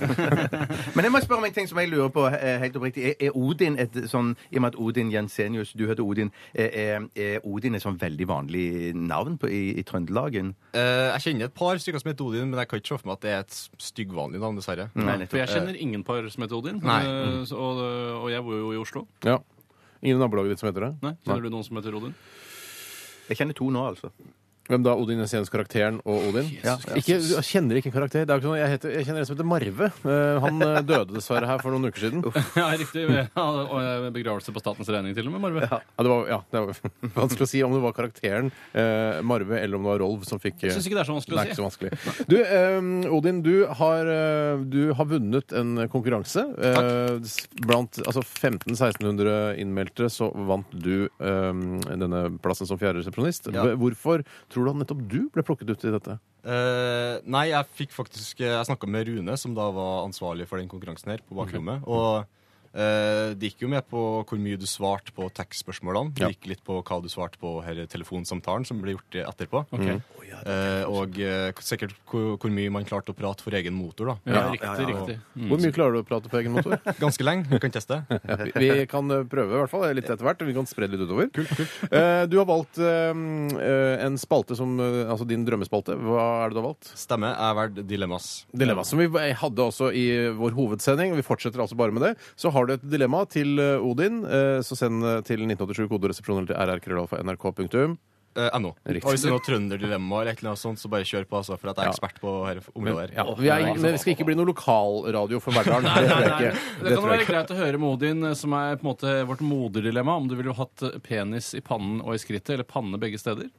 Men jeg må spørre om en ting som jeg lurer på eh, helt oppriktig. Er- Er Odin et sånn I og med at Odin Jensenius, du heter Odin, eh, er, er Odin et sånn veldig vanlig navn på, i, i Trøndelagen?
Eh, Jeg kjenner et par stykker som heter Odin, men jeg kan ikke se for meg at det er et styggvanlig navn, dessverre.
Nei,
For
nettopp. Mm.
jeg kjenner ingen par som heter Odin,
Nei.
eh, så- og, og jeg bor jo i Oslo.
Ja. Ingen i nabolaget ditt som heter det?
Nei, Kjenner du noen som heter Odin?
Jeg kjenner to nå, altså.
Hvem da? Odin Jensens karakteren og Odin? Ja. Ikke, jeg kjenner ikke en karakter. Det er jo ikke sånn, jeg, heter, jeg kjenner en som heter Marve. Eh, han eh, døde dessverre her for noen uker siden.
Ja, riktig. Ja, og eh, begravelse på statens regning, til og med, Marve.
Ja, det var, ja, det var vanskelig å si om det var karakteren eh, Marve eller om det var Rolv som fikk eh,
Jeg syns ikke det er så vanskelig
det er
å si.
ikke så vanskelig. Du, eh, Odin, du har, eh, du har vunnet en konkurranse. Eh, s- blant altså 1500-1600 innmeldte så vant du eh, denne plassen som fjerde resepsjonist.
Ja.
Hv- Hvorfor tror du at nettopp du ble plukket ut i dette?
Eh, nei, jeg fikk faktisk eh, Jeg snakka med Rune, som da var ansvarlig for den konkurransen her, på bakrommet. Og eh, det gikk jo med på hvor mye du svarte på tekstspørsmålene. Det
Ja.
gikk litt på hva du svarte på her i telefonsamtalen, som ble gjort etterpå.
Ok.
Mm.
Eh, og eh, sikkert hvor, hvor mye man klarte å prate for egen motor, da.
Ja, riktig, riktig.
Hvor mye klarer du å prate på egen motor?
Ganske lenge. Vi kan teste.
Vi- Vi kan eh, prøve i hvert fall litt etter hvert. og Vi kan spre det litt utover. Eh, Du har valgt eh, eh, en spalte som eh, Altså din drømmespalte. Hva er det du har valgt?
Stemme er verdt dilemmas.
Dilemma, som vi hadde også i vår hovedsending. og Vi fortsetter altså bare med det. Så har du et dilemma til eh, Odin, eh, så send eh, til 1987 koderesepsjon eller til rrkrøllalfa.nrk.no.
Eh, NO.
Riktig.
Og hvis det er noe trønderdilemma eller et eller annet sånt, så bare kjør på, altså, for at jeg er ekspert på her området her.
Ja, vi er, men det skal ikke bli noe lokalradio for Verdalen. Det tror jeg ikke.
Det kan være greit å høre med Odin, som er på en måte vårt moderdilemma, om du ville hatt eh, penis i pannen og i skrittet, eller panne begge steder.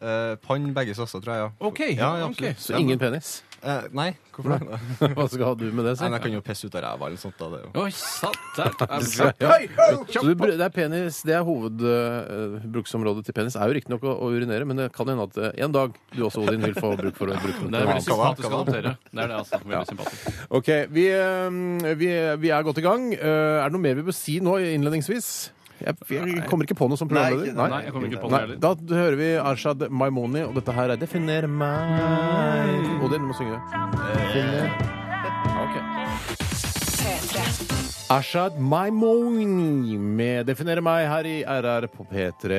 Eh, Pann begge sasser, tror jeg. Ja.
Ok,
ja, ja,
ok.
absolutt.
Så ingen penis.
Eh, nei, hvorfor det?
Hva skal du med det?
Nei, men jeg
Så?
kan jo pisse ut av ræva eller noe sånt. Da, det er jo.
Oi, satt der! Er det bra?
Ja. Så du, br- det er penis, det er hovedbruksområdet til penis. Er jo riktignok å, å urinere, men det kan hende at eh, en dag du også, Odin, vil få bruk for å bruke den.
Det
til noe
er veldig
annet.
sympatisk å adoptere. Det er det, altså. Veldig sympatisk.
Ok, vi, eh, vi, vi er godt i gang. Eh, Er det noe mer vi bør si nå innledningsvis? Jeg, jeg kommer ikke på noe som programleder.
Nei, jeg kommer ikke på noe
Nei, Da hører vi Arshad Maimoni, og dette her er 'Definer meg'. Odin, du må synge det. Definer. Ok.
P3.
Arshad Maimoni med 'Definere meg' her i RR på P3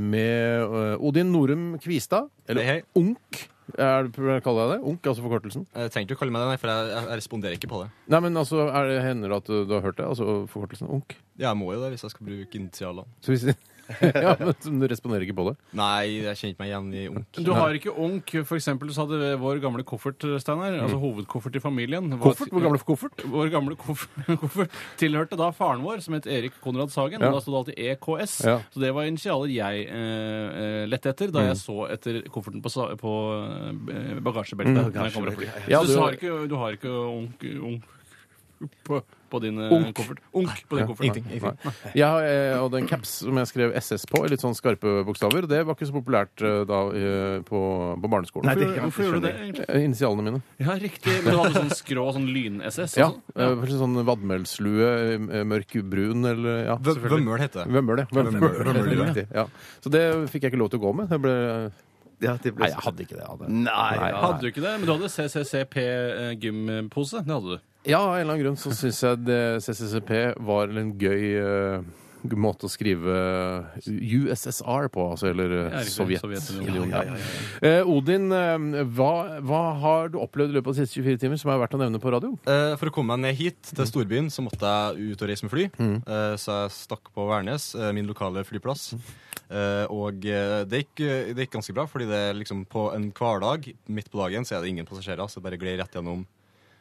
med eh, Odin Norum Kvistad. Eller
Hei, hei.
Unk, er det, kaller jeg det? Unk, altså forkortelsen.
Eh, Jeg trenger ikke å kalle meg det, nei, for jeg, jeg, jeg responderer ikke på det.
Nei, men altså, er det hender det at du, du har hørt det? Altså forkortelsen Unk?
Ja, jeg må jo det hvis jeg skal bruke initialene.
Så hvis, ja, men du responderer ikke på det.
Nei, jeg kjenner ikke meg igjen i Unk.
Du har ikke onk, for eksempel, så hadde vår gamle koffert, Steinar, altså hovedkoffert i familien
Mm.
var-
Koffert? Hvor gammel er koffert?
Vår gamle koff- koffert tilhørte da faren vår, som het Erik Konrad Sagen.
Ja.
Og da sto det alltid EKS.
Ja.
Så det var initialer jeg eh, eh, lette etter da jeg så etter kofferten på, sa- på eh, bagasjebeltet. når jeg kommer opp.
Ja,
Så du,
du-
har ikke, du har ikke onk, onk på, på din eh,
Onk.
koffert? Onk på din koffert.
Ingenting. ingenting.
Jeg har, eh, hadde en caps som jeg skrev SS på, i litt sånn skarpe bokstaver. Det var ikke så populært eh, da eh, på, på barneskolen.
Nei, det-
Hvorfor, hvorfor gjorde du det? egentlig?
Eh, Initialene mine.
Ja, riktig. Men du hadde sånn skrå, sånn lyn-SS?
Ja.
også?
eh, kanskje Sånn vadmelslue, eh, mørk brun eller ja,
Vø- Vømmøl heter det.
Vømmøl, ja. Vømmøl, riktig, ja. Så det fikk jeg ikke lov til å gå med. Jeg ble... eh,
Ja, det ble...
Nei, jeg hadde ikke det. Jeg hadde.
Nei,
Nei,
Hadde du ikke det? Men du hadde CCCP-gympose. eh, Det hadde du.
Ja, av en eller annen grunn så syns jeg det CCCP var en gøy eh, måte å skrive USSR på, altså, eller eh,
Ja, riktig,
Sovjet.
Sovjetunionen.
Ja, ja, ja, ja. Eh, Odin, eh, hva, hva har du opplevd i løpet av de siste 24 timer som er verdt å nevne på radio?
Eh, for å komme meg ned hit,
Mm.
til storbyen, så måtte jeg ut og reise med fly. Eh, så jeg stakk på Værnes, eh, min lokale flyplass.
Mm.
Eh, og eh, det gikk, eh, det gikk ganske bra, fordi det er liksom på en hverdag midt på dagen så er det ingen passasjerer, så jeg bare gled rett gjennom.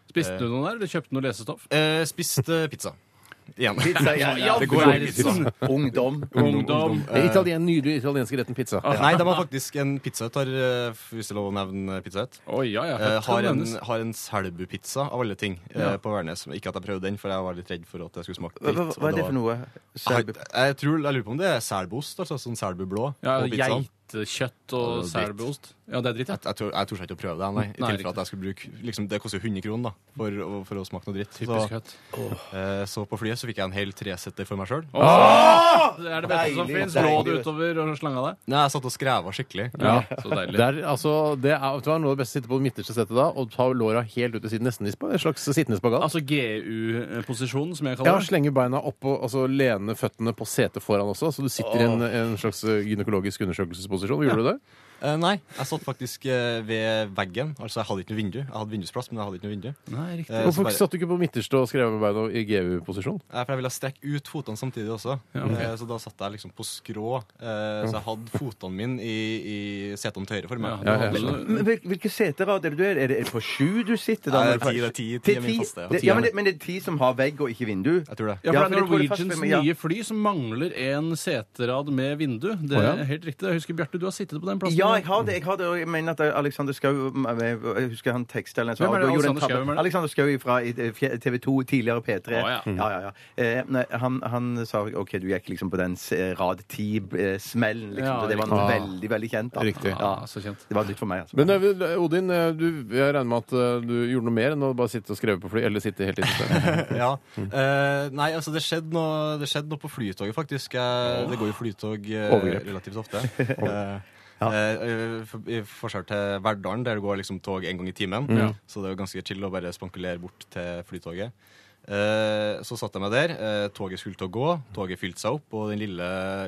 Spiste du noe der? Eller kjøpte du noe lesestoff?
Eh, spiste pizza. Igjen.
Pizza, ja, ja.
Det
går
Nei,
jo
litt sånn Ungdom.
Ungdom.
Eh.
Den italien, nydelige italienske retten pizza.
Ah,
Nei, de har faktisk en pizzahut, har, eh, hvis det er lov å nevne pizzaut.
Oi, ja, ja.
Eh, har
Kan
en,
nevnes.
har en selbupizza av alle ting eh, på Værnes. Ikke at jeg prøvde den, for jeg var litt redd for at jeg skulle smake
Hva,
dritt.
hva, hva er det for noe?
Jeg,
Serb-
jeg, tror, jeg lurer på om det er selbuost, altså sånn selbublå
ja,
på pizzaen.
Geitekjøtt og
Og dritt.
selbuost. Ja, det er dritt, ja.
Jeg, jeg, tror, jeg tror ikke å prøve det, nei. I
Nei,
tilfelle at jeg skulle bruke liksom, Det koster jo 100 kroner da, for, å- for å smake noe dritt. Så,
Typisk kjøtt.
eh, så på flyet så fikk jeg en hel tresetter for meg sjøl.
Det er det beste som
Deilig,
fins.
deilig.
Lå det utover og slanga deg?
Nei, jeg satt og skreva skikkelig.
Ja, så deilig.
Det er, altså, det er, vet du hva, noe av det beste å sitte på det midterste settet da, og ta låra helt ut til siden, nesten i spa, en slags sittende spagat.
Altså GU-posisjonen, som jeg
ja,
kaller det.
slenge beina opp og altså, lene føttene på setet foran også, så du sitter i en, en slags gynekologisk undersøkelsesposisjon. Gjorde du det?
Eh, nei, jeg satt faktisk eh, ved veggen. Altså, jeg hadde ikke noe vindu. Jeg hadde vindusplass, men jeg hadde ikke noe vindu.
Nei, riktig.
Eh, så
Hvorfor
bare-
satt du ikke på midterste og skrev med beina i GU-posisjon?
Eh, For jeg ville strekke ut fotene samtidig også. Eh, Så da satt jeg liksom på skrå. eh, Så jeg hadde fotene mine i, i setene til høyre for
Ja,
meg.
ja, ja.
Men hvil- Hvilke seter er det du er? Er det er det på sju du sitter? da?
Nei,
Når du-
ti, det er ti. Ti
Det
er min faste, ja.
Det- ja, men, det, men det er ti som har vegg og ikke vindu?
Jeg tror det.
Ja,
Ja,
for det er
fordi det går fast
Norwegians
med- ja.
nye fly som mangler en seterad med vindu. Det
Å, ja.
er helt riktig. Jeg husker, Bjarte, du har sittet på den plassen.
Ja, jeg har det. Jeg har det, og jeg mener at Alexander Schou eh, Jeg husker han teksta eller noe sånt.
Hvem er det
og gjorde en
Alexander
tabbe.
Schou, hvem er det?
Alexander Schou fra TV 2, tidligere P3.
Å, ja.
ja, ja, ja. Eh, nei, han, han sa OK, du gikk liksom på den se- rad 10-smellen, liksom.
Ja, Ah.
så det var
riktig.
noe veldig, veldig kjent. da.
Riktig.
Ja,
Ja, så kjent.
det var nytt for meg, altså.
Men eh, Odin, eh, du, jeg regner med at eh, du gjorde noe mer enn å bare sitte og skreve på fly, eller sitte helt inne.
Ja. Eh, nei, altså, det skjedde noe, det skjedde noe på flytoget, faktisk. Jeg, det går jo flytog eh,
Overgrep.
relativt ofte. Eh, eh, for- I forskjell til Verdalen, der det går liksom tog en gang i timen. Så det er jo ganske chill å bare spankulere bort til flytoget. Eh, så satt jeg meg der. Eh, toget skulle til å gå. Toget fylte seg opp, og den lille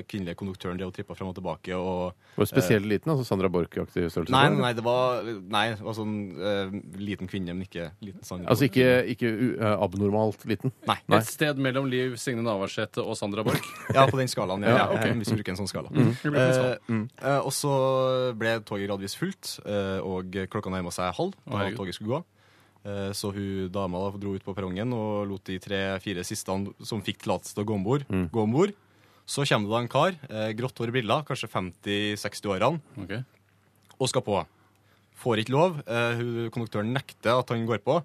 kvinnelige konduktøren drev og trippa frem og tilbake. og...
Var du spesielt liten, altså Sandra Borch-aktig størrelse?
Nei, nei, nei, det var, nei, det var sånn eh, liten kvinne, men ikke liten Sandra.
Altså ikke, ikke u- eh, abnormalt liten?
Nei.
Et sted mellom Liv Signe Navarsete og Sandra Borch.
Ja, på den skalaen. Ja.
Ja, ok.
Hvis vi bruker en sånn skala.
Det ble litt
Eh, eh, og så ble toget gradvis fullt, eh, og klokka nærma seg halv
Å,
da
herregud.
toget skulle gå. Eh, så hun dama da dro ut på perrongen og lot de tre-fire siste som fikk tillatelse til å gå om bord, gå om bord. Så kommer det da en kar, eh, grått hår i briller, kanskje 50-60-årene,
Ok.
og skal på. Får ikke lov. Eh, hun- konduktøren nekter at han går på.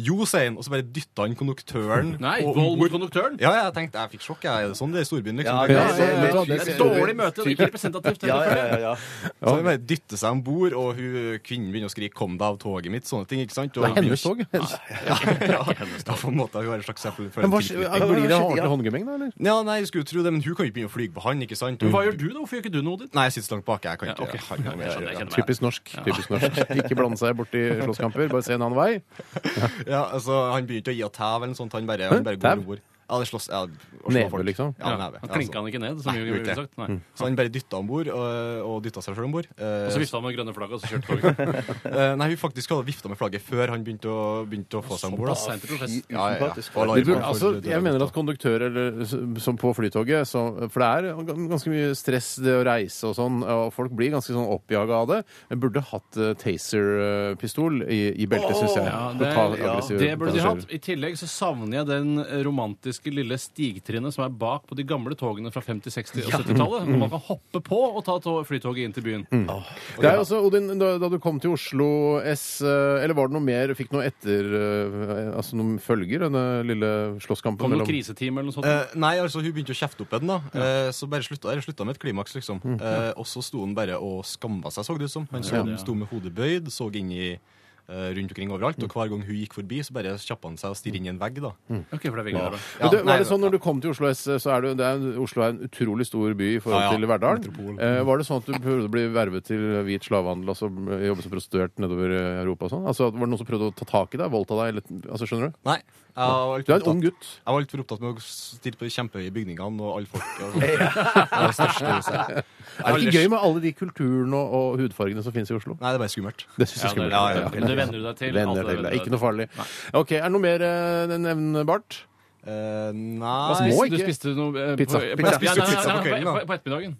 Jo, sier han, og så bare dytter han konduktøren
Nei,
og-
vold mot konduktøren!
Ja, jeg tenkte, jeg fikk sjokk. jeg. Er det sånn det er i storbyen? liksom?
Ja,
Det er
ja,
greit.
ja, ja.
Det er et dårlig møte. Det er ikke representativt.
Ja, ja, ja, ja.
Så hun bare dytter seg om bord, og hun, kvinnen begynner å skrike 'kom deg av toget mitt', sånne ting. ikke sant? Og
Det er hennes tog. Hennes.
Ja, ja, ja, på en måte. Hun har en slags eksempel for
Men
en
hva,
tilknytning.
blir det
Ja.
ordentlig håndgemming, da? eller?
Ja, nei, jeg skulle jo tro det, men hun kan jo ikke begynne å fly på han, ikke sant?
Men Hva gjør du, da? Hvorfor gjør ikke du noe, Odin?
Nei, jeg sitter langt bak. Jeg kan
Ja,
ikke
ok.
jeg har ikke noe med det å gjøre.
Typisk norsk. typisk norsk. Ikke blande seg borti slåsskamper, bare se en annen vei.
Ja, altså, han begynte å gi og tæv eller noe sånt. Han bare, han bare
Tæv?
går om bord. Ja, det slåss. Ja, og slår
Neve,
folk.
liksom?
Ja,
Ja,
neve.
han
ja,
klinka han ikke ned, som
altså. Nei,
vi ville
gjorde
sagt. Nei.
altså. Så han bare dytta om bord, og, og dytta seg sjøl om bord. Eh,
Og så vifta han med grønne flagg, og så kjørte toget.
nei, hun faktisk hadde vifta med flagget før han begynte å, begynte å få seg om bord.
Såpass sent i prosessen.
Ja, ja, ja.
Usympatisk.
Og alarm
Det burde,
for-
altså,
for-
jeg mener at konduktører eller, som på flytoget så, For det er ganske mye stress det å reise og sånn, og folk blir ganske sånn oppjaga av det. Jeg burde hatt eh, taser-pistol i, i beltet, syns jeg.
Ja,
for å ta
det,
aggressive
det burde de hatt.
passasjerer.
I tillegg så savner jeg den romantiske lille stigtrinnet som er bak på de gamle togene fra 50-, 60- og 70-tallet. Hvor man kan hoppe på og ta to- flytoget inn til byen.
Det er også, Odin, da, da du kom til Oslo S, eh, eller var det noe mer? Fikk noe etter eh, Altså noen følger, denne lille slåsskampen
Kom det
mellom
noen kriseteam eller noe sånt?
Eh, nei, altså hun begynte å kjefte opp en da Eh, Så bare slutta det slutta med et klimaks liksom
Mm.
eh, Og så sto han bare og skamma seg Så det ut som, han sto,
Ja.
sto med hodet bøyd Så inn i eh, rundt omkring overalt
Mm.
Og hver gang hun gikk forbi så bare kjappa han seg Og stirret inn i en vegg da
Ok, for det er veldig bra.
Ja,
Men du,
nei,
var det sånn når du kom til Oslo S, så er det, det er, Oslo er en utrolig stor by i forhold
Ja, ja.
til Verdal.
Metropol.
Eh, var det sånn at du prøvde å bli vervet til hvit slavehandel, altså eh, jobbe som prostituert nedover eh, Europa og sånn? Altså, var det noen som prøvde å ta tak i deg, voldta deg, eller altså, skjønner du?
Nei, jeg var
Du
altfor
er en ung
opptatt,
gutt.
jeg var alt for opptatt med å stirre på de kjempehøye bygningene Og alle folk og sånt. Det var det største huset.
Er det ikke gøy med alle de kulturene og, og hudfargene som finnes i Oslo?
Nei, det er bare skummelt
Det syns jeg
Ja,
er skummelt.
det- ja, ja. Men det venner du deg til. Alt
Venner
det
til, ja.
venner du deg
Ikke noe farlig. Ok, Er det noe mer eh, nevnbart?
Eh,
Hva
Nei
må
Du
ikke?
spiste noe eh,
Pizza.
På,
Pizza.
ja, nei,
Spiste
nei,
pizza på
nei,
kvelden, da.
På, på ettermiddagen.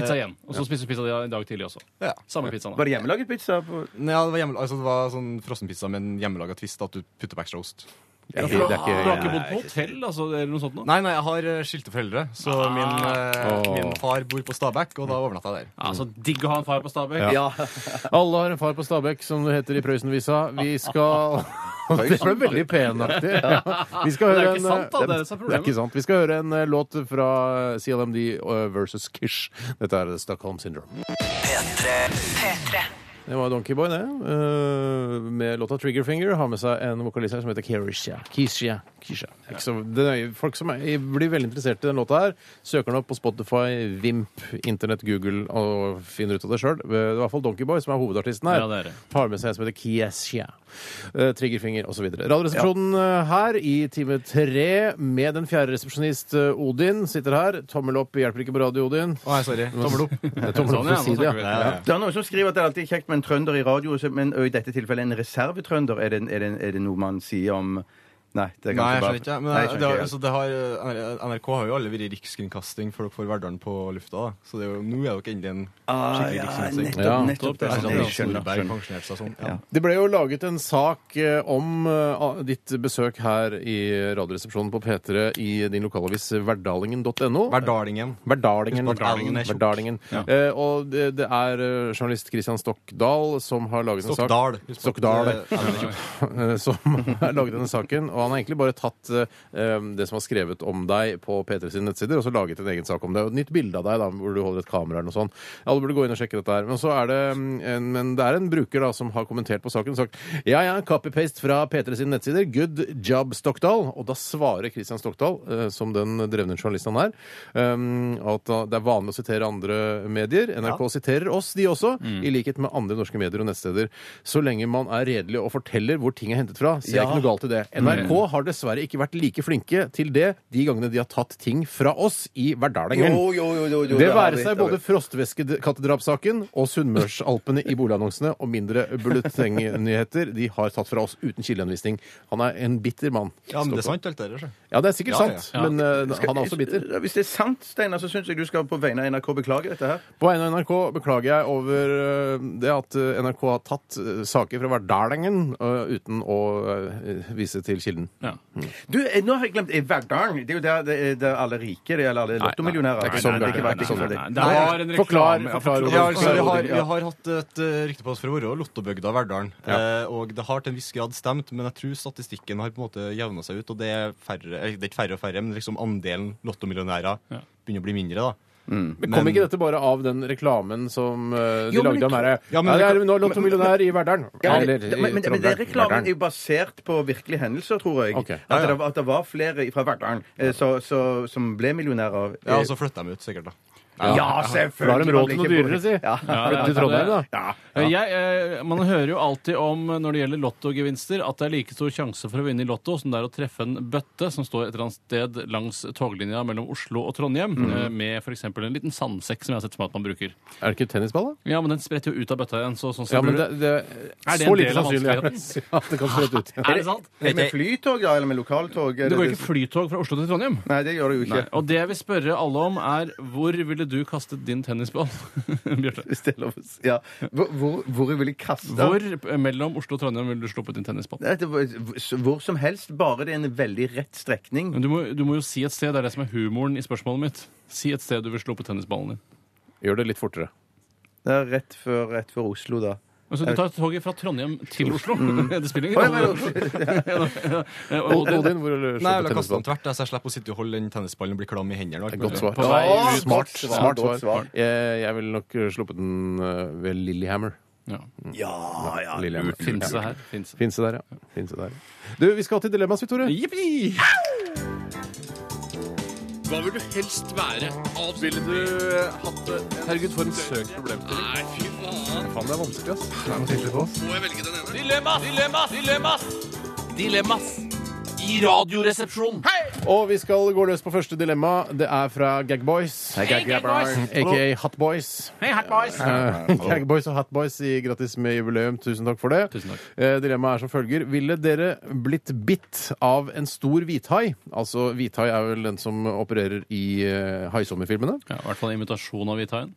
Pizza igjen. Og så spiste du pizza i dag tidlig også.
Ja.
Samme pizzaen.
Var
da.
det hjemmelaget pizza? På
Nei, ja, det var, hjemmel- altså, det var sånn frossenpizza med en hjemmelaga twist At du putter på ekstra ost
Det er
Du
ikke,
har
det er
du har ikke
ikke
bodd på hotell altså, eller noe sånt? Nå?
Nei, nei, jeg har eh, skilte foreldre, så
Ah.
min, eh,
Åh.
min far bor på Stabekk, og da overnatta jeg der.
Altså, digg å ha en far på Stabekk.
Ja.
Alle har en far på Stabekk, som det heter i Prøysenvisa. Vi skal Det ble veldig penaktig. Ja. Vi skal
Det er
høre en,
ikke
eh,
sant, da. Det er det som er
det er ikke sant. Vi skal høre en eh, låt fra eh, CLMD eh, versus Kish. Dette er Stockholm Syndrome.
P3.
Det var Donkeyboy, det. eh, Med låta Triggerfinger. Har med seg en vokalist her som heter Kirisha. Kisha. Kisha. Ikke så- Det er jo folk som er, blir veldig interessert i den låta her, søker den opp på Spotify, Vimp, Internett, Google og finner ut av det sjøl. Det er i hvert fall Donkeyboy som er hovedartisten her.
Ja, det er det.
Har med seg en som heter Kiesja. Eh, Triggerfinger osv. Radioresepsjonen eh, her i time tre med den fjerde resepsjonist eh, Odin sitter her. Tommel opp hjelper ikke på radio, Odin.
Å, nei, sorry. Tommel opp.
Tommel opp
Sånn, ja,
for å si
nå
det.
snakker vi.
ja. Ja.
Det er noen som skriver at det er alltid kjekt med en trønder i radio, så- men og i dette tilfellet en reservetrønder. Er det, en- er, det, en- er det noe man sier om Nei, det er
Nei,
kanskje
jeg skjønner
bare
ikke. Men
Nei, jeg
det,
skjønner
det har,
ikke.
altså, det har, eh, NRK har jo alle vært i rikskringkasting for dere får Verdalen på lufta, da. Så det er jo, nå er dere endelig en skikkelig liksom rikskringkasting.
nettopp,
Ja.
nettopp det.
Det er sånn
Jeg
at
skjønner,
Solberg
skjønner.
pensjonerte seg sånn. Ja.
Det ble jo laget en sak eh, om eh, ditt besøk her i Radioresepsjonen på P3 i din lokalavis verdalingen.no.
Verdalingen.
Verdalingen.
Husk på at L-en er tjukk.
Verdalingen. Eh, og det, det er eh, journalist Christian Stockdal som har laget en sak
Stokkdal. Husk på at,
Stokkdal.
eh, L-en er tjukk.
eh, som har laget denne saken. Og han har egentlig bare tatt eh, det som var skrevet om deg på P3 sine nettsider, og så laget en egen sak om det. Og et nytt bilde av deg da, hvor du holder et kamera eller noe sånt. Alle burde gå inn og sjekke dette her. Men, så er det, mm, en, men det er en bruker da, som har kommentert på saken og sagt ja, ja, copy-paste fra P3 sine nettsider. Good job, Stokkdal. Og da svarer Christian Stokkdal, eh, som den drevne journalisten han er, eh, at da- det er vanlig å sitere andre medier. NRK siterer oss, de også,
Mm.
i likhet med andre norske medier og nettsteder. Så lenge man er redelig og forteller hvor ting er hentet fra, ser jeg ikke noe galt i det. NRK
Mm.
har dessverre ikke vært like flinke til det de gangene de har tatt ting fra oss i Verdalingen.
Jo, jo, jo, jo, jo,
Det
har
være
vi-
seg
det har
både frostvæskekattedrapssaken og Sunnmørsalpene i boligannonsene og mindre bulletengnyheter de har tatt fra oss uten kildeanvisning. Han er en bitter mann.
Ja, men det er sant, alt det der. altså. så.
Ja, det er sikkert
Ja, ja.
sant, men eh, han er også bitter.
vi. Hvis det er sant, Steinar, så syns jeg du skal på vegne av NRK beklage dette her.
På vegne av NRK beklager jeg over eh, det at eh, NRK har tatt eh, saker fra Verdalingen eh, uten å eh, vise til kilden.
Ja.
Du, eh, nå har jeg glemt eh, Verdalen. Det er jo der, det er, der alle rike det er, eller alle lottomillionærer
det er ikke sånn
det er
Verdalen-
ikke
Nei,
sånn
nei,
det-
Nei,
Nei,
det var en reklame.
Forklar,
Ja,
forklar,
forklar.
Odin.
Ja, altså, vi, har, vi
Ja.
har hatt et eh, rykte på oss for å være Lottobygda Verdalen. Eh, og det har til en viss grad stemt, men jeg tror statistikken har på en måte jevna seg ut. Og det er, færre, eh, det er ikke færre og færre, men liksom andelen lottomillionærer
Ja.
begynner å bli mindre. da.
Men kom ikke dette bare av den reklamen som eh, de
Jo, men
lagde
det-
om derre
Ja, men
Nei, det er
rekla-
nå lottomillionær i Verdalen.
Ja, men,
Eller i
men, men, men det
Trondheim.
reklamen er jo
Verdalen.
basert på virkelige hendelser, tror jeg.
Ok. Ja,
At,
ja.
det, at det var flere fra Verdalen eh, så, så, som ble millionærer. eh,
Ja, altså- og så flytter de ut, sikkert. da.
Ja,
For da har
selvfølgelig.
de råd til noe dyrere, si.
Ja.
Flytt til Trondheim, da.
Ja.
Eh, Jeg, eh, man hører jo alltid om eh, når det gjelder lottogevinster, at det er like stor sjanse for å vinne i Lotto som det er å treffe en bøtte som står et eller annet sted langs toglinja mellom Oslo og Trondheim,
Mm.
eh, med f.eks. en liten sandsekk som jeg har sett for meg at man bruker.
Er det ikke tennisball, da?
Ja, men den spretter jo ut av bøtta igjen, så sånn
Ja,
sett
men
blir
det, det,
Er
så
det en
lite
del av
sannsynlig er det at det kan sprette ut.
Er det sant?
Er det Med flytog, da, eller med lokaltog? Er
Det går
det-
ikke flytog fra Oslo til Trondheim.
Nei, det gjør det jo ikke.
Og det jeg vil spørre alle om, er hvor ville du kastet din tennisball, Bjarte?
Hvis det er lov å si. Ja. Hvor, hvor, hvor vil jeg kaste den?
Hvor eh, mellom Oslo og Trondheim ville du sluppet din tennisball?
Nei, det var- Hvor som helst, bare det er en veldig rett strekning.
Men du må, du må jo si et sted. Det er det som er humoren i spørsmålet mitt. Si et sted du vil slå på tennisballen din.
Gjør det litt fortere.
Det er rett før, rett før Oslo, da.
Altså, du tar toget fra Trondheim til Oslo. det
Oi,
spiller ingen
men,
rolle. Eh, og- og det-
Odin, hvor vil du slå
Nei,
på
jeg vil kaste
tennisball?
den tvert, da, så jeg slipper å sitte og holde den tennisballen og bli klam i hendene. og alt
Godt
mulig.
svar.
På vei
Ja,
ut.
smart,
Godt svar.
smart svar.
Godt svar.
Jeg, jeg ville nok eh, sluppet den eh, ved Lillehammer. Mm.
Ja.
Ja, ja.
Lillehammer.
Finse her. Finse.
Finse der, ja. Finse der. Du, vi skal til dilemmas, vi, Tore.
Jippi!
Hva vil du helst være? Ville du hatt det? Herregud, for en søk problemstilling. Nei, fy faen.
Faen, det er vanskelig, ass.
Må jeg velge den ene? Dilemmas! Dilemmas! Dilemmas! Dilemmas! I radioresepsjonen. Hei!
Og vi skal gå løs på første dilemma. Det er fra Gagboys. Aka Hotboys.
Hei, hat boys!
Gagboys og Hatboys sier grattis med jubileum. Tusen takk for det.
Tusen takk.
Eh, Dilemmaet er som følger. Ville dere blitt bitt av en stor hvithai? Altså, hvithai er vel den som opererer i eh, haisommerfilmene.
Ja, I hvert fall invitasjon av hvithaien.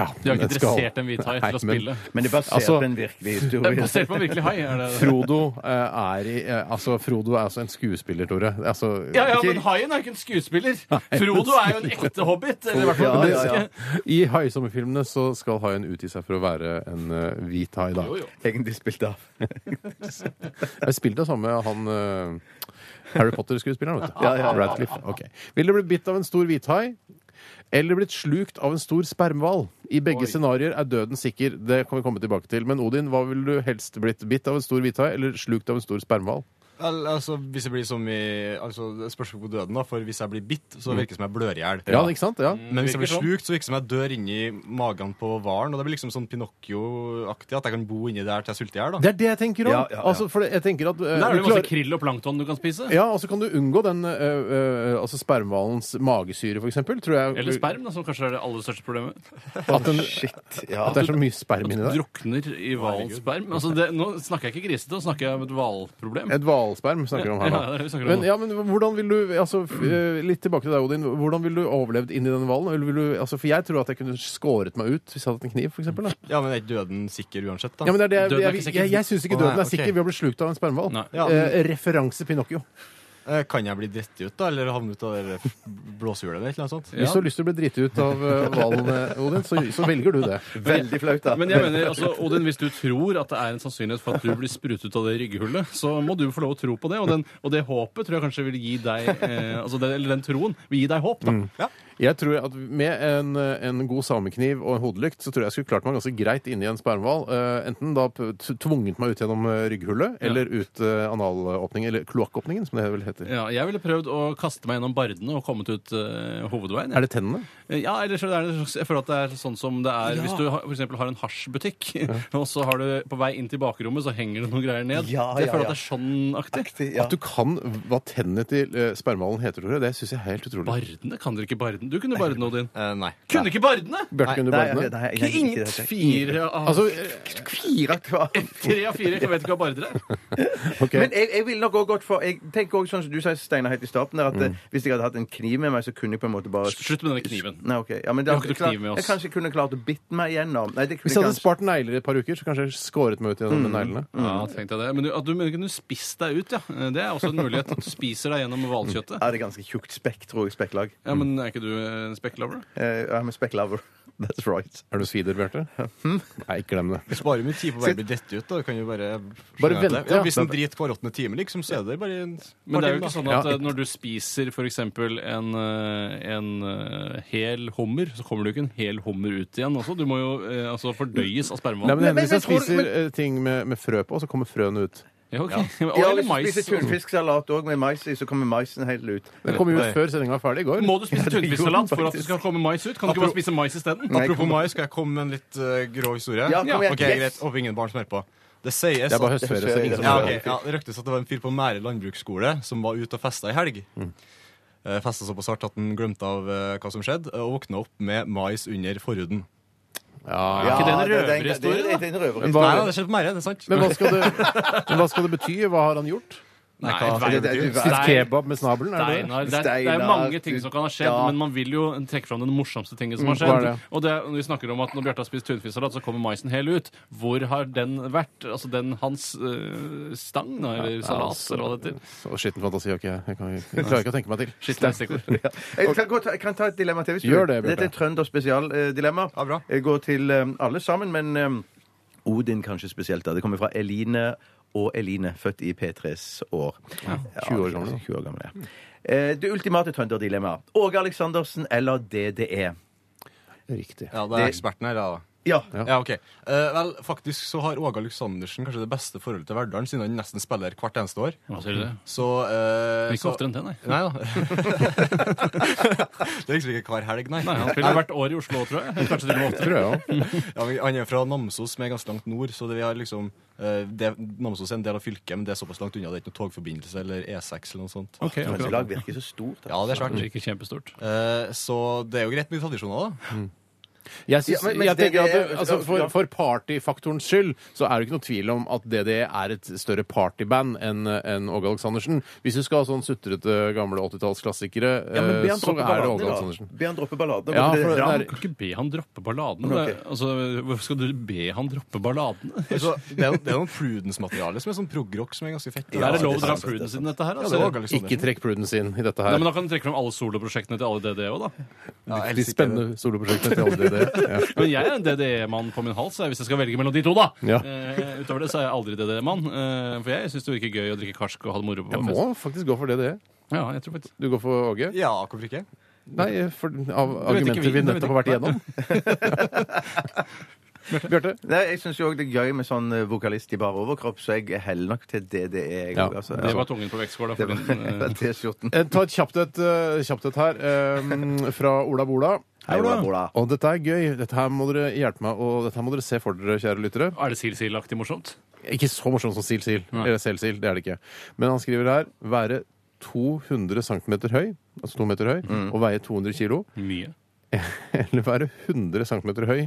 De har ikke
den skal-
dressert en hvithai
Nei,
til å
men-
spille.
Men det er basert
Altså-
på en virkelig
Det
historie.
er basert på en virkelig hai. Er det det?
Frodo eh, er i eh, Altså, Frodo er altså en skuespiller, Tore. Altså,
Ja, ja, men haien er ikke en skuespiller. Frodo er jo en ekte hobbit. Eller i hvert fall
Ja,
en
ja, ja.
menneske.
I haisommerfilmene så skal haien utgi seg for å være en eh, hvit hai, da.
Jo, jo.
Egentlig spilt av.
Jeg spilte det samme han eh, Harry Potter-skuespilleren, vet du.
Ja, ja, ja.
Radcliffe. Ok. Ville du blitt bitt av en stor hvithai? Eller blitt slukt av en stor spermhval. I begge scenarioer er døden sikker. Det kan vi komme tilbake til. Men Odin, hva ville du helst blitt? Bitt av en stor hvithai eller slukt av en stor spermhval?
Al altså, hvis jeg blir som i altså, Det spørs jo på døden, da. For hvis jeg blir bitt, så virker det som jeg blør i hjel.
Ja, ikke sant? Ja.
Men hvis jeg blir
Virker sånn.
slukt, så virker det som jeg dør inni magen på hvalen. Og det blir liksom sånn Pinocchio-aktig at jeg kan bo inni der til jeg sulter i hjel.
Det er det jeg tenker om.
Ja, ja, ja.
Altså, for jeg tenker at eh,
Der er det
du
jo masse
klarer-
krill og plankton du kan spise.
Ja, og så kan du unngå den eh, eh, altså spermhvalens magesyre, for eksempel. Tror jeg,
Eller sperm, da, som kanskje er det aller største problemet.
At, den,
Shit. Ja.
at det er så mye sperm inni der.
Drukner i hvalens sperm. Altså, det, nå snakker jeg ikke grisete, nå snakker jeg om et hvalproblem.
Et hvalsperm snakker vi om her
Ja,
nå.
ja, det er det vi snakker om
men,
nå.
ja, men hvordan vil du altså, f- eh, Litt tilbake til deg, Odin. Hvordan ville du overlevd inni den hvalen? Eller vil du- Altså, for jeg tror at jeg kunne skåret meg ut hvis jeg hadde hatt en kniv, for eksempel. Da.
Ja, men er ikke døden sikker uansett, da?
Ja, men det er det,
Døden er
jeg, jeg,
ikke sikker.
jeg, syns ikke
Å,
døden
nei,
er sikker
ok.
ved å bli slukt av en spermhval.
Nei.
Ja, men-
Eh, referanse Pinocchio.
Eh, Kan jeg bli dritt ut, da? Eller havne ut av det der blåsehjulet eller et eller annet sånt?
Hvis du har lyst til å bli driti ut av eh, hvalen, eh, Odin, så, så velger du det.
Veldig flaut, da.
Men jeg mener, altså, Odin, hvis du tror at det er en sannsynlighet for at du blir sprutet ut av det ryggehullet, så må du få lov å tro på det. Og, den, og det håpet tror jeg kanskje vil gi deg eh, altså den, Eller den troen vil gi deg håp, da.
Jeg tror at Med en, en god samekniv og en hodelykt så tror jeg jeg skulle klart meg ganske greit inni en spermhval. Eh, enten da p- t- tvunget meg ut gjennom eh, rygghullet, eller ut eh, analåpningen, eller kloakkåpningen, som det vel heter.
Ja, jeg ville prøvd å kaste meg gjennom bardene og kommet ut eh, hovedveien.
Er det tennene?
Eh, Ja, eller så er det, en slags- jeg føler at det er sånn som det er hvis du har, for eksempel har en hasjbutikk, og så har du på vei inn til bakrommet, så henger det noen greier ned.
Ja,
jeg
ja,
føler
ja.
at det er sånn aktig.
ja.
At du kan hva tennene til eh, spermhvalen heter, Tore, det syns jeg er helt utrolig.
Bardene? Kan dere ikke bardene? Du kunne bardene, Odin.
Eh, nei.
Kunne ikke bardene!
Bjarte, kunne du
Nei,
bardene?
nei, nei, jeg-
Ingen
ikke-
fire av
Altså, eh,
Fire kvar.
Tre av fire, jeg vet ikke hva barder er.
ok.
Men jeg, jeg ville nok også gått for Jeg tenker også sånn som du sa, Steinar, helt i starten der, at
Mm.
eh, hvis jeg hadde hatt en kniv med meg, så kunne jeg på en måte bare
Slutt med denne kniven.
Nei, ok. Ja, men
Vi
det,
har ikke noe kniv med oss.
Jeg kanskje jeg kunne klart å bitte meg gjennom. Nei, det kunne
Hvis jeg
jeg
hadde
kanskje
spart negler i et par uker, så kanskje jeg skåret meg ut gjennom de neglene.
Ja, tenkte jeg det. Men du, at du mener kunne spist deg ut, ja. Det er også en mulighet. At du spiser deg gjennom hvalkjøttet.
ja, det er ganske tjukt spekk, tror jeg. Spekklag.
Ja, men er ikke du en spekklover? da?
Eh, I'm a spec lover. That's right.
Er du svider, Bjarte? Hm? Nei, glem det.
Du sparer mye tid på å bare bli dritt ut. da Du kan jo
Bare
bare skjønne det.
vente,
Ja,
ja.
hvis den driter hver åttende time, liksom, så er det bare
Men
en
det er jo ikke
Martin, da.
sånn at eh, når du spiser f.eks. En, eh, en eh, hel hummer, så kommer du ikke en hel hummer ut igjen også. Du må jo eh, altså fordøyes
Nei,
av spermhval.
men det hender
men-
hvis jeg
men tror-
spiser eh, ting med, med frø på, så kommer frøene ut.
Ja, ok. Og-
Ja,
Eller
hvis du
mais.
spiser tunfisksalat òg med mais i, så kommer maisen helt ut.
Den kom jo ut før sendinga var ferdig i går.
Må du spise tunfisksalat for at det skal komme mais ut? Kan du ikke bare spise mais isteden?
Nei,
Apropos
kom-
mai, skal jeg komme med en litt eh, grå historie?
Ja, kom igjen.
Ok,
Yes.
greit. Håper ingen barn som hører på. Det sies
Det er bare
at-
høstferie. så ingen som
Ja,
hører.
ok. ja, det ryktes at det var en fyr på Mære landbruksskole som var ute og festa i helg.
Mm.
Eh, festa såpass hardt at han glemte av eh, hva som skjedde, og våkna opp med mais under forhuden.
Ja.
ikke det en
det er en-
røverhistorie,
det er- det er en røverhistorie.
Hva-
Nei, ja, det skjedde på Mære, det er sant.
Men hva skal, det, men hva skal det bety? Hva har han gjort?
Nei,
det- det- det-
Stein-
Nei.
Kebab med snabelen? Er det det?
Steinar. Det er, det er
Steinar.
mange ting som kan ha skjedd,
Ja.
men man vil jo trekke fram den morsomste tingen som har
hva er
skjedd.
det?
Og det, er- når vi snakker om at når Bjarte har spist tunfisksalat, så kommer maisen hel ut. Hvor har den vært? Altså den hans øh, stang, da, eller salat, eller hva det heter.
Så skitten fantasi har ikke jeg. Jeg, kan, jeg klarer ikke å tenke meg til.
Skittende stikkord.
Jeg kan, godt, jeg kan ta et dilemma til. Hvis du
Gjør
vil.
det, Bjarte.
Dette er et trønder spesialdilemma.
Ja, bra.
Jeg går til eh, alle sammen, men eh, Odin kanskje spesielt. da. Det kommer fra Eline og Eline, født i P3s år.
20 år gammel.
20 år gammel ja. Eh, Det ultimate trønderdilemmaet. Åge Aleksandersen eller E? DDE?
Riktig.
Ja, det er eksperten her, ja.
Ja.
Ja, ok. Eh, vel, faktisk så har Åge Aleksandersen kanskje det beste forholdet til Verdalen, siden han nesten spiller hvert eneste år.
Hva sier du det?
Så, eh,
Ikke
så
oftere enn det, nei.
Nei da. det er liksom ikke hver helg, nei.
nei. Han spiller hvert år i Oslo, tror jeg. Kanskje til og med
Tror
oftere.
jeg også.
Ja, men han er fra Namsos, som er ganske langt nord, så det vi har liksom eh, det, Namsos er en del av fylket, men det er såpass langt unna. Det er ikke noe togforbindelse eller E6 eller noe sånt.
Ok, akkurat.
Trøndelag virker så stort. da.
Ja, det er svært.
Kanskje Ikke kjempestort.
Eh, så det er jo greit med tradisjoner, da.
Jeg, synes,
Ja, men- men
jeg tenker at
DDE
det, altså, for,
ja.
for partyfaktorens skyld så er det ikke noe tvil om at DDE er et større partyband enn enn Åge Aleksandersen. Hvis du skal ha sånn sutrete gamle 80-tallsklassikere,
Ja, men be
eh,
han
så
droppe
er det Åge
balladene, da.
Aleksandersen.
Be han droppe balladene.
Ja,
Hvorfor
for
det-
det er-
Du kan ikke be han droppe balladene.
Ok.
Det er- Altså, hvorfor skal du be han droppe balladene?
Altså, det, er, det er noen Prudence-materiale som er sånn prog-rock som er ganske fett.
er det
det
lov å
er
dra
sant,
pruden sin dette her?
Ja,
Altså.
det var Åge Aleksandersen.
Ikke trekk Prudence inn i dette
Nei,
her.
men Da kan du trekke fram alle soloprosjektene til alle DDE òg, da.
Ja,
De
helst ikke det.
spennende soloprosjektene til alle E. DDE. Ja.
Men jeg er en DDE-mann på min hals, jeg, hvis jeg skal velge mellom de to, da.
Ja.
Eh, utover det så er jeg aldri DDE-mann. Eh, for jeg syns det virker gøy å drikke karsk og ha det moro på
Jeg må faktisk gå for DDE.
Ja, jeg tror faktisk
Du går for Åge?
Ja, hvorfor ikke?
Nei, for, av
vet
argumenter
ikke
vi
vi- du vet
nettopp har vært
ikke-
igjennom. Bjarte?
Nei, jeg syns jo òg det er gøy med sånn eh, vokalist i bar overkropp, så jeg heller nok til DDE. Jeg,
Ja,
også, altså.
Det var tungen på vektskåla.
Det
for
var-
din, eh,
T-skjorten.
Eh, Ta et kjapt et, eh, kjapt et her eh, fra Ola Bola.
Hei, Ola Bola.
Og dette er gøy. Dette her må dere hjelpe meg, og dette her må dere se for dere, kjære lyttere.
Er det Sil-Sil-aktig morsomt?
Ikke så morsomt som Sil Sil.
Nei.
Eller Sel Sil. Det er det ikke. Men han skriver her være 200 cm høy, altså to meter høy, og veie 200 kilo.
Mye.
Eller være 100 cm høy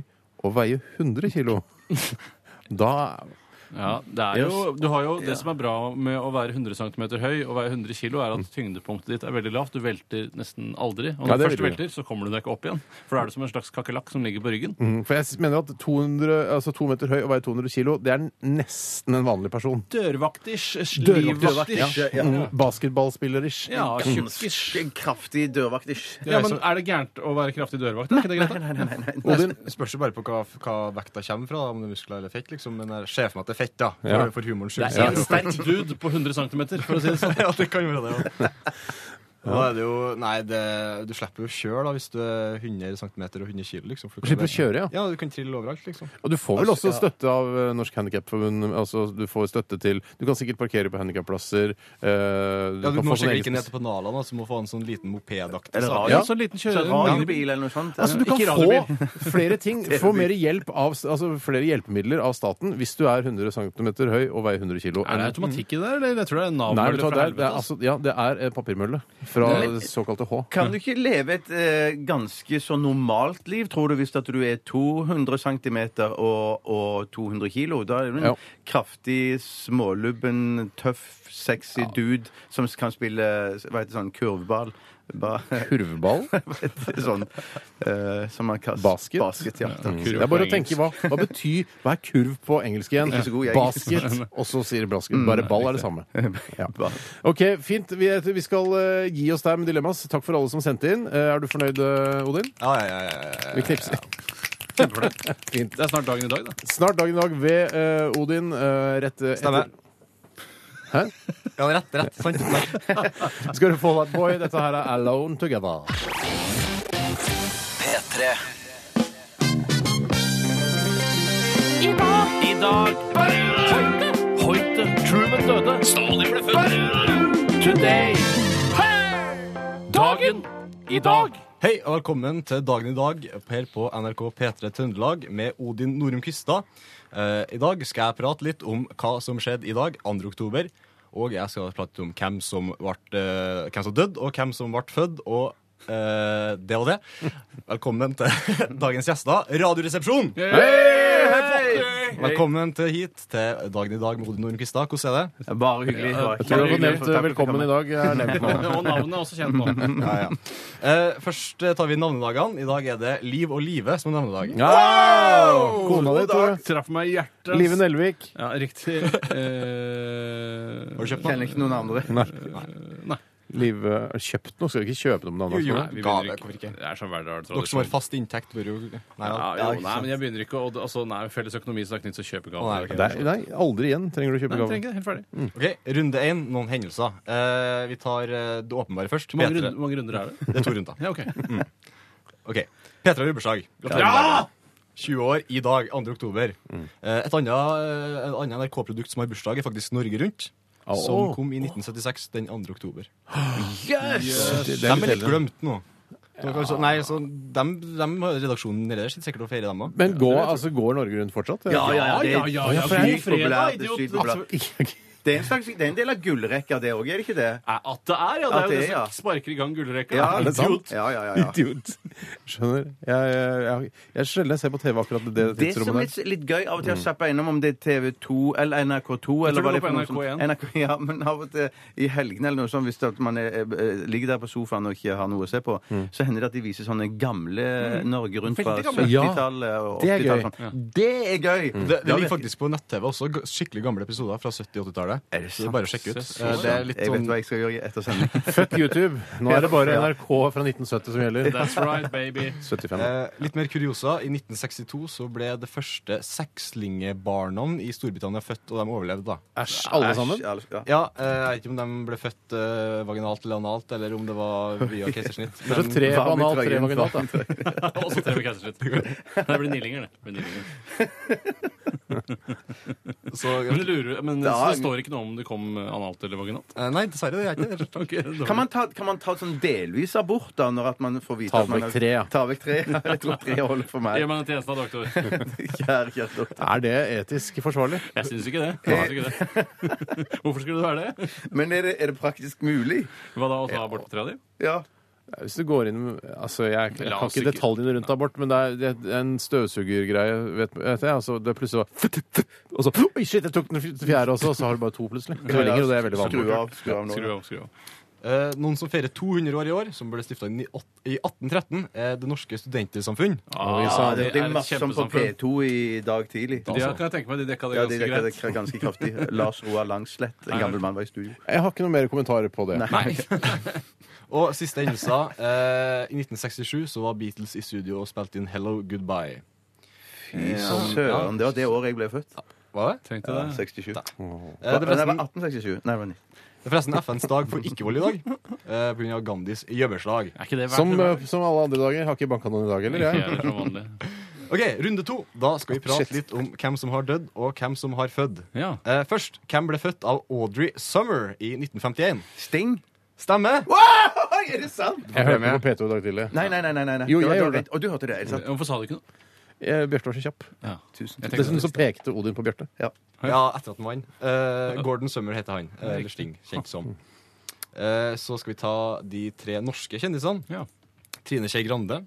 og veie 100 kilo. Da
Ja, det er jo, du har jo, det som er bra med å være 100 cm høy og veie 100 kg, er at tyngdepunktet ditt er veldig lavt. Du velter nesten aldri. Og
Mm. Ja,
når du
det
først
vil du.
velter, så kommer du deg ikke opp igjen. For da er du som en slags kakerlakk som ligger på ryggen.
Mm, For jeg s- mener at 200, altså to meter høy og veie 200 kilo, det er n- nesten en vanlig person.
Dørvaktish,
Dørvaktisch. Ja. Mm, Basketballspillerish.
Ja, tjukkish.
Ganske kraftig dørvaktish.
Ja, men er det gærent å være kraftig dørvakt? Er ikke det greit? da?
Odin,
Det spørs jo bare på hva, hva vekta kommer fra, om det er muskler eller fett. liksom, Men jeg ser for meg at det er fett, da. For,
Ja.
for humorens
Det
skyld.
er en sterk dude på 100 cm, for å si det sånn.
ja, det kan være det. Ja. Da er det jo Nei, det, du slipper jo å kjøre da, hvis du er 100 cm og 100 kg, liksom. for
Du slipper å kjøre, ja.
Ja, du kan trille overalt, liksom.
Og du får vel også støtte av eh, Norsk Handikapforbund. Altså, du får støtte til Du kan sikkert parkere på handikapplasser. eh,
Ja,
kan
Du må
få sånn
sikkert
egen-
ikke ned til pennalene, altså, du må få en sånn liten mopedaktig
Eller
sak.
radio.
Så en liten kjøre...
Så Radiobil eller noe sånt.
Altså, du kan
Ikke
få flere ting, få mer hjelp av, altså, flere hjelpemidler av staten hvis du er 100 cm høy og veier 100 kg.
Er det automatikk i det, eller jeg tror det er
Nei, vet
navmølle
du hva,
fra
det er, det
helvete?
er, altså, ja, det er eh, papirmølle fra
Nei.
det såkalte H.
Kan du ikke leve et eh, ganske så normalt liv, tror du, hvis at du er 200 cm og, og 200 kilo? Da er du en
Ja.
kraftig, smålubben, tøff, sexy dude som kan spille hva heter det, sånn kurvball. Ba,
Kurvball?
hva heter det, sånn eh, som man kaster
Basket?
basket ja.
Kurv
Det er bare
på
å tenke hva, hva betyr Hva er kurv på engelsk igjen?
Ikke så god i engelsk.
Basket, og så sier basket. Bare ball er det samme. Mm. Ja.
Ball.
OK, fint. Vi, vi skal eh, gi oss der med dilemmas. Takk for alle som sendte inn. Eh, er du fornøyd, eh, Odin?
Ja, ja, ja, ja, ja.
Vi knipser.
Det er snart dagen i dag, da.
Snart dagen i dag ved eh, Odin. eh, rett eh,
Stemmer.
etter Hæ?
Ja, rett, rett. Sant. Nei.
Skal du få That Boy. Dette her er Alone Together.
P3.
I dag, i dag Hoite, Hoite, Truman døde Stadig ble født Today Dagen i dag
Hei og velkommen til Dagen i dag her på NRK P3 Trøndelag med Odin Norum Kvistad. Eh, I dag skal jeg prate litt om hva som skjedde i dag, 2. oktober. Og jeg skal prate om hvem som ble eh, hvem som døde, og hvem som ble født, og eh, det og det. Velkommen til dagens gjester, Radioresepsjonen! Velkommen til hit til Dagen i dag med Odin Norum Kvistad. Hvordan er det?
Bare hyggelig. Bare
Jeg tror du har fått
hyggelig.
nevnt eh, velkommen i dag. Er nevnt nå.
Og navnet er også kjent nå
Ja, ja. Eh, først eh, tar vi navnedagene. I dag er det Liv og Live som er navnedag.
Wow! Kona di, tror jeg.
Traff meg i hjertet
Live Nelvik.
Ja, riktig eh,
Har du kjøpt
Kjenner ikke noen andre.
Nei,
Live eh, Kjøpt noe? Skal du ikke kjøpe noe med navnet?
Jo, jo.
nei vi begynner
Gave,
ikke.
hvorfor ikke?
Det er sånn hverdag
Dere som har fast inntekt, bør jo Nei,
ja,
ja,
jo,
ikke
nei,
sant.
men jeg begynner ikke å, altså, Nei, felles økonomi snakk nytt, så kjøper
Å, nei, ok.
gaven
Nei, nei, aldri igjen trenger du å kjøpe
trenger
gave.
ikke det, helt ferdig
Ok, Runde én, noen hendelser. Eh, vi tar eh, det åpenbare først.
Hvor mange,
P3.
runder, hvor mange runder er det?
Det er to runder.
Ja, ok
Ok, P3 har jubileumsdag. Gratulerer med dagen. 20 år i dag, 2. oktober. Eh, Et annet, eh, et annet NRK-produkt som har bursdag, er faktisk Norge Rundt.
Sånn
Som kom i 1976 den 2. oktober.
Det- det
De
er
er
litt
litt
eldre.
glemt nå. Dere har så- Nei, så dem, dem har redaksjonen nede der sitter sikkert og feirer dem òg.
Men går, altså, går Norge Rundt fortsatt?
ja, det er
ja, ja, ja,
sykt
for det er
populært,
fredag,
det er
idiot.
sykt populært. Det er en slags, det er en del av gullrekka, det òg, er det ikke det?
At det Altså, er,
At
ja. Det er jo
det
det
er, ja.
som sparker i gang gullrekka.
Ja,
da.
er det sant?
Idiot.
Ja, ja, ja. ja.
Idiot. Skjønner. Jeg, jeg, jeg, jeg sjelden jeg ser på TV akkurat det
Det som er
tidsrommet
litt,
der.
litt gøy av og
Mm.
til å zappe innom om det er TV2 eller NRK2 eller hva det
det går
er
på
noe som-
NRK1.
NRK, ja, men av og til i helgene eller noe sånt, hvis det at man er, eh, ligger der på sofaen og ikke har noe å se på,
Mm.
så hender det at de viser sånne gamle Norge rundt fra
Veldig gamle.
70-tallet og
Det er gøy. Mm.
80-tallet. Sånn. Det er gøy!
Det,
Da
det ligger
virker-
faktisk på nett-TV også. g- Skikkelig gamle episoder fra 70- og 80-tallet.
Er det
Så det er Bare å sjekke ut.
Søs.
Eh, Det er litt
Jeg vet
sånn
hva jeg skal gjøre etter sending.
Fuck YouTube! Nå er det bare NRK fra 1970 som gjelder.
That's right, baby.
75.
Eh, litt mer kuriosa. I 1962 så ble det første sekslingebarna i Storbritannia født, og de overlevde, da.
Æsj, alle sammen.
Æsj, alle- ja.
Ja, eh, Jeg vet ikke om de ble født eh, vaginalt eller analt, eller om det var via keisersnitt.
Så
Men-
tre
Hva med
banalt, tre
trøyen?
vaginalt, da.
Og så treffer keisersnitt. Det blir nillinger, det. Det blir nillinger.
så-
Men, det lurer, men
Da-
så det står ikke noe om det kom analt eller vaginalt?
Eh, Nei, dessverre. Det er ikke det.
Ok, dårlig.
Kan man, ta, kan man ta sånn delvis abort, da, når at man får vite
Ta
at man
vekk
har-
tre, ja.
Ta vekk tre, ja. Jeg tror tre holder for meg.
Gjør meg en tjeneste, da, doktor.
Kjære Kjersti.
Er det etisk forsvarlig?
Jeg syns ikke det. Jeg synes ikke det. Hvorfor skulle det være det?
Men er det, er det praktisk mulig?
Hva da, å ta abort på trea di?
Ja.
Hvis du går inn altså Jeg, jeg
La
kan
oss
ikke
ikke-
detaljene rundt abort, men det er, det er en støvsugergreie. Vet, vet jeg, altså, det er plutselig bare Og så Oi, shit, jeg tok den fjerde også, og så har du bare to plutselig. Tvillinger, og det er veldig vanlig.
Skru av, skru av nå.
Skru av, skru av.
Eh, noen som feirer 200 år i år, som ble stifta i 1813, er Det Norske Studentersamfunn.
Ah,
Ja, det, det er masse som på
kjempesamfunn.
P2 i dag tidlig.
De
altså.
kan jeg tenke meg, de dekka det
Ja, de
ganske
dekka det
greit.
ganske kraftig. Lars Roar Langslett, en gammel mann, var i studio.
Jeg har ikke noe mer kommentarer på det.
Nei,
Og siste hendelser. Eh, I 1967 så var Beatles i studio og spilte inn 'Hello Goodbye'.
Fy Søren, det var det året jeg ble født.
Var det?
tenkte
Ja,
det.
67.
Eh, det
Nei,
er
det var
forresten,
1867. Nei, det var 19.
det er forresten FNs dag for ikke-vold i dag. Eh, Pga. Gandhis gjømmerslag.
Er ikke det verdt
Som,
det?
eh, som alle andre dager. Jeg har ikke banka noen i dag heller,
Ikke
jeg.
jeg, det er som vanlig.
Ok, Runde to. Da skal vi prate
Shit.
litt om hvem som har dødd, og hvem som har født.
Ja.
Eh, først, hvem ble født av Audrey Summer i 1951?
Sting?
Stemmer!
Oi, er det sant?
Jeg hørte på P2 i dag tidlig.
Nei, nei, nei. nei, nei.
Jo,
Det
jeg
var da
gjorde det.
rett- Og du hørte det? er det sant?
Hvorfor sa du ikke noe?
Eh, Bjarte var så kjapp.
Ja.
Tusen
Jeg
takk.
tenker
Dessuten så pekte Odin på Bjarte.
Ja, etter at han vant. Eh, Gordon Summer heter han. eh, Eller Sting, kjent som. Eh, så skal vi ta de tre norske kjendisene.
Ja.
Trine Skei Grande.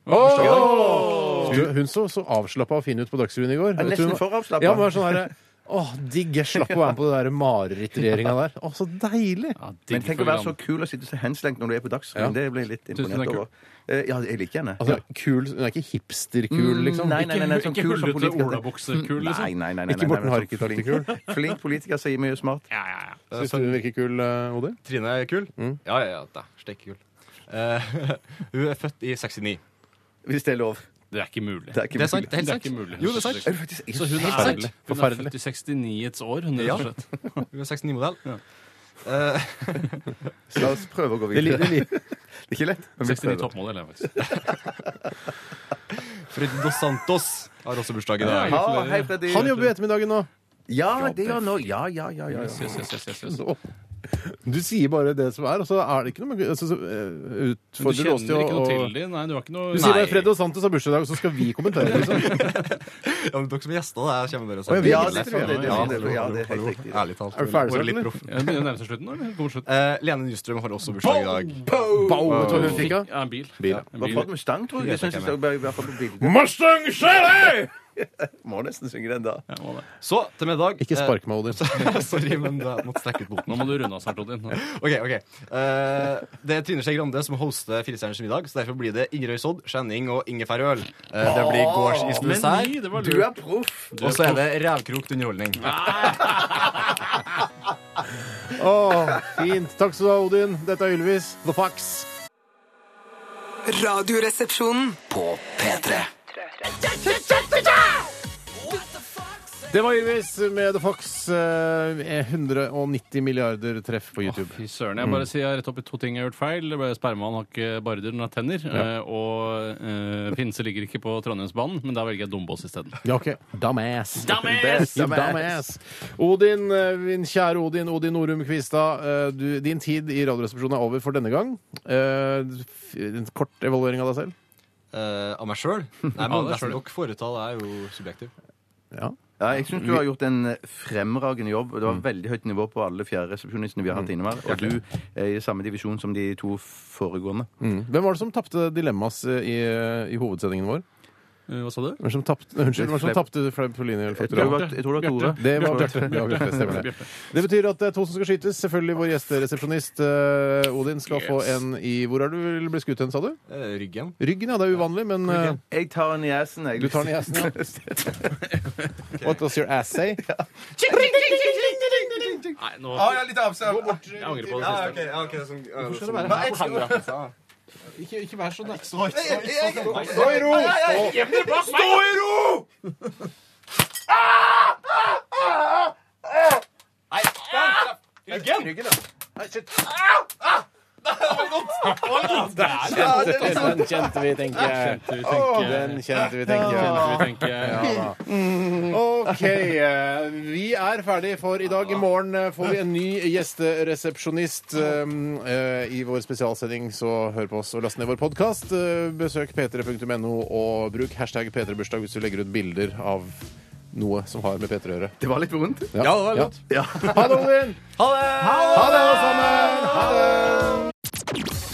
Hun, hun så, så avslappa og fin ut på Dagsrevyen i går.
Ja, nesten
Hun var-
for avslappet.
Ja, men var sånn her, Åh, digg. Jeg slapp å være med på den der marerittregjeringa der. Å, så deilig!
Ja, digg
Men tenk å være så kul og sitte så henslengt når du er på Dagsrevyen.
Ja.
Det ble jeg litt
Synes du den er
imponert
kul?
over. Eh, Ja, jeg liker henne.
Altså, kul, Hun er ikke hipsterkul, liksom.
Nei, nei, nei, nei, sånn
Ikke
kul som
hullete
politiker.
olabuksekul,
Nei,
liksom.
nei, nei, nei,
Ikke
nei,
Morten
men sånn
Harket-artig
Flink, flink politiker sier mye smart.
Ja, ja, ja.
Syns du hun virker kul, eh, Odin?
Trine er kul? Ja, ja, ja. da, Stekkekul. Eh, hun er født i 69.
Hvis det er lov.
Det er ikke mulig.
Det er ikke
Det er sant.
mulig.
Det er helt
Det er
sant.
ikke mulig.
Jo, det er sant.
Er det faktisk ikke
Så hun
sant?
er,
Forferdelig.
hun er
Forferdelig.
født i 69-ets år, hun, rett
Ja.
og slett.
Hun er 69-modell.
Ja.
Eh,
La oss prøve å gå
Det
videre.
liker
Det
jeg.
er ikke lett. men vi
69
prøver.
toppmål, eller faktisk.
Freddy Dos Santos har også bursdag i dag.
Ja, hei, Freddy.
Han jobber i ettermiddagen nå.
Ja, det gjør han nå. Ja, ja, ja. ja, ja.
Yes, yes, yes, yes, yes.
Nå. Du sier bare det som er, og så er det ikke noe med- altså, så, eh,
Du
Utfordrer
kjenner
oss til
ikke
å
noe til
og-
dem? Nei, du har ikke noe
Du sier
Nei.
det er Fred og Santos har bursdag i dag, så skal vi kommentere. Liksom.
Ja, men dere sånn som er gjester, da, jeg kommer bare og
Å, ja, vi
Ja,
er
det tror jeg. Det, det, det, det, ja, det er helt riktig.
Ærlig talt.
Er du ferdig
Bare
snart,
litt
eller?
proff.
Ja, det begynner å nærme seg slutten nå, eller? Kommer slutten?
Eh, Lene Nystrøm har også bursdag i dag.
Bow, vet du hva hun fikk av?
Ja, en bil.
Bil, ja.
En
Var Ford Mustang, tror jeg. Jeg synes
Jeg
det er i hvert fall på bildet.
Mustang Shelly!
Må nesten synge den, da.
Ja, må det.
Så til middag
Ikke spark meg, Odin.
Eh, Sorry, men jeg måtte strekke ut boten.
Nå må du runde av snart, Odin.
Ok, ok. Eh, det er Trine Skei Grande som hoster Firestjerners middag, så derfor blir det Ingerøy Sodd, Skjenning og ingefærøl. Eh, det blir gårdsis til
Men
dessert.
nei, det var
Du
lurt.
er proff!
Og så er det revkrokt underholdning.
Å, fint. Takk skal du ha, Odin. Dette er Ylvis. The Fox.
Radioresepsjonen.
På P3.
Det var Ylvis med The Fox. eh, 190 milliarder treff på YouTube.
Fy søren. Jeg bare sier jeg har rett opp i to ting jeg har gjort feil. Det ble Spermaen har ikke barder, den har tenner. Eh, Og eh, pinse ligger ikke på Trondheimsbanen, men da velger jeg Dombås isteden.
Ja, ok. Dumbass.
Dumbass!
You dumbass. Odin, eh, min kjære Odin, Odin Norum Kvistad. eh, du- Din tid i Radioresepsjonen er over for denne gang. Eh, f- En kort evaluering av deg selv.
Eh, av meg sjøl? Nei,
Av
men
deg
resten
selv.
dere foretar, det er jo subjektiv.
Ja.
Ja, jeg syns du har gjort en eh, fremragende jobb. og Det
Mm.
var veldig høyt nivå på alle fjerderesepsjonistene vi har hatt innom her. Og du er i samme divisjon som de to foregående.
Mm. Hvem var det som tapte Dilemmas eh, i, i hovedsendingen vår?
Eh, Hva sa du?
Hvem som tapte, unnskyld, hvem som
Slepp.
tapte Fleipolini eller
Jeg tror det
Faktura?
var, jeg tror det var Tore.
Det var Bjarte. Ja, Bjarte, stemmer det. Det betyr at det er to som skal skytes. Selvfølgelig vår gjesteresepsjonist eh, Odin skal få en i Hvor er du vil bli skutt hen, sa du?
Eh, Ryggen.
Ryggen, ja. Det er uvanlig, men eh,
Jeg tar den i assen, jeg.
du tar den i hesten, ja. What does your ass say?
Nei, nå
Å, jeg er litt avstand.
Jeg angrer på det
Ja,
siste.
ok, ja, ok, det er sånn, ja, det er sånn.
Hva er det? Ikke, ikke vær sånn, da. Stå i ro! Stå i ro!
Den kjente vi, tenker jeg. Den kjente vi, tenker jeg. OK. eh, Vi er ferdig for i dag. I morgen eh, får vi en ny gjesteresepsjonist um, eh, i vår spesialsending, så hør på oss og last ned vår podkast. Besøk p3.no, og bruk hashtag p3bursdag hvis du legger ut bilder av noe som har med P3 å gjøre.
Det var litt vondt.
Ja, det var godt. Ha det, Odin! Ha det, alle sammen! Ha det!